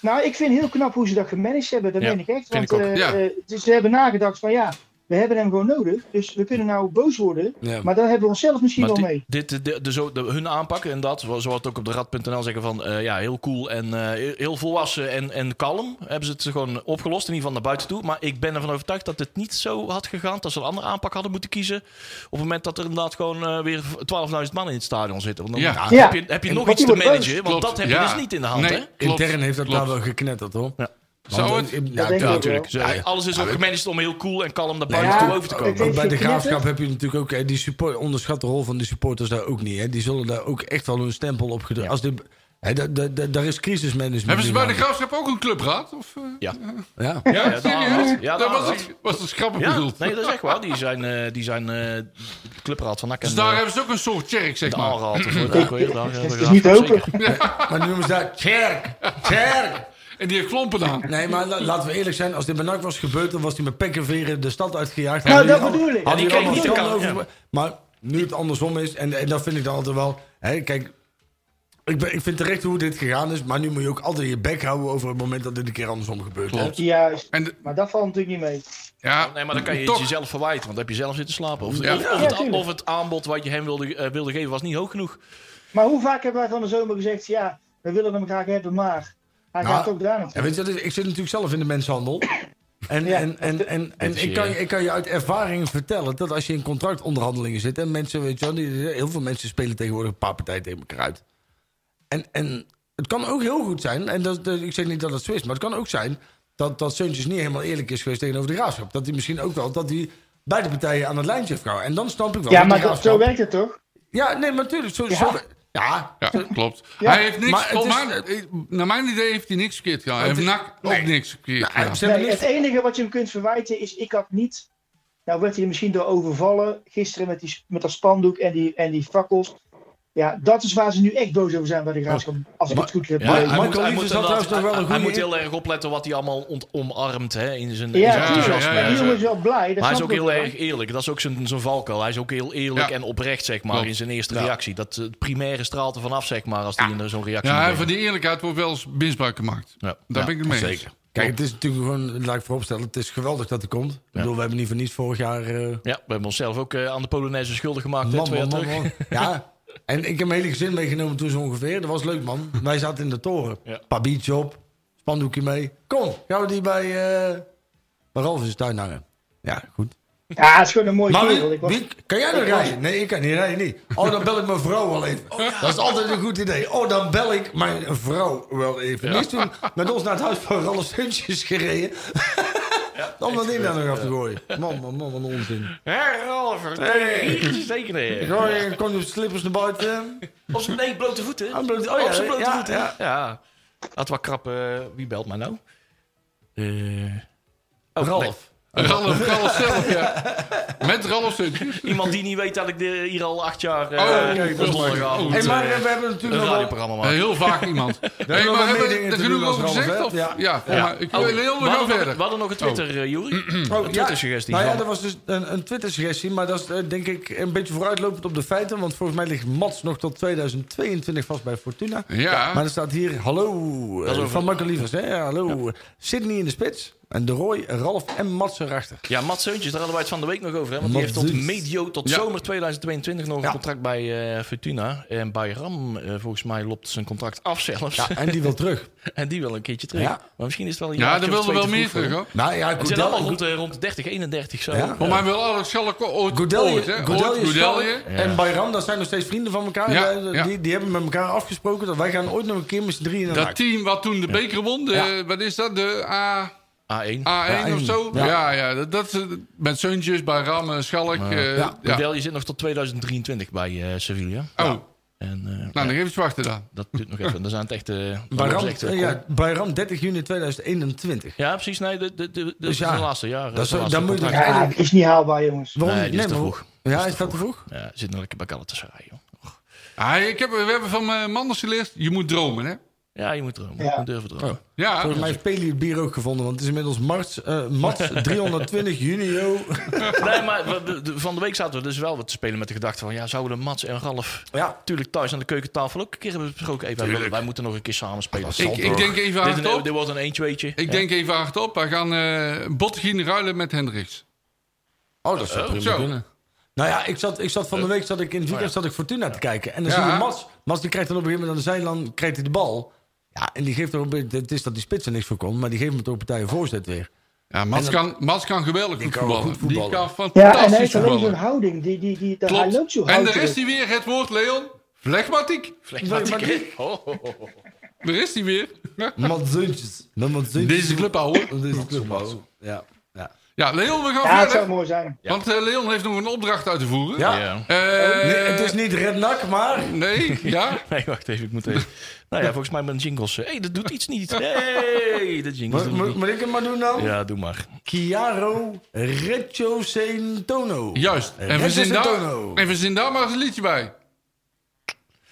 [SPEAKER 7] Nou, ik vind heel knap hoe ze dat gemanaged hebben. Dat
[SPEAKER 2] Ja,
[SPEAKER 7] meen ik echt.
[SPEAKER 2] vind
[SPEAKER 7] Want
[SPEAKER 2] ik ook.
[SPEAKER 7] eh,
[SPEAKER 5] Ja.
[SPEAKER 7] eh, dus ze hebben nagedacht van ja, we hebben hem gewoon nodig. Dus we kunnen nou boos worden.
[SPEAKER 5] Ja.
[SPEAKER 7] Maar daar hebben we onszelf misschien
[SPEAKER 2] Maar
[SPEAKER 7] wel
[SPEAKER 2] di-
[SPEAKER 7] mee.
[SPEAKER 2] dit, de, de, zo, de- hun aanpak en dat, zoals we het ook op de rad.nl zeggen van eh, ja, heel cool en eh, heel volwassen en, en kalm, hebben ze het gewoon opgelost, in ieder geval naar buiten toe. Maar ik ben ervan overtuigd dat het niet zo had gegaan, dat ze een andere aanpak hadden moeten kiezen. Op het moment dat er inderdaad gewoon eh, weer 12.000 man in het stadion zitten. Want dan
[SPEAKER 5] Ja.
[SPEAKER 2] nou,
[SPEAKER 7] Ja.
[SPEAKER 2] heb je, heb je
[SPEAKER 7] En-
[SPEAKER 2] nog
[SPEAKER 7] want
[SPEAKER 2] iets
[SPEAKER 7] die
[SPEAKER 2] te
[SPEAKER 7] wordt boos.
[SPEAKER 2] managen, want
[SPEAKER 5] Klopt,
[SPEAKER 2] dat heb
[SPEAKER 5] ja.
[SPEAKER 2] je dus niet in de hand,
[SPEAKER 5] Nee,
[SPEAKER 2] hè?
[SPEAKER 5] klopt,
[SPEAKER 6] Intern heeft dat
[SPEAKER 5] klopt.
[SPEAKER 6] daar wel geknetterd, hoor.
[SPEAKER 2] Ja.
[SPEAKER 5] Zou
[SPEAKER 6] Want,
[SPEAKER 5] het?
[SPEAKER 6] eh,
[SPEAKER 7] Dat
[SPEAKER 6] Ja,
[SPEAKER 7] denk ik ook
[SPEAKER 6] natuurlijk.
[SPEAKER 2] Dus, eh, alles is ook gemanaged om heel cool en kalm naar buiten
[SPEAKER 7] Ja,
[SPEAKER 2] toe over te
[SPEAKER 7] ik
[SPEAKER 2] komen.
[SPEAKER 7] denk-
[SPEAKER 6] Want bij de
[SPEAKER 7] geknetterd.
[SPEAKER 6] graafschap heb je natuurlijk ook... eh, Die support, onderschat de rol van de supporters daar ook niet. Hè. Die zullen daar ook echt wel hun stempel op gedrukt. Als de, hè, da- da- da- daar is crisismanagement.
[SPEAKER 5] Hebben ze
[SPEAKER 6] in
[SPEAKER 5] bij de
[SPEAKER 6] handen.
[SPEAKER 5] graafschap ook een clubraad? Of, eh,
[SPEAKER 2] Ja.
[SPEAKER 5] Ja,
[SPEAKER 6] Ja.
[SPEAKER 2] Ja, de aanraad.
[SPEAKER 5] serieus?
[SPEAKER 2] Ja, de
[SPEAKER 5] dat was,
[SPEAKER 2] aanraad.
[SPEAKER 5] ik, was dus grappig
[SPEAKER 2] Ja,
[SPEAKER 5] bedoeld.
[SPEAKER 2] nee, dat is echt waar. Die zijn, eh, die zijn eh, clubraad van NAC en
[SPEAKER 5] dus daar
[SPEAKER 2] eh,
[SPEAKER 5] hebben ze ook een soort cherk, zeg
[SPEAKER 2] de
[SPEAKER 5] maar.
[SPEAKER 2] Aalraad. of hoe het ook weer, daar, eh,
[SPEAKER 7] Het is
[SPEAKER 2] daar-
[SPEAKER 7] niet
[SPEAKER 2] zeker.
[SPEAKER 7] open.
[SPEAKER 6] Maar nu noemen ze daar kerk. Kerk.
[SPEAKER 5] En die heeft klompen aan.
[SPEAKER 6] Nee, maar la- laten we eerlijk zijn. Als dit bij NAC was gebeurd, dan was hij met pek en veren de stad uitgejaagd.
[SPEAKER 7] Nou,
[SPEAKER 6] Hadden
[SPEAKER 7] dat
[SPEAKER 6] jullie al-
[SPEAKER 7] bedoel ik.
[SPEAKER 6] hadden
[SPEAKER 2] Ja, die
[SPEAKER 6] jullie
[SPEAKER 2] kreeg
[SPEAKER 6] allemaal
[SPEAKER 2] niet de
[SPEAKER 6] over- Maar nu het andersom is, en, en dat vind ik dan altijd wel... Hè, kijk, ik, ben, ik vind terecht hoe dit gegaan is. Maar nu moet je ook altijd je bek houden over het moment dat dit een keer andersom gebeurt. hè.
[SPEAKER 5] Klopt.
[SPEAKER 7] Juist.
[SPEAKER 5] En de-
[SPEAKER 7] Maar dat valt natuurlijk niet mee.
[SPEAKER 5] ja,
[SPEAKER 2] Oh, Nee, maar dan kan je het
[SPEAKER 5] toch,
[SPEAKER 2] jezelf verwijten, want dan heb je zelf zitten slapen. Of,
[SPEAKER 5] Ja.
[SPEAKER 2] of, of het,
[SPEAKER 7] tuurlijk.
[SPEAKER 2] of het aanbod wat je hem wilde, eh, wilde geven was niet hoog genoeg.
[SPEAKER 7] Maar hoe vaak hebben wij van de zomer gezegd: ja, we willen hem graag hebben, maar hij
[SPEAKER 6] Nou,
[SPEAKER 7] gaat ook daar
[SPEAKER 6] Ja,
[SPEAKER 7] naartoe.
[SPEAKER 6] weet je, wat het is? ik zit natuurlijk zelf in de mensenhandel. En,
[SPEAKER 7] Ja.
[SPEAKER 6] en, en, en, en
[SPEAKER 2] is
[SPEAKER 6] ik, kan,
[SPEAKER 2] je-
[SPEAKER 6] ik kan je uit ervaring vertellen dat als je in contractonderhandelingen zit... en mensen, weet je wel, die- heel veel mensen spelen tegenwoordig een paar partijen tegen elkaar uit. En, en het kan ook heel goed zijn, en dat, dat- ik zeg niet dat het zo is... maar het kan ook zijn dat, dat Seuntjes niet helemaal eerlijk is geweest tegenover de graafschap. Dat hij misschien ook wel, dat hij beide partijen aan het lijntje heeft gehouden. En dan snap ik wel
[SPEAKER 7] Ja,
[SPEAKER 6] dat de
[SPEAKER 7] maar dat,
[SPEAKER 6] Graafschap-
[SPEAKER 7] zo werkt het toch?
[SPEAKER 6] Ja, nee, maar natuurlijk. Zo,
[SPEAKER 7] Ja.
[SPEAKER 6] zo, ja,
[SPEAKER 5] ja, klopt.
[SPEAKER 7] Ja.
[SPEAKER 5] Hij heeft niks,
[SPEAKER 6] Maar het
[SPEAKER 5] volgens
[SPEAKER 6] is-
[SPEAKER 5] mij- eh, naar mijn idee heeft hij niks verkeerd gedaan. Hij
[SPEAKER 6] Het
[SPEAKER 5] heeft
[SPEAKER 6] is-
[SPEAKER 5] NAC
[SPEAKER 6] nee. Nou,
[SPEAKER 5] ook niks verkeerd gedaan.
[SPEAKER 6] ze hebben
[SPEAKER 7] Nee,
[SPEAKER 6] niks-
[SPEAKER 7] het enige wat je hem kunt verwijten is: ik had niet. Nou, werd hij er misschien door overvallen. Gisteren met, die, met dat spandoek en die, en die fakkels. Ja, dat is waar ze nu echt boos over zijn bij de graafschap. Als ik het goed heb.
[SPEAKER 2] Ja,
[SPEAKER 7] beleefd.
[SPEAKER 2] hij
[SPEAKER 6] Marco
[SPEAKER 2] moet, hij
[SPEAKER 6] Liefde
[SPEAKER 2] moet,
[SPEAKER 6] zat
[SPEAKER 2] inderdaad-
[SPEAKER 6] trouwens nog wel een
[SPEAKER 2] hij- hij
[SPEAKER 6] goede
[SPEAKER 2] moet
[SPEAKER 6] in.
[SPEAKER 2] heel erg opletten wat hij allemaal ont- omarmt hè, in zijn in zijn
[SPEAKER 7] ja, tuurlijk.
[SPEAKER 2] enthousiasme.
[SPEAKER 5] ja, ja,
[SPEAKER 7] Maar
[SPEAKER 5] ja.
[SPEAKER 7] die jongen is wel blij. Dat
[SPEAKER 2] Maar hij is
[SPEAKER 7] snap
[SPEAKER 2] ook
[SPEAKER 7] ik
[SPEAKER 2] heel
[SPEAKER 7] wel.
[SPEAKER 2] erg eerlijk. Dat is ook zijn, zijn valkuil. Hij is ook heel eerlijk
[SPEAKER 5] Ja.
[SPEAKER 2] en oprecht, zeg maar,
[SPEAKER 5] Klopt.
[SPEAKER 2] in zijn eerste reactie. Dat eh, het primaire straalt er vanaf, zeg maar, als hij in zo'n reactie
[SPEAKER 5] Ja, en
[SPEAKER 2] moet
[SPEAKER 5] van
[SPEAKER 2] geven.
[SPEAKER 5] die eerlijkheid wordt wel eens misbruik gemaakt.
[SPEAKER 2] Ja.
[SPEAKER 5] Daar
[SPEAKER 2] Ja,
[SPEAKER 5] ben ik het mee eens.
[SPEAKER 2] zeker.
[SPEAKER 6] Kijk, het is natuurlijk gewoon, laat ik vooropstellen, het is geweldig dat hij komt. Ik bedoel, we hebben niet voor niets vorig jaar... eh,
[SPEAKER 2] Ja, we hebben onszelf ook eh, aan de Polonaise schuldig gemaakt. hè,
[SPEAKER 6] Man,
[SPEAKER 2] twee
[SPEAKER 6] man,
[SPEAKER 2] jaar
[SPEAKER 6] man,
[SPEAKER 2] terug.
[SPEAKER 6] man. Ja. En ik heb mijn hele gezin meegenomen toen zo ongeveer. Dat was leuk, man. Wij zaten in de toren.
[SPEAKER 2] Ja.
[SPEAKER 6] Paar biertje op, spandoekje mee. Kom, gaan we die bij, eh bij Ralf in zijn tuin hangen. Ja, goed.
[SPEAKER 7] Ja, het is gewoon een mooie kerel.
[SPEAKER 6] Maar
[SPEAKER 7] Ik was-
[SPEAKER 6] wie, kan jij nog rijden? Nee, ik kan niet rijden, niet. Oh, dan bel ik mijn vrouw wel even. Dat is altijd een goed idee. Oh, dan bel ik mijn vrouw wel even. Die is toen met ons naar het huis van Ralf Huntjes gereden. Om dat ding daar nog af te gooien. Man, man, man, wat een onzin.
[SPEAKER 2] Hé, Ralf, hey. zeker hè.
[SPEAKER 6] Gooi je, kom je op slippers naar buiten.
[SPEAKER 2] Op zijn nee, blote voeten.
[SPEAKER 6] Ah, blote- oh ja,
[SPEAKER 2] op zijn blote
[SPEAKER 6] ja,
[SPEAKER 2] voeten.
[SPEAKER 6] ja.
[SPEAKER 2] Ja. Had wat krap. eh, wie belt mij nou? Eh oh,
[SPEAKER 6] Ralf.
[SPEAKER 5] Ralf, Ralf zelf, ja. Met Ralf Seuntjes.
[SPEAKER 2] nee. Iemand die niet weet dat ik de, hier al acht jaar. eh
[SPEAKER 5] Oh, oké,
[SPEAKER 2] op
[SPEAKER 5] dat is
[SPEAKER 2] zondagavond,
[SPEAKER 5] leuk.
[SPEAKER 6] Hey, maar
[SPEAKER 2] eh,
[SPEAKER 6] eh, we hebben natuurlijk nog
[SPEAKER 2] een
[SPEAKER 6] wel...
[SPEAKER 2] radioprogramma
[SPEAKER 5] Eh,
[SPEAKER 2] maken.
[SPEAKER 5] Heel vaak iemand. Hey,
[SPEAKER 6] nog
[SPEAKER 5] maar
[SPEAKER 6] wat
[SPEAKER 5] hebben
[SPEAKER 6] meer dingen
[SPEAKER 5] we er
[SPEAKER 6] te
[SPEAKER 5] genoeg
[SPEAKER 6] doen als
[SPEAKER 5] over
[SPEAKER 6] Ralf,
[SPEAKER 5] gezegd?
[SPEAKER 6] hè?
[SPEAKER 5] Of?
[SPEAKER 6] Ja.
[SPEAKER 5] Ja,
[SPEAKER 6] Ja.
[SPEAKER 5] maar ik
[SPEAKER 2] Oh,
[SPEAKER 5] wil heel
[SPEAKER 2] we
[SPEAKER 5] nog
[SPEAKER 2] hadden nog-
[SPEAKER 5] verder.
[SPEAKER 2] We hadden nog een
[SPEAKER 6] Oh.
[SPEAKER 2] Twitter, eh, Joeri. een Twitter-suggestie.
[SPEAKER 6] Nou ja,
[SPEAKER 2] van-
[SPEAKER 6] dat was dus een, een Twitter-suggestie. Maar dat is eh, denk ik een beetje vooruitlopend op de feiten. Want volgens mij ligt Mats nog tot 2022 vast bij Fortuna.
[SPEAKER 5] Ja.
[SPEAKER 6] Maar er staat hier, hallo, eh,
[SPEAKER 2] is over-
[SPEAKER 6] van Marco Lievers. Hè? Ja, hallo, Sydney in de spits. En de Roy, Ralf en Mats erachter.
[SPEAKER 2] Ja, Mats Zeuntjes, daar hadden wij het van de week nog over. Hè? Want die
[SPEAKER 6] Mats
[SPEAKER 2] heeft tot
[SPEAKER 6] Zeuntjes.
[SPEAKER 2] medio, tot
[SPEAKER 5] Ja.
[SPEAKER 2] zomer 2022 nog
[SPEAKER 6] Ja.
[SPEAKER 2] een contract bij eh, Fortuna. En bij Ram, eh, volgens mij, loopt zijn contract af zelfs.
[SPEAKER 6] Ja, en die wil terug.
[SPEAKER 2] En die wil een keertje terug.
[SPEAKER 6] Ja.
[SPEAKER 2] Maar misschien is het wel een
[SPEAKER 5] Ja,
[SPEAKER 2] jaartje
[SPEAKER 5] er
[SPEAKER 2] of
[SPEAKER 5] wilden
[SPEAKER 2] twee
[SPEAKER 5] wel
[SPEAKER 2] te
[SPEAKER 5] meer
[SPEAKER 2] vroeg
[SPEAKER 5] terug,
[SPEAKER 2] voor.
[SPEAKER 5] hoor.
[SPEAKER 6] Nou ja,
[SPEAKER 2] Het zijn allemaal
[SPEAKER 6] Goodell,
[SPEAKER 2] rond, eh, rond 30, 31 zo.
[SPEAKER 6] Ja.
[SPEAKER 5] Voor mij wil Alex Schalke ooit...
[SPEAKER 6] Goodell,
[SPEAKER 5] ooit, hè?
[SPEAKER 6] Goodell,
[SPEAKER 5] Ooit Goedelje.
[SPEAKER 6] en Bayram, dat zijn nog steeds vrienden van elkaar.
[SPEAKER 5] Ja,
[SPEAKER 6] Eh,
[SPEAKER 5] ja.
[SPEAKER 6] Die, die hebben met elkaar afgesproken dat wij gaan ooit nog een keer met z'n drieën naar
[SPEAKER 5] Dat
[SPEAKER 6] NAC.
[SPEAKER 5] team wat toen de beker won, de,
[SPEAKER 6] Ja.
[SPEAKER 5] wat is dat? De A,
[SPEAKER 2] A1.
[SPEAKER 5] A1
[SPEAKER 6] A1,
[SPEAKER 5] of zo?
[SPEAKER 6] ja.
[SPEAKER 5] Ja, ja, dat, dat, eh, met Suntjes, bij Ram, eh, Schalk. eh,
[SPEAKER 6] ja.
[SPEAKER 5] ja.
[SPEAKER 2] Goodell, je zit nog tot 2023 bij eh, Sevilla.
[SPEAKER 5] Oh,
[SPEAKER 2] En eh,
[SPEAKER 5] nou, dan even wachten dan.
[SPEAKER 2] dat duurt nog even. Dan zijn het echt... eh, dan
[SPEAKER 6] Bayram,
[SPEAKER 2] lopen ze echt, eh,
[SPEAKER 6] eh, ja, Bayram 30 juni 2021.
[SPEAKER 2] ja, precies. Nee, de, de, de, de,
[SPEAKER 6] Dus ja,
[SPEAKER 2] de laatste jaren.
[SPEAKER 6] dat is-
[SPEAKER 2] de laatste
[SPEAKER 6] dan moet je-
[SPEAKER 2] contract.
[SPEAKER 7] Ja, het is niet haalbaar, jongens.
[SPEAKER 6] Waarom
[SPEAKER 2] Nee,
[SPEAKER 6] niet?
[SPEAKER 2] die is te
[SPEAKER 6] maar-
[SPEAKER 2] vroeg.
[SPEAKER 6] Ja, is dat te vroeg?
[SPEAKER 2] Ja, zit nog lekker bij Galatasaray, joh.
[SPEAKER 5] Ah, ik heb, we hebben van eh, Manders geleerd, je moet dromen, hè?
[SPEAKER 2] Ja, je moet dromen.
[SPEAKER 7] Ja.
[SPEAKER 2] Je moet durven dromen.
[SPEAKER 6] Oh.
[SPEAKER 5] Ja,
[SPEAKER 6] Volgens mij heeft Peli het bier ook gevonden, want het is inmiddels Mars, eh, Mats 320 junio.
[SPEAKER 2] Nee, maar we- we- de- van de week zaten we dus wel wat te spelen met de gedachte van... ja, zouden Mats en Ralf
[SPEAKER 6] Ja.
[SPEAKER 2] natuurlijk thuis aan de keukentafel ook een keer hebben besproken... Hey, wij, willen- wij moeten nog een keer samen spelen.
[SPEAKER 5] ik, ik denk even
[SPEAKER 2] dit,
[SPEAKER 5] hardop.
[SPEAKER 2] dit wordt een eentje, weet je.
[SPEAKER 5] Ik denk even hardop. We gaan eh Bottegien ruilen met Hendricks.
[SPEAKER 6] Oh, dat zou prima
[SPEAKER 5] zo.
[SPEAKER 6] kunnen. Nou ja, ik zat, ik zat van de week zat ik in het weekend zat ik Fortuna te kijken. En dan zie
[SPEAKER 5] Eh, oh Ja.
[SPEAKER 6] je Mas. Mas die krijgt dan op een gegeven moment aan de zijlijn krijgt hij de bal. Ja, en die geeft er op een- Het is dat die spits er niks voor kon, maar die geeft hem toch een partij een voorzet weer.
[SPEAKER 5] Ja, Mats,
[SPEAKER 6] En
[SPEAKER 5] kan, Mats kan geweldig goed
[SPEAKER 6] kan
[SPEAKER 5] voetballen.
[SPEAKER 6] goed voetballen.
[SPEAKER 5] Die kan fantastisch
[SPEAKER 7] Ja, en hij heeft alleen zo'n
[SPEAKER 5] voetballen.
[SPEAKER 7] houding. Die, die, die, die, hij loopt
[SPEAKER 5] Klopt.
[SPEAKER 7] zo
[SPEAKER 5] En daar
[SPEAKER 7] houterig.
[SPEAKER 5] is hij weer, het woord Leon. Flegmatiek.
[SPEAKER 2] Flegmatiek, hè? Ho, ho, ho.
[SPEAKER 6] Oh.
[SPEAKER 5] Daar is hij weer.
[SPEAKER 6] Matzuntjes. De Matzuntjes.
[SPEAKER 5] Deze club ouwe.
[SPEAKER 6] Deze club, ouwe. Ja. ja.
[SPEAKER 5] Ja, Leon, we gaan
[SPEAKER 7] Ja, het
[SPEAKER 5] verder.
[SPEAKER 7] zou mooi zijn.
[SPEAKER 5] Want eh, Leon heeft nog een opdracht uit te voeren.
[SPEAKER 6] Ja.
[SPEAKER 2] Ja.
[SPEAKER 5] Eh,
[SPEAKER 6] Nee, het is niet Rednak, maar...
[SPEAKER 5] Nee, ja.
[SPEAKER 2] Nee, wacht even, ik moet even... Nou ja, volgens mij mijn jingles... Hé, hey, dat doet iets niet. hey, de jingles
[SPEAKER 6] Moet,
[SPEAKER 2] doen het
[SPEAKER 6] moet,
[SPEAKER 2] niet.
[SPEAKER 6] moet ik hem maar doen dan?
[SPEAKER 2] Ja, doe maar.
[SPEAKER 6] Chiaro Reccio Centono.
[SPEAKER 5] Juist. En
[SPEAKER 6] Reccio
[SPEAKER 5] verzin, daar,
[SPEAKER 6] Centono.
[SPEAKER 5] en verzin daar maar eens een liedje bij.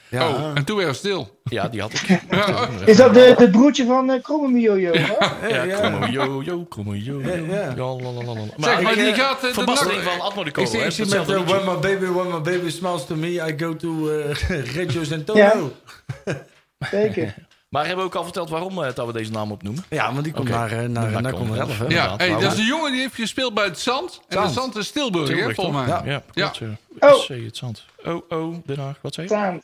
[SPEAKER 6] Ja.
[SPEAKER 5] Oh, en toen weer stil.
[SPEAKER 2] Ja, die had ik.
[SPEAKER 5] Ja, oh.
[SPEAKER 7] Is dat de, de broertje van eh Krommemio, joh?
[SPEAKER 2] Ja, kromme yo, yo, kromme yo, yo.
[SPEAKER 6] ja.
[SPEAKER 2] Ja, la, la, la, la.
[SPEAKER 5] Zeg, maar
[SPEAKER 2] ik,
[SPEAKER 5] die
[SPEAKER 2] eh,
[SPEAKER 5] gaat eh, de
[SPEAKER 2] verbastering
[SPEAKER 5] nacht-
[SPEAKER 2] van Admo de
[SPEAKER 6] Ik
[SPEAKER 2] Kool,
[SPEAKER 6] zie,
[SPEAKER 2] hè?
[SPEAKER 6] ik zie
[SPEAKER 2] Hetzelfde
[SPEAKER 6] met eh,
[SPEAKER 2] liedje.
[SPEAKER 6] When My Baby, When My Baby Smiles To Me, I Go To eh Reggio Centono.
[SPEAKER 7] Ja.
[SPEAKER 6] Ja.
[SPEAKER 7] Zeker.
[SPEAKER 2] Maar hebben we ook al verteld waarom eh, dat we deze naam opnoemen?
[SPEAKER 6] want die komt
[SPEAKER 2] Oké.
[SPEAKER 6] naar, eh, naar,
[SPEAKER 2] Naar
[SPEAKER 6] naar, naar
[SPEAKER 2] Conrad.
[SPEAKER 6] Conrad, hè?
[SPEAKER 5] Ja,
[SPEAKER 2] Inderdaad,
[SPEAKER 5] hey,
[SPEAKER 2] maar-
[SPEAKER 5] dat is de jongen die heeft gespeeld bij het Zand. En het
[SPEAKER 6] Zand.
[SPEAKER 5] Zand is Tilburg, hè,
[SPEAKER 2] Tilburg,
[SPEAKER 5] volgens mij.
[SPEAKER 6] toch?
[SPEAKER 2] Ja, klopt. Ja.
[SPEAKER 7] Oh.
[SPEAKER 2] SC het zand. Oh, oh, Den Haag. Wat zei je?
[SPEAKER 7] Staan.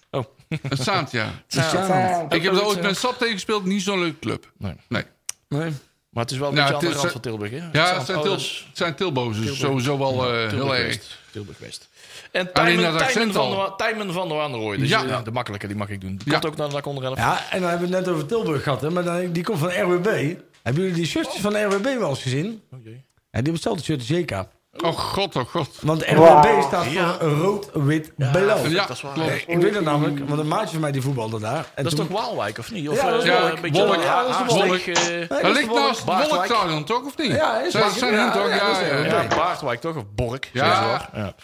[SPEAKER 5] Het Zand, ja.
[SPEAKER 6] Ja.
[SPEAKER 7] Staan.
[SPEAKER 5] Ik heb
[SPEAKER 2] zoiets,
[SPEAKER 5] er ooit
[SPEAKER 2] ja.
[SPEAKER 5] met SAP tegen gespeeld. Niet zo'n leuke club.
[SPEAKER 2] Nee.
[SPEAKER 5] Nee.
[SPEAKER 6] Nee.
[SPEAKER 2] Maar het is wel een
[SPEAKER 5] Nou,
[SPEAKER 2] beetje aan
[SPEAKER 5] het
[SPEAKER 2] de rand
[SPEAKER 5] is-
[SPEAKER 2] van Tilburg, hè?
[SPEAKER 5] Ja,
[SPEAKER 2] Zand.
[SPEAKER 5] het zijn,
[SPEAKER 2] Oh,
[SPEAKER 5] Til
[SPEAKER 2] dat is
[SPEAKER 5] zijn Tilbo's, dus
[SPEAKER 2] Tilburg.
[SPEAKER 5] sowieso wel eh,
[SPEAKER 2] Tilburg
[SPEAKER 5] heel erg.
[SPEAKER 2] West. Tilburg West. En
[SPEAKER 5] Alleen
[SPEAKER 2] Tijmen,
[SPEAKER 5] dat
[SPEAKER 2] Tijmen,
[SPEAKER 5] accent
[SPEAKER 2] van
[SPEAKER 5] al.
[SPEAKER 2] de Wa- Tijmen van der Waanrooy. Dus
[SPEAKER 5] Ja.
[SPEAKER 2] ja. de makkelijke, die mag ik doen.
[SPEAKER 5] Ja.
[SPEAKER 2] Komt ook naar de Nakonderelf.
[SPEAKER 6] Ja, en dan hebben we het net over Tilburg gehad, hè? Maar dan, die komt van RWB. Hebben jullie die shirtjes van de RWB wel eens gezien?
[SPEAKER 2] Oh, jee.
[SPEAKER 6] Ja, die hebben hetzelfde shirt als JK.
[SPEAKER 5] Oh god, oh god.
[SPEAKER 6] Want RWB
[SPEAKER 7] Wauw.
[SPEAKER 6] staat voor
[SPEAKER 2] Ja.
[SPEAKER 6] rood, wit, blauw.
[SPEAKER 5] Ja,
[SPEAKER 2] dat is waar.
[SPEAKER 5] klopt.
[SPEAKER 6] Nee, ik weet het namelijk, want een maatje van mij die voetbalde daar. En
[SPEAKER 2] Dat is
[SPEAKER 6] toen-
[SPEAKER 2] toch Waalwijk, of niet? Of,
[SPEAKER 6] Ja,
[SPEAKER 2] eh,
[SPEAKER 6] dat is
[SPEAKER 2] wel
[SPEAKER 5] Waalwijk.
[SPEAKER 2] een beetje
[SPEAKER 5] Wolk,
[SPEAKER 2] Ha-
[SPEAKER 5] ja, dat is
[SPEAKER 2] Haag-
[SPEAKER 5] Wolk.
[SPEAKER 2] eh,
[SPEAKER 6] Nee,
[SPEAKER 5] Dat
[SPEAKER 6] is
[SPEAKER 5] ligt
[SPEAKER 6] wel-
[SPEAKER 5] naast
[SPEAKER 2] Baardwijk.
[SPEAKER 5] Wolktalen, toch, of niet?
[SPEAKER 6] Ja, is
[SPEAKER 5] Zijn-
[SPEAKER 6] zeker.
[SPEAKER 5] zijn
[SPEAKER 6] Ja,
[SPEAKER 5] hun, toch?
[SPEAKER 6] ja, dat
[SPEAKER 5] Ja,
[SPEAKER 6] is
[SPEAKER 5] ja,
[SPEAKER 6] er.
[SPEAKER 5] ja.
[SPEAKER 2] Ja, Baardwijk toch? Of Bork?
[SPEAKER 5] Ja.
[SPEAKER 2] zeg maar. ja.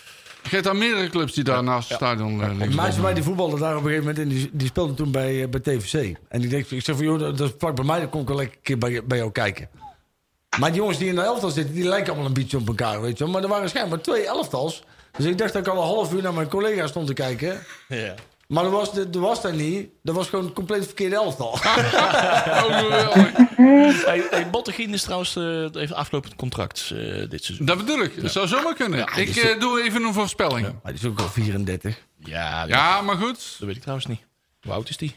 [SPEAKER 5] Je hebt daar meerdere clubs die daar naast het stadion eh,
[SPEAKER 6] Een
[SPEAKER 5] liggen.
[SPEAKER 6] maatje van mij die voetbalde daar op een gegeven moment en die, die speelde toen bij, eh, bij TVC. En die dacht, ik zeg van joh, dat dat is vlak bij mij, dan kom ik wel lekker een keer bij, bij jou kijken. Maar die jongens die in de elftal zitten, die lijken allemaal een beetje op elkaar, weet je wel. Maar er waren schijnbaar twee elftals. Dus ik dacht dat ik al een half uur naar mijn collega stond te kijken.
[SPEAKER 2] Ja.
[SPEAKER 6] Maar dat was, dat was dat niet. Dat was gewoon een compleet verkeerde elftal.
[SPEAKER 5] Oh, geweldig.
[SPEAKER 2] Hey, hey, Bottegien is trouwens eh heeft aflopend contract eh, dit seizoen.
[SPEAKER 5] Dat bedoel ik. Dat zou zomaar kunnen. ik eh, doe even een voorspelling. Ja,
[SPEAKER 6] Maar die is ook al 34.
[SPEAKER 2] Ja, dat,
[SPEAKER 5] maar goed.
[SPEAKER 2] dat weet ik trouwens niet. Hoe oud is die?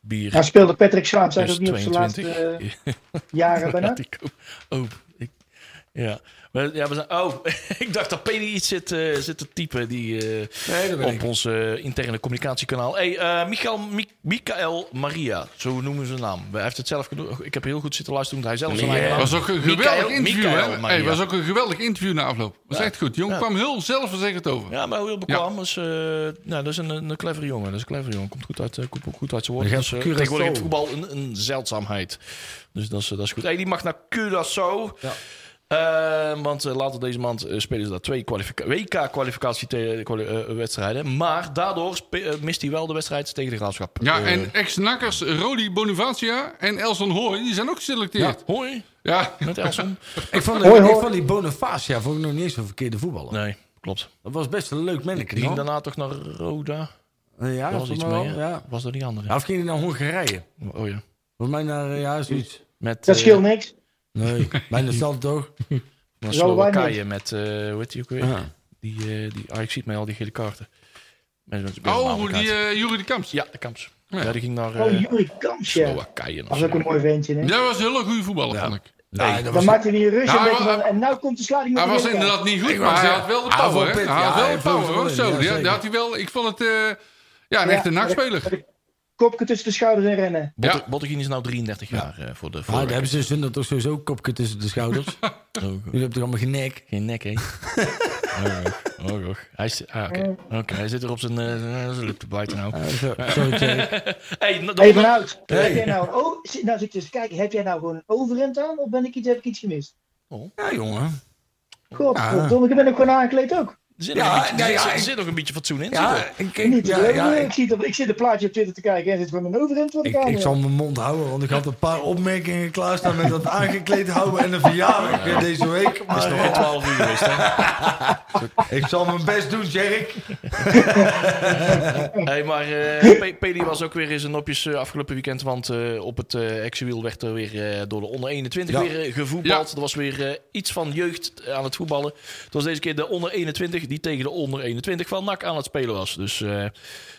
[SPEAKER 2] Bier dus
[SPEAKER 7] Daar Nou, speelde Patrick Swaap zijn
[SPEAKER 2] is
[SPEAKER 7] ook niet op zijn
[SPEAKER 2] 22.
[SPEAKER 7] laatste eh, jaren bijna.
[SPEAKER 2] Die ko- oh, ik, ja. Maar, ja, we zijn, oh, ik dacht dat Peli iets zit, eh, zit te typen die, eh,
[SPEAKER 6] Nee, dat weet
[SPEAKER 2] op ons eh, interne communicatiekanaal. Hey, eh, Michael, Mi- Michael Maria, zo noemen we zijn naam. Hij heeft het zelf genoeg. Ik heb heel goed zitten luisteren, want hij zelf zijn eigen naam.
[SPEAKER 5] was ook een geweldig
[SPEAKER 2] Michael-
[SPEAKER 5] interview,
[SPEAKER 2] Michael
[SPEAKER 5] hè?
[SPEAKER 2] Maria.
[SPEAKER 5] Hey, was ook een geweldig interview na afloop. Was echt goed. Jong kwam heel zelfverzekerd over.
[SPEAKER 2] Ja, maar heel bekwaam. Dus, eh, nou, dat is een, een clevere jongen. Dat is een clevere jongen. Komt goed uit, eh, komt ook goed uit zijn woorden.
[SPEAKER 6] Hij
[SPEAKER 2] Dus,
[SPEAKER 6] gaat
[SPEAKER 2] eh,
[SPEAKER 6] voor Curaçao.
[SPEAKER 2] tegenwoordig heeft voetbal een, een zeldzaamheid. Dus dat is, eh, dat is goed. Hey, die mag naar Curaçao.
[SPEAKER 6] Ja.
[SPEAKER 2] Eh, want eh, later deze maand eh, spelen ze daar twee WK-kwalificatiewedstrijden. maar daardoor spe- eh, mist hij wel de wedstrijd tegen de Graafschap.
[SPEAKER 5] Ja,
[SPEAKER 2] Eh,
[SPEAKER 5] en ex-nakkers Rodi Bonifacia en Elson Hooy, die zijn ook geselecteerd.
[SPEAKER 2] Hoi,
[SPEAKER 5] Ja.
[SPEAKER 2] met Elson.
[SPEAKER 6] Ik vond,
[SPEAKER 7] Hoi,
[SPEAKER 6] ik
[SPEAKER 7] hoi.
[SPEAKER 6] vond die Bonifacia vond ik nog niet eens een verkeerde voetballer.
[SPEAKER 2] Nee, klopt.
[SPEAKER 6] Dat was best een leuk
[SPEAKER 2] Die
[SPEAKER 6] manneke,
[SPEAKER 2] ging
[SPEAKER 6] hoor.
[SPEAKER 2] daarna toch naar Roda.
[SPEAKER 6] Ja,
[SPEAKER 2] Dat was iets
[SPEAKER 6] maar wel,
[SPEAKER 2] meer.
[SPEAKER 6] ja.
[SPEAKER 2] Was dat die andere?
[SPEAKER 6] Ja, Of ging hij naar Hongarije?
[SPEAKER 2] Oh ja.
[SPEAKER 6] Volgens mij naar, eh, ja, zoiets.
[SPEAKER 2] Met,
[SPEAKER 7] Dat
[SPEAKER 2] eh,
[SPEAKER 7] scheelt niks.
[SPEAKER 6] Nee, bijna hetzelfde toch?
[SPEAKER 2] Maar
[SPEAKER 7] Wel waar
[SPEAKER 2] Slowakije met, eh hoe heet die ook weer?
[SPEAKER 6] Ah.
[SPEAKER 2] Die, eh, die, ah, ik zie het mij al, die gele kaarten. Met- met- met een
[SPEAKER 5] Oh,
[SPEAKER 2] aantal
[SPEAKER 5] die
[SPEAKER 2] kaarten.
[SPEAKER 5] eh Jury de Kamps.
[SPEAKER 2] Ja, de Kamps.
[SPEAKER 5] Ja.
[SPEAKER 2] Ja. die ging naar
[SPEAKER 7] Oh,
[SPEAKER 2] eh,
[SPEAKER 7] Juri Kampje. Dat
[SPEAKER 2] Slowakije.
[SPEAKER 7] was ook een mooi ventje. Hè?
[SPEAKER 5] Jij was een hele goede voetballer, vond ik.
[SPEAKER 6] Nee, dat
[SPEAKER 7] Dan
[SPEAKER 6] was-
[SPEAKER 7] maakte hij een rush
[SPEAKER 5] Ja,
[SPEAKER 7] een beetje
[SPEAKER 5] maar-
[SPEAKER 7] van, en nou komt de sliding met
[SPEAKER 5] Hij
[SPEAKER 7] de
[SPEAKER 5] was
[SPEAKER 7] binnenkant.
[SPEAKER 5] inderdaad niet goed,
[SPEAKER 6] Ik wou
[SPEAKER 5] maar hij had
[SPEAKER 6] zeggen,
[SPEAKER 5] wel de
[SPEAKER 6] hij had
[SPEAKER 5] power.
[SPEAKER 6] wel
[SPEAKER 5] hè?
[SPEAKER 6] pit,
[SPEAKER 5] Hij had
[SPEAKER 6] ja,
[SPEAKER 5] wel
[SPEAKER 6] hij
[SPEAKER 5] de
[SPEAKER 6] vloog
[SPEAKER 5] power,
[SPEAKER 6] er
[SPEAKER 5] hoor. Zo,
[SPEAKER 6] wel in, ja,
[SPEAKER 5] die-
[SPEAKER 6] zeker.
[SPEAKER 5] die had hij wel... Ik vond het... eh, ja, een
[SPEAKER 7] Ja,
[SPEAKER 5] echte nachtspeler.
[SPEAKER 7] met een Kopje tussen de schouders en rennen.
[SPEAKER 2] Botte-
[SPEAKER 5] Ja.
[SPEAKER 2] Bottegien is nou 33 jaar eh, voor de
[SPEAKER 6] Ah, daar
[SPEAKER 2] voor.
[SPEAKER 6] hebben ze zonder toch sowieso een kopje tussen de schouders. Jullie hebben toch allemaal geen nek?
[SPEAKER 2] Geen nek, hè? oh, goh. oh, goh. Hij, is- ah, oké. Oké, hij zit er op zijn, eh, zijn lip te bijten nou.
[SPEAKER 6] Ah, zo- Sorry, Jack.
[SPEAKER 2] Hey, nou,
[SPEAKER 7] Even uit.
[SPEAKER 6] Hey.
[SPEAKER 7] Heb jij nou, oh, zit- nou zit ik eens te kijken, heb jij nou gewoon een overhemd aan of ben ik iets, heb ik iets gemist?
[SPEAKER 6] Ja, jongen.
[SPEAKER 7] God, verdomme, ik ben ook gewoon aangekleed ook.
[SPEAKER 2] Er zit,
[SPEAKER 6] Ja,
[SPEAKER 2] nog, een
[SPEAKER 6] ja,
[SPEAKER 2] beetje, er zit-
[SPEAKER 6] ja,
[SPEAKER 2] er
[SPEAKER 6] ik-
[SPEAKER 2] zit nog een beetje fatsoen in. zit
[SPEAKER 6] Ja,
[SPEAKER 2] er.
[SPEAKER 6] ik,
[SPEAKER 7] Niet
[SPEAKER 6] ik,
[SPEAKER 7] te
[SPEAKER 6] ja,
[SPEAKER 7] geloven.
[SPEAKER 6] ja,
[SPEAKER 7] ik,
[SPEAKER 6] ik,
[SPEAKER 7] zit op, ik zit de plaatje op Twitter te kijken en zit met mijn overhemd voor de
[SPEAKER 6] ik,
[SPEAKER 7] camera.
[SPEAKER 6] ik zal mijn mond houden, want ik had een paar opmerkingen klaarstaan met dat aangekleed houden en een verjaardag eh, deze week.
[SPEAKER 2] Het is
[SPEAKER 6] Maar
[SPEAKER 2] nog geen 12 uur geweest, hè?
[SPEAKER 6] ik zal mijn best doen, Jerk.
[SPEAKER 2] Hey, maar eh, P- Peli was ook weer in zijn nopjes eh, afgelopen weekend. Want eh, op het eh Exewiel werd er weer eh, door de onder 21
[SPEAKER 6] Ja.
[SPEAKER 2] weer eh, gevoetbald.
[SPEAKER 5] Ja.
[SPEAKER 2] Er was weer eh, iets van jeugd eh, aan het voetballen. Het was deze keer de onder 21 die tegen de onder 21 van NAC aan het spelen was. Dus eh,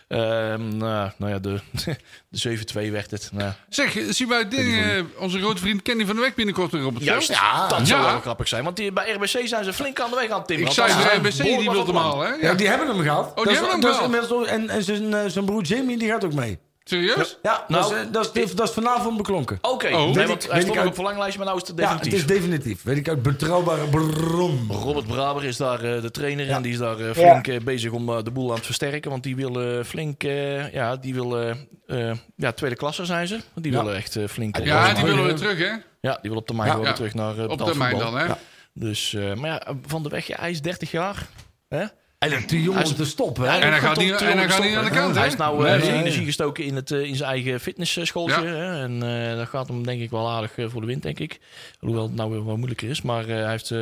[SPEAKER 2] ehm, nou, nou ja, de, de 7-2 werd het. Nou,
[SPEAKER 5] Zeg, eh, zien wij dingen, onze grote vriend Kenny van de Weg binnenkort weer op het
[SPEAKER 2] juist,
[SPEAKER 5] veld?
[SPEAKER 2] dat zou
[SPEAKER 5] Ah. Ja.
[SPEAKER 2] wel grappig zijn. Want die, bij RBC zijn ze flink aan de weg aan het
[SPEAKER 5] Ik
[SPEAKER 2] timmeren.
[SPEAKER 5] zei,
[SPEAKER 2] Want dat
[SPEAKER 5] de
[SPEAKER 2] is
[SPEAKER 5] NBC
[SPEAKER 2] behoorlijk
[SPEAKER 5] die
[SPEAKER 2] wat
[SPEAKER 5] wilde hem
[SPEAKER 2] plan.
[SPEAKER 5] halen, hè? Ja.
[SPEAKER 6] Ja, die hebben hem
[SPEAKER 5] die
[SPEAKER 6] gehad. Dat is-
[SPEAKER 5] hebben hem
[SPEAKER 6] dat is
[SPEAKER 5] gehad.
[SPEAKER 6] inmiddels al- en en zijn, eh, zijn broer Jimmy die gaat ook mee.
[SPEAKER 5] Serieus?
[SPEAKER 6] Ja,
[SPEAKER 2] Nou,
[SPEAKER 6] dat, is, eh, dat, is, dat is vanavond beklonken.
[SPEAKER 2] Oké,
[SPEAKER 5] Oh.
[SPEAKER 2] nee,
[SPEAKER 5] Weet
[SPEAKER 6] ik-
[SPEAKER 2] want hij
[SPEAKER 6] weet
[SPEAKER 2] stond
[SPEAKER 6] ik
[SPEAKER 2] nog
[SPEAKER 6] uit-
[SPEAKER 2] op verlanglijst, maar nou is het
[SPEAKER 6] Ja, het
[SPEAKER 2] definitief.
[SPEAKER 6] is definitief. Weet ik uit betrouwbare bron.
[SPEAKER 2] Robert Braber is daar eh, de trainer en die is daar eh,
[SPEAKER 7] Ja.
[SPEAKER 2] flink eh, bezig om eh, de boel aan het versterken. Want die wil eh, flink, eh, ja, die wil, eh, eh, ja, tweede klasse zijn ze. Want die
[SPEAKER 6] Ja.
[SPEAKER 2] willen echt eh, flink. op-
[SPEAKER 5] Ja,
[SPEAKER 6] Ja,
[SPEAKER 5] die
[SPEAKER 6] maar-
[SPEAKER 5] willen we terug, hè?
[SPEAKER 2] ja, die wil op termijn
[SPEAKER 6] Ja.
[SPEAKER 2] gewoon weer
[SPEAKER 5] Ja.
[SPEAKER 2] terug naar eh
[SPEAKER 5] Op
[SPEAKER 2] betaald
[SPEAKER 5] termijn
[SPEAKER 2] voetbal.
[SPEAKER 5] dan, hè?
[SPEAKER 2] Dus, eh, maar ja, Van de Weg, ja, hij is 30 jaar.
[SPEAKER 6] Hij heeft die
[SPEAKER 2] Hij
[SPEAKER 6] jongens
[SPEAKER 2] is-
[SPEAKER 6] te stoppen.
[SPEAKER 2] Ja,
[SPEAKER 6] hè?
[SPEAKER 5] En hij
[SPEAKER 2] komt
[SPEAKER 5] gaat
[SPEAKER 2] om
[SPEAKER 5] niet-
[SPEAKER 2] te
[SPEAKER 5] en hij
[SPEAKER 2] willen
[SPEAKER 5] gaat niet aan de
[SPEAKER 2] stoppen.
[SPEAKER 5] kant,
[SPEAKER 2] Hij
[SPEAKER 5] hè?
[SPEAKER 2] is nou eh,
[SPEAKER 6] Nee,
[SPEAKER 2] zijn
[SPEAKER 6] nee.
[SPEAKER 2] energie gestoken in, het, eh, in zijn eigen fitnessschooltje.
[SPEAKER 5] Ja.
[SPEAKER 2] hè. En eh, dat gaat hem denk ik wel aardig eh, voor de wind, denk ik. Hoewel het nou weer wat moeilijker is. Maar eh, hij, heeft, eh,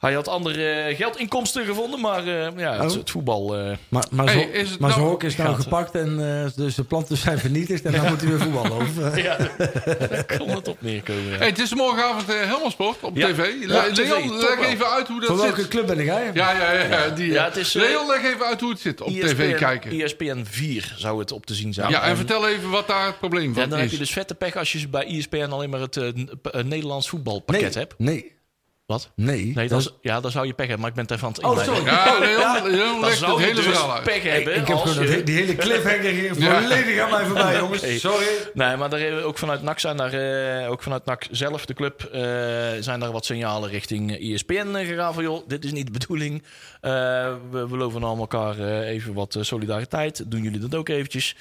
[SPEAKER 2] hij had andere eh, geldinkomsten gevonden. Maar eh, ja, het,
[SPEAKER 6] Oh.
[SPEAKER 2] het voetbal... eh,
[SPEAKER 6] Maar, maar,
[SPEAKER 5] Hey,
[SPEAKER 6] zo,
[SPEAKER 5] is het
[SPEAKER 6] maar
[SPEAKER 5] nou-
[SPEAKER 6] zijn hok is nou
[SPEAKER 2] Gaat-
[SPEAKER 6] gepakt en eh, dus de planten zijn vernietigd en dan moet hij weer voetballen. Of, eh,
[SPEAKER 2] ja, daar kon het op neerkomen. ja.
[SPEAKER 5] Hey, het is morgenavond eh Helmersport op
[SPEAKER 2] Ja.
[SPEAKER 5] tv. Le-
[SPEAKER 2] Ja, TV,
[SPEAKER 5] Leon,
[SPEAKER 2] toch
[SPEAKER 5] leg
[SPEAKER 2] wel.
[SPEAKER 5] even uit hoe dat
[SPEAKER 6] van
[SPEAKER 5] zit.
[SPEAKER 6] welke club ben ik hè?
[SPEAKER 5] Ja, ja, ja. ja, die,
[SPEAKER 2] Ja,
[SPEAKER 5] eh,
[SPEAKER 2] het is, E eh,
[SPEAKER 5] Leon, leg even uit hoe het zit op tv kijken. Ja,
[SPEAKER 2] ESPN 4 zou het op te zien zijn.
[SPEAKER 5] en vertel even wat daar het probleem
[SPEAKER 2] Ja,
[SPEAKER 5] van
[SPEAKER 2] dan heb
[SPEAKER 5] is.
[SPEAKER 2] je dus vette pech als je bij ESPN alleen maar het eh, n- p- eh, Nederlands voetbalpakket
[SPEAKER 6] Nee,
[SPEAKER 2] hebt.
[SPEAKER 6] nee,
[SPEAKER 2] Wat?
[SPEAKER 6] nee.
[SPEAKER 2] Nee, dan, ja, dan zou je pech hebben, maar ik ben het even aan het
[SPEAKER 6] Oh,
[SPEAKER 2] inleiden.
[SPEAKER 6] sorry.
[SPEAKER 5] Ja, Leon, Leon
[SPEAKER 2] Dan
[SPEAKER 5] legt het
[SPEAKER 2] zou je
[SPEAKER 5] hele
[SPEAKER 2] dus
[SPEAKER 5] verhaal uit.
[SPEAKER 2] pech hebben
[SPEAKER 6] ik heb
[SPEAKER 2] als
[SPEAKER 6] gewoon dat
[SPEAKER 2] je-
[SPEAKER 6] he- die hele cliffhanger hier
[SPEAKER 5] Ja.
[SPEAKER 6] volledig aan mij voorbij, jongens.
[SPEAKER 2] Hey.
[SPEAKER 6] Sorry.
[SPEAKER 2] Nee, maar daar, hebben we ook vanuit NAC zijn daar, eh, ook vanuit NAC zelf, de club, eh, zijn daar wat signalen richting eh, ESPN eh, gegaan van, joh, dit is niet de bedoeling. Eh, we, we loven allemaal elkaar eh, even wat eh, solidariteit. Doen jullie dat ook eventjes?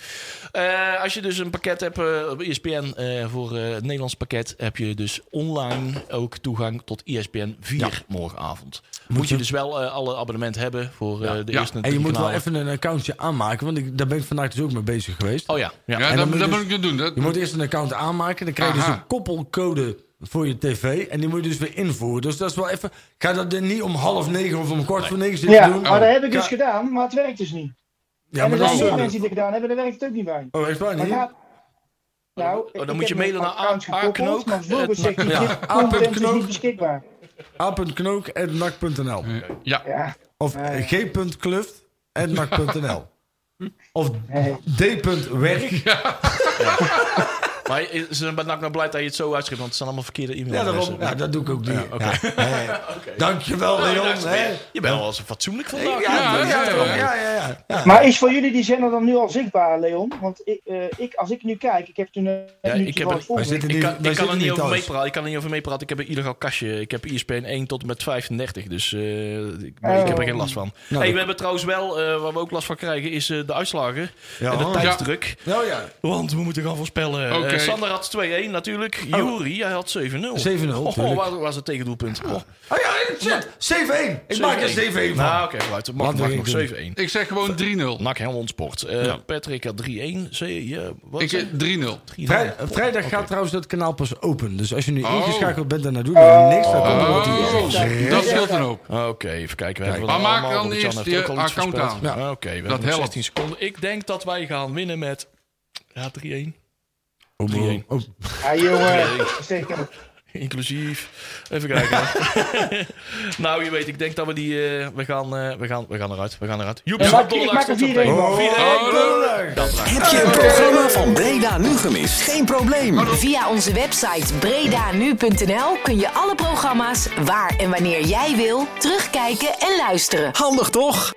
[SPEAKER 2] Eh, als je dus een pakket hebt eh, op ESPN eh, voor eh, het Nederlands pakket, heb je dus online ook toegang tot E ESPN 4 morgenavond. Moet, je
[SPEAKER 6] je-
[SPEAKER 2] dus wel eh, alle abonnement hebben voor eh, de
[SPEAKER 5] Ja.
[SPEAKER 2] eerste
[SPEAKER 6] En je
[SPEAKER 2] drie
[SPEAKER 6] moet wel
[SPEAKER 2] kanalen.
[SPEAKER 6] even een accountje aanmaken, want ik, daar ben ik vandaag dus ook mee bezig geweest.
[SPEAKER 2] Oh ja, ja.
[SPEAKER 5] Ja,
[SPEAKER 6] En
[SPEAKER 5] dat
[SPEAKER 6] dan
[SPEAKER 5] dat
[SPEAKER 6] moet
[SPEAKER 5] moet
[SPEAKER 6] je-
[SPEAKER 5] ik het doen. Dat-
[SPEAKER 6] Je moet eerst een account aanmaken, dan krijg je
[SPEAKER 5] Aha.
[SPEAKER 6] dus een koppelcode voor je tv en die moet je dus weer invoeren. Dus dat is wel even... Ik ga dat niet om half negen of om kwart voor negen zitten
[SPEAKER 7] ja,
[SPEAKER 6] doen.
[SPEAKER 7] maar dat heb ik dus
[SPEAKER 6] Oh. Ja.
[SPEAKER 7] gedaan, maar het werkt dus niet.
[SPEAKER 6] Ja, maar
[SPEAKER 7] en er
[SPEAKER 6] dat
[SPEAKER 7] zijn
[SPEAKER 6] is
[SPEAKER 7] meer
[SPEAKER 6] zonde.
[SPEAKER 7] mensen die het gedaan hebben, daar werkt het ook niet bij.
[SPEAKER 6] Oh, echt waar
[SPEAKER 7] Maar
[SPEAKER 6] niet?
[SPEAKER 7] gaat- Nou, ik-
[SPEAKER 2] dan
[SPEAKER 7] ik
[SPEAKER 2] moet
[SPEAKER 7] heb
[SPEAKER 2] je mailen
[SPEAKER 7] mijn
[SPEAKER 2] naar
[SPEAKER 7] account
[SPEAKER 2] A-
[SPEAKER 7] gekoppeld,
[SPEAKER 2] Aknook.
[SPEAKER 7] Maar Vulgus zegt die
[SPEAKER 6] Ja,
[SPEAKER 7] content is
[SPEAKER 6] Aknook.
[SPEAKER 7] niet beschikbaar.
[SPEAKER 6] a.knook.nak.nl
[SPEAKER 5] Ja,
[SPEAKER 7] Ja,
[SPEAKER 6] of g.kluft.nak.nl of
[SPEAKER 7] nee.
[SPEAKER 6] d.werk.
[SPEAKER 2] Maar ze zijn bij NAC nou blij dat je het zo uitschrijft, want het zijn allemaal verkeerde
[SPEAKER 6] Ja,
[SPEAKER 2] e-mailadressen.
[SPEAKER 6] daarom. Ja, dat doe ik ook niet. Ja,
[SPEAKER 2] oké.
[SPEAKER 6] Ja. Dankjewel,
[SPEAKER 2] Nou,
[SPEAKER 6] Leon.
[SPEAKER 2] daar is het
[SPEAKER 6] hè.
[SPEAKER 2] weer. Je bent wel eens fatsoenlijk vandaag.
[SPEAKER 5] ja,
[SPEAKER 6] Ja,
[SPEAKER 5] ja,
[SPEAKER 6] ja,
[SPEAKER 5] ja.
[SPEAKER 6] toch? ja, ja, ja. ja.
[SPEAKER 7] Maar is voor jullie die zender dan nu al zichtbaar, Leon? Want ik, eh, ik, als ik nu kijk, ik heb toen een
[SPEAKER 2] Ja, ik heb
[SPEAKER 7] minuutje van
[SPEAKER 2] het-
[SPEAKER 7] het volgende.
[SPEAKER 6] wij zitten
[SPEAKER 2] Ik
[SPEAKER 6] Die-
[SPEAKER 2] kan,
[SPEAKER 6] wij
[SPEAKER 2] ik
[SPEAKER 6] zitten
[SPEAKER 2] kan er niet
[SPEAKER 6] niet
[SPEAKER 2] over
[SPEAKER 6] thuis.
[SPEAKER 2] meepraten. Ik kan er niet over meepraten. Ik heb een illegaal kastje. Ik heb E ISPN 1 tot en met 35. Dus eh, ik,
[SPEAKER 7] Oh.
[SPEAKER 2] ik heb er geen last van.
[SPEAKER 6] Nou, dat-
[SPEAKER 2] hey, we hebben trouwens wel, eh waar we ook last van krijgen, is eh, de uitslagen.
[SPEAKER 6] Ja,
[SPEAKER 2] en de
[SPEAKER 6] hoor.
[SPEAKER 2] tijdsdruk.
[SPEAKER 6] Nou ja,
[SPEAKER 2] Want we moeten gaan voorspellen.
[SPEAKER 5] Oké.
[SPEAKER 2] Eh, Sander had 2-1 natuurlijk. Juri, hij had 7-0.
[SPEAKER 6] 7-0,
[SPEAKER 2] Oh,
[SPEAKER 6] Oh. tuurlijk.
[SPEAKER 2] waar was het tegendoelpunt? Oh,
[SPEAKER 6] Oh ja, shit. 7-1. Ik maak er 7-1 van.
[SPEAKER 2] Nou, oké, okay, het mag,
[SPEAKER 6] Laten we
[SPEAKER 2] mag nog
[SPEAKER 6] geen doen.
[SPEAKER 2] 7-1.
[SPEAKER 5] ik zeg gewoon
[SPEAKER 2] Nou,
[SPEAKER 5] 3-0.
[SPEAKER 2] NAC Helmond Sport. Eh, Patrick had 3-1. Zee- ja, wat
[SPEAKER 5] Ik,
[SPEAKER 2] zei-
[SPEAKER 5] eh, 3-0.
[SPEAKER 6] Vrij- eh, vrijdag gaat trouwens dat kanaal pas open. Dus als je nu ingeschakeld bent en dat doet,
[SPEAKER 7] Oh.
[SPEAKER 6] dan niks. Dan komt er wat
[SPEAKER 5] Oh,
[SPEAKER 6] hier.
[SPEAKER 5] dat scheelt een hoop.
[SPEAKER 2] Ah, Oké, even kijken. We hebben
[SPEAKER 5] Maar
[SPEAKER 2] er
[SPEAKER 5] maak
[SPEAKER 2] allemaal-
[SPEAKER 5] dan
[SPEAKER 2] Robert-Jan
[SPEAKER 5] eerst
[SPEAKER 2] heeft
[SPEAKER 5] je
[SPEAKER 2] ook al iets
[SPEAKER 5] account
[SPEAKER 2] voorspeld.
[SPEAKER 5] aan.
[SPEAKER 2] Ja, Oké, we hebben nog
[SPEAKER 5] helpt.
[SPEAKER 2] 16 seconden. Ik denk dat wij gaan winnen met... Ja, 3-1.
[SPEAKER 6] Oh, oh.
[SPEAKER 7] Ja, Ah, jongen. Steek hem.
[SPEAKER 2] Inclusief. Even kijken. nou, je weet, ik denk dat we die... eh, we, gaan, eh, we, gaan, we gaan eruit. We gaan eruit. Joep,
[SPEAKER 7] Ja,
[SPEAKER 2] zat
[SPEAKER 7] maar ik- ik
[SPEAKER 2] donderdag
[SPEAKER 7] maak er
[SPEAKER 2] tot op
[SPEAKER 7] 4-1
[SPEAKER 2] één.
[SPEAKER 7] van.
[SPEAKER 6] Oh, donderdag.
[SPEAKER 1] Heb je een programma van Breda Nu gemist? Geen probleem. Via onze website bredanu.nl kun je alle programma's waar en wanneer jij wil terugkijken en luisteren. Handig toch?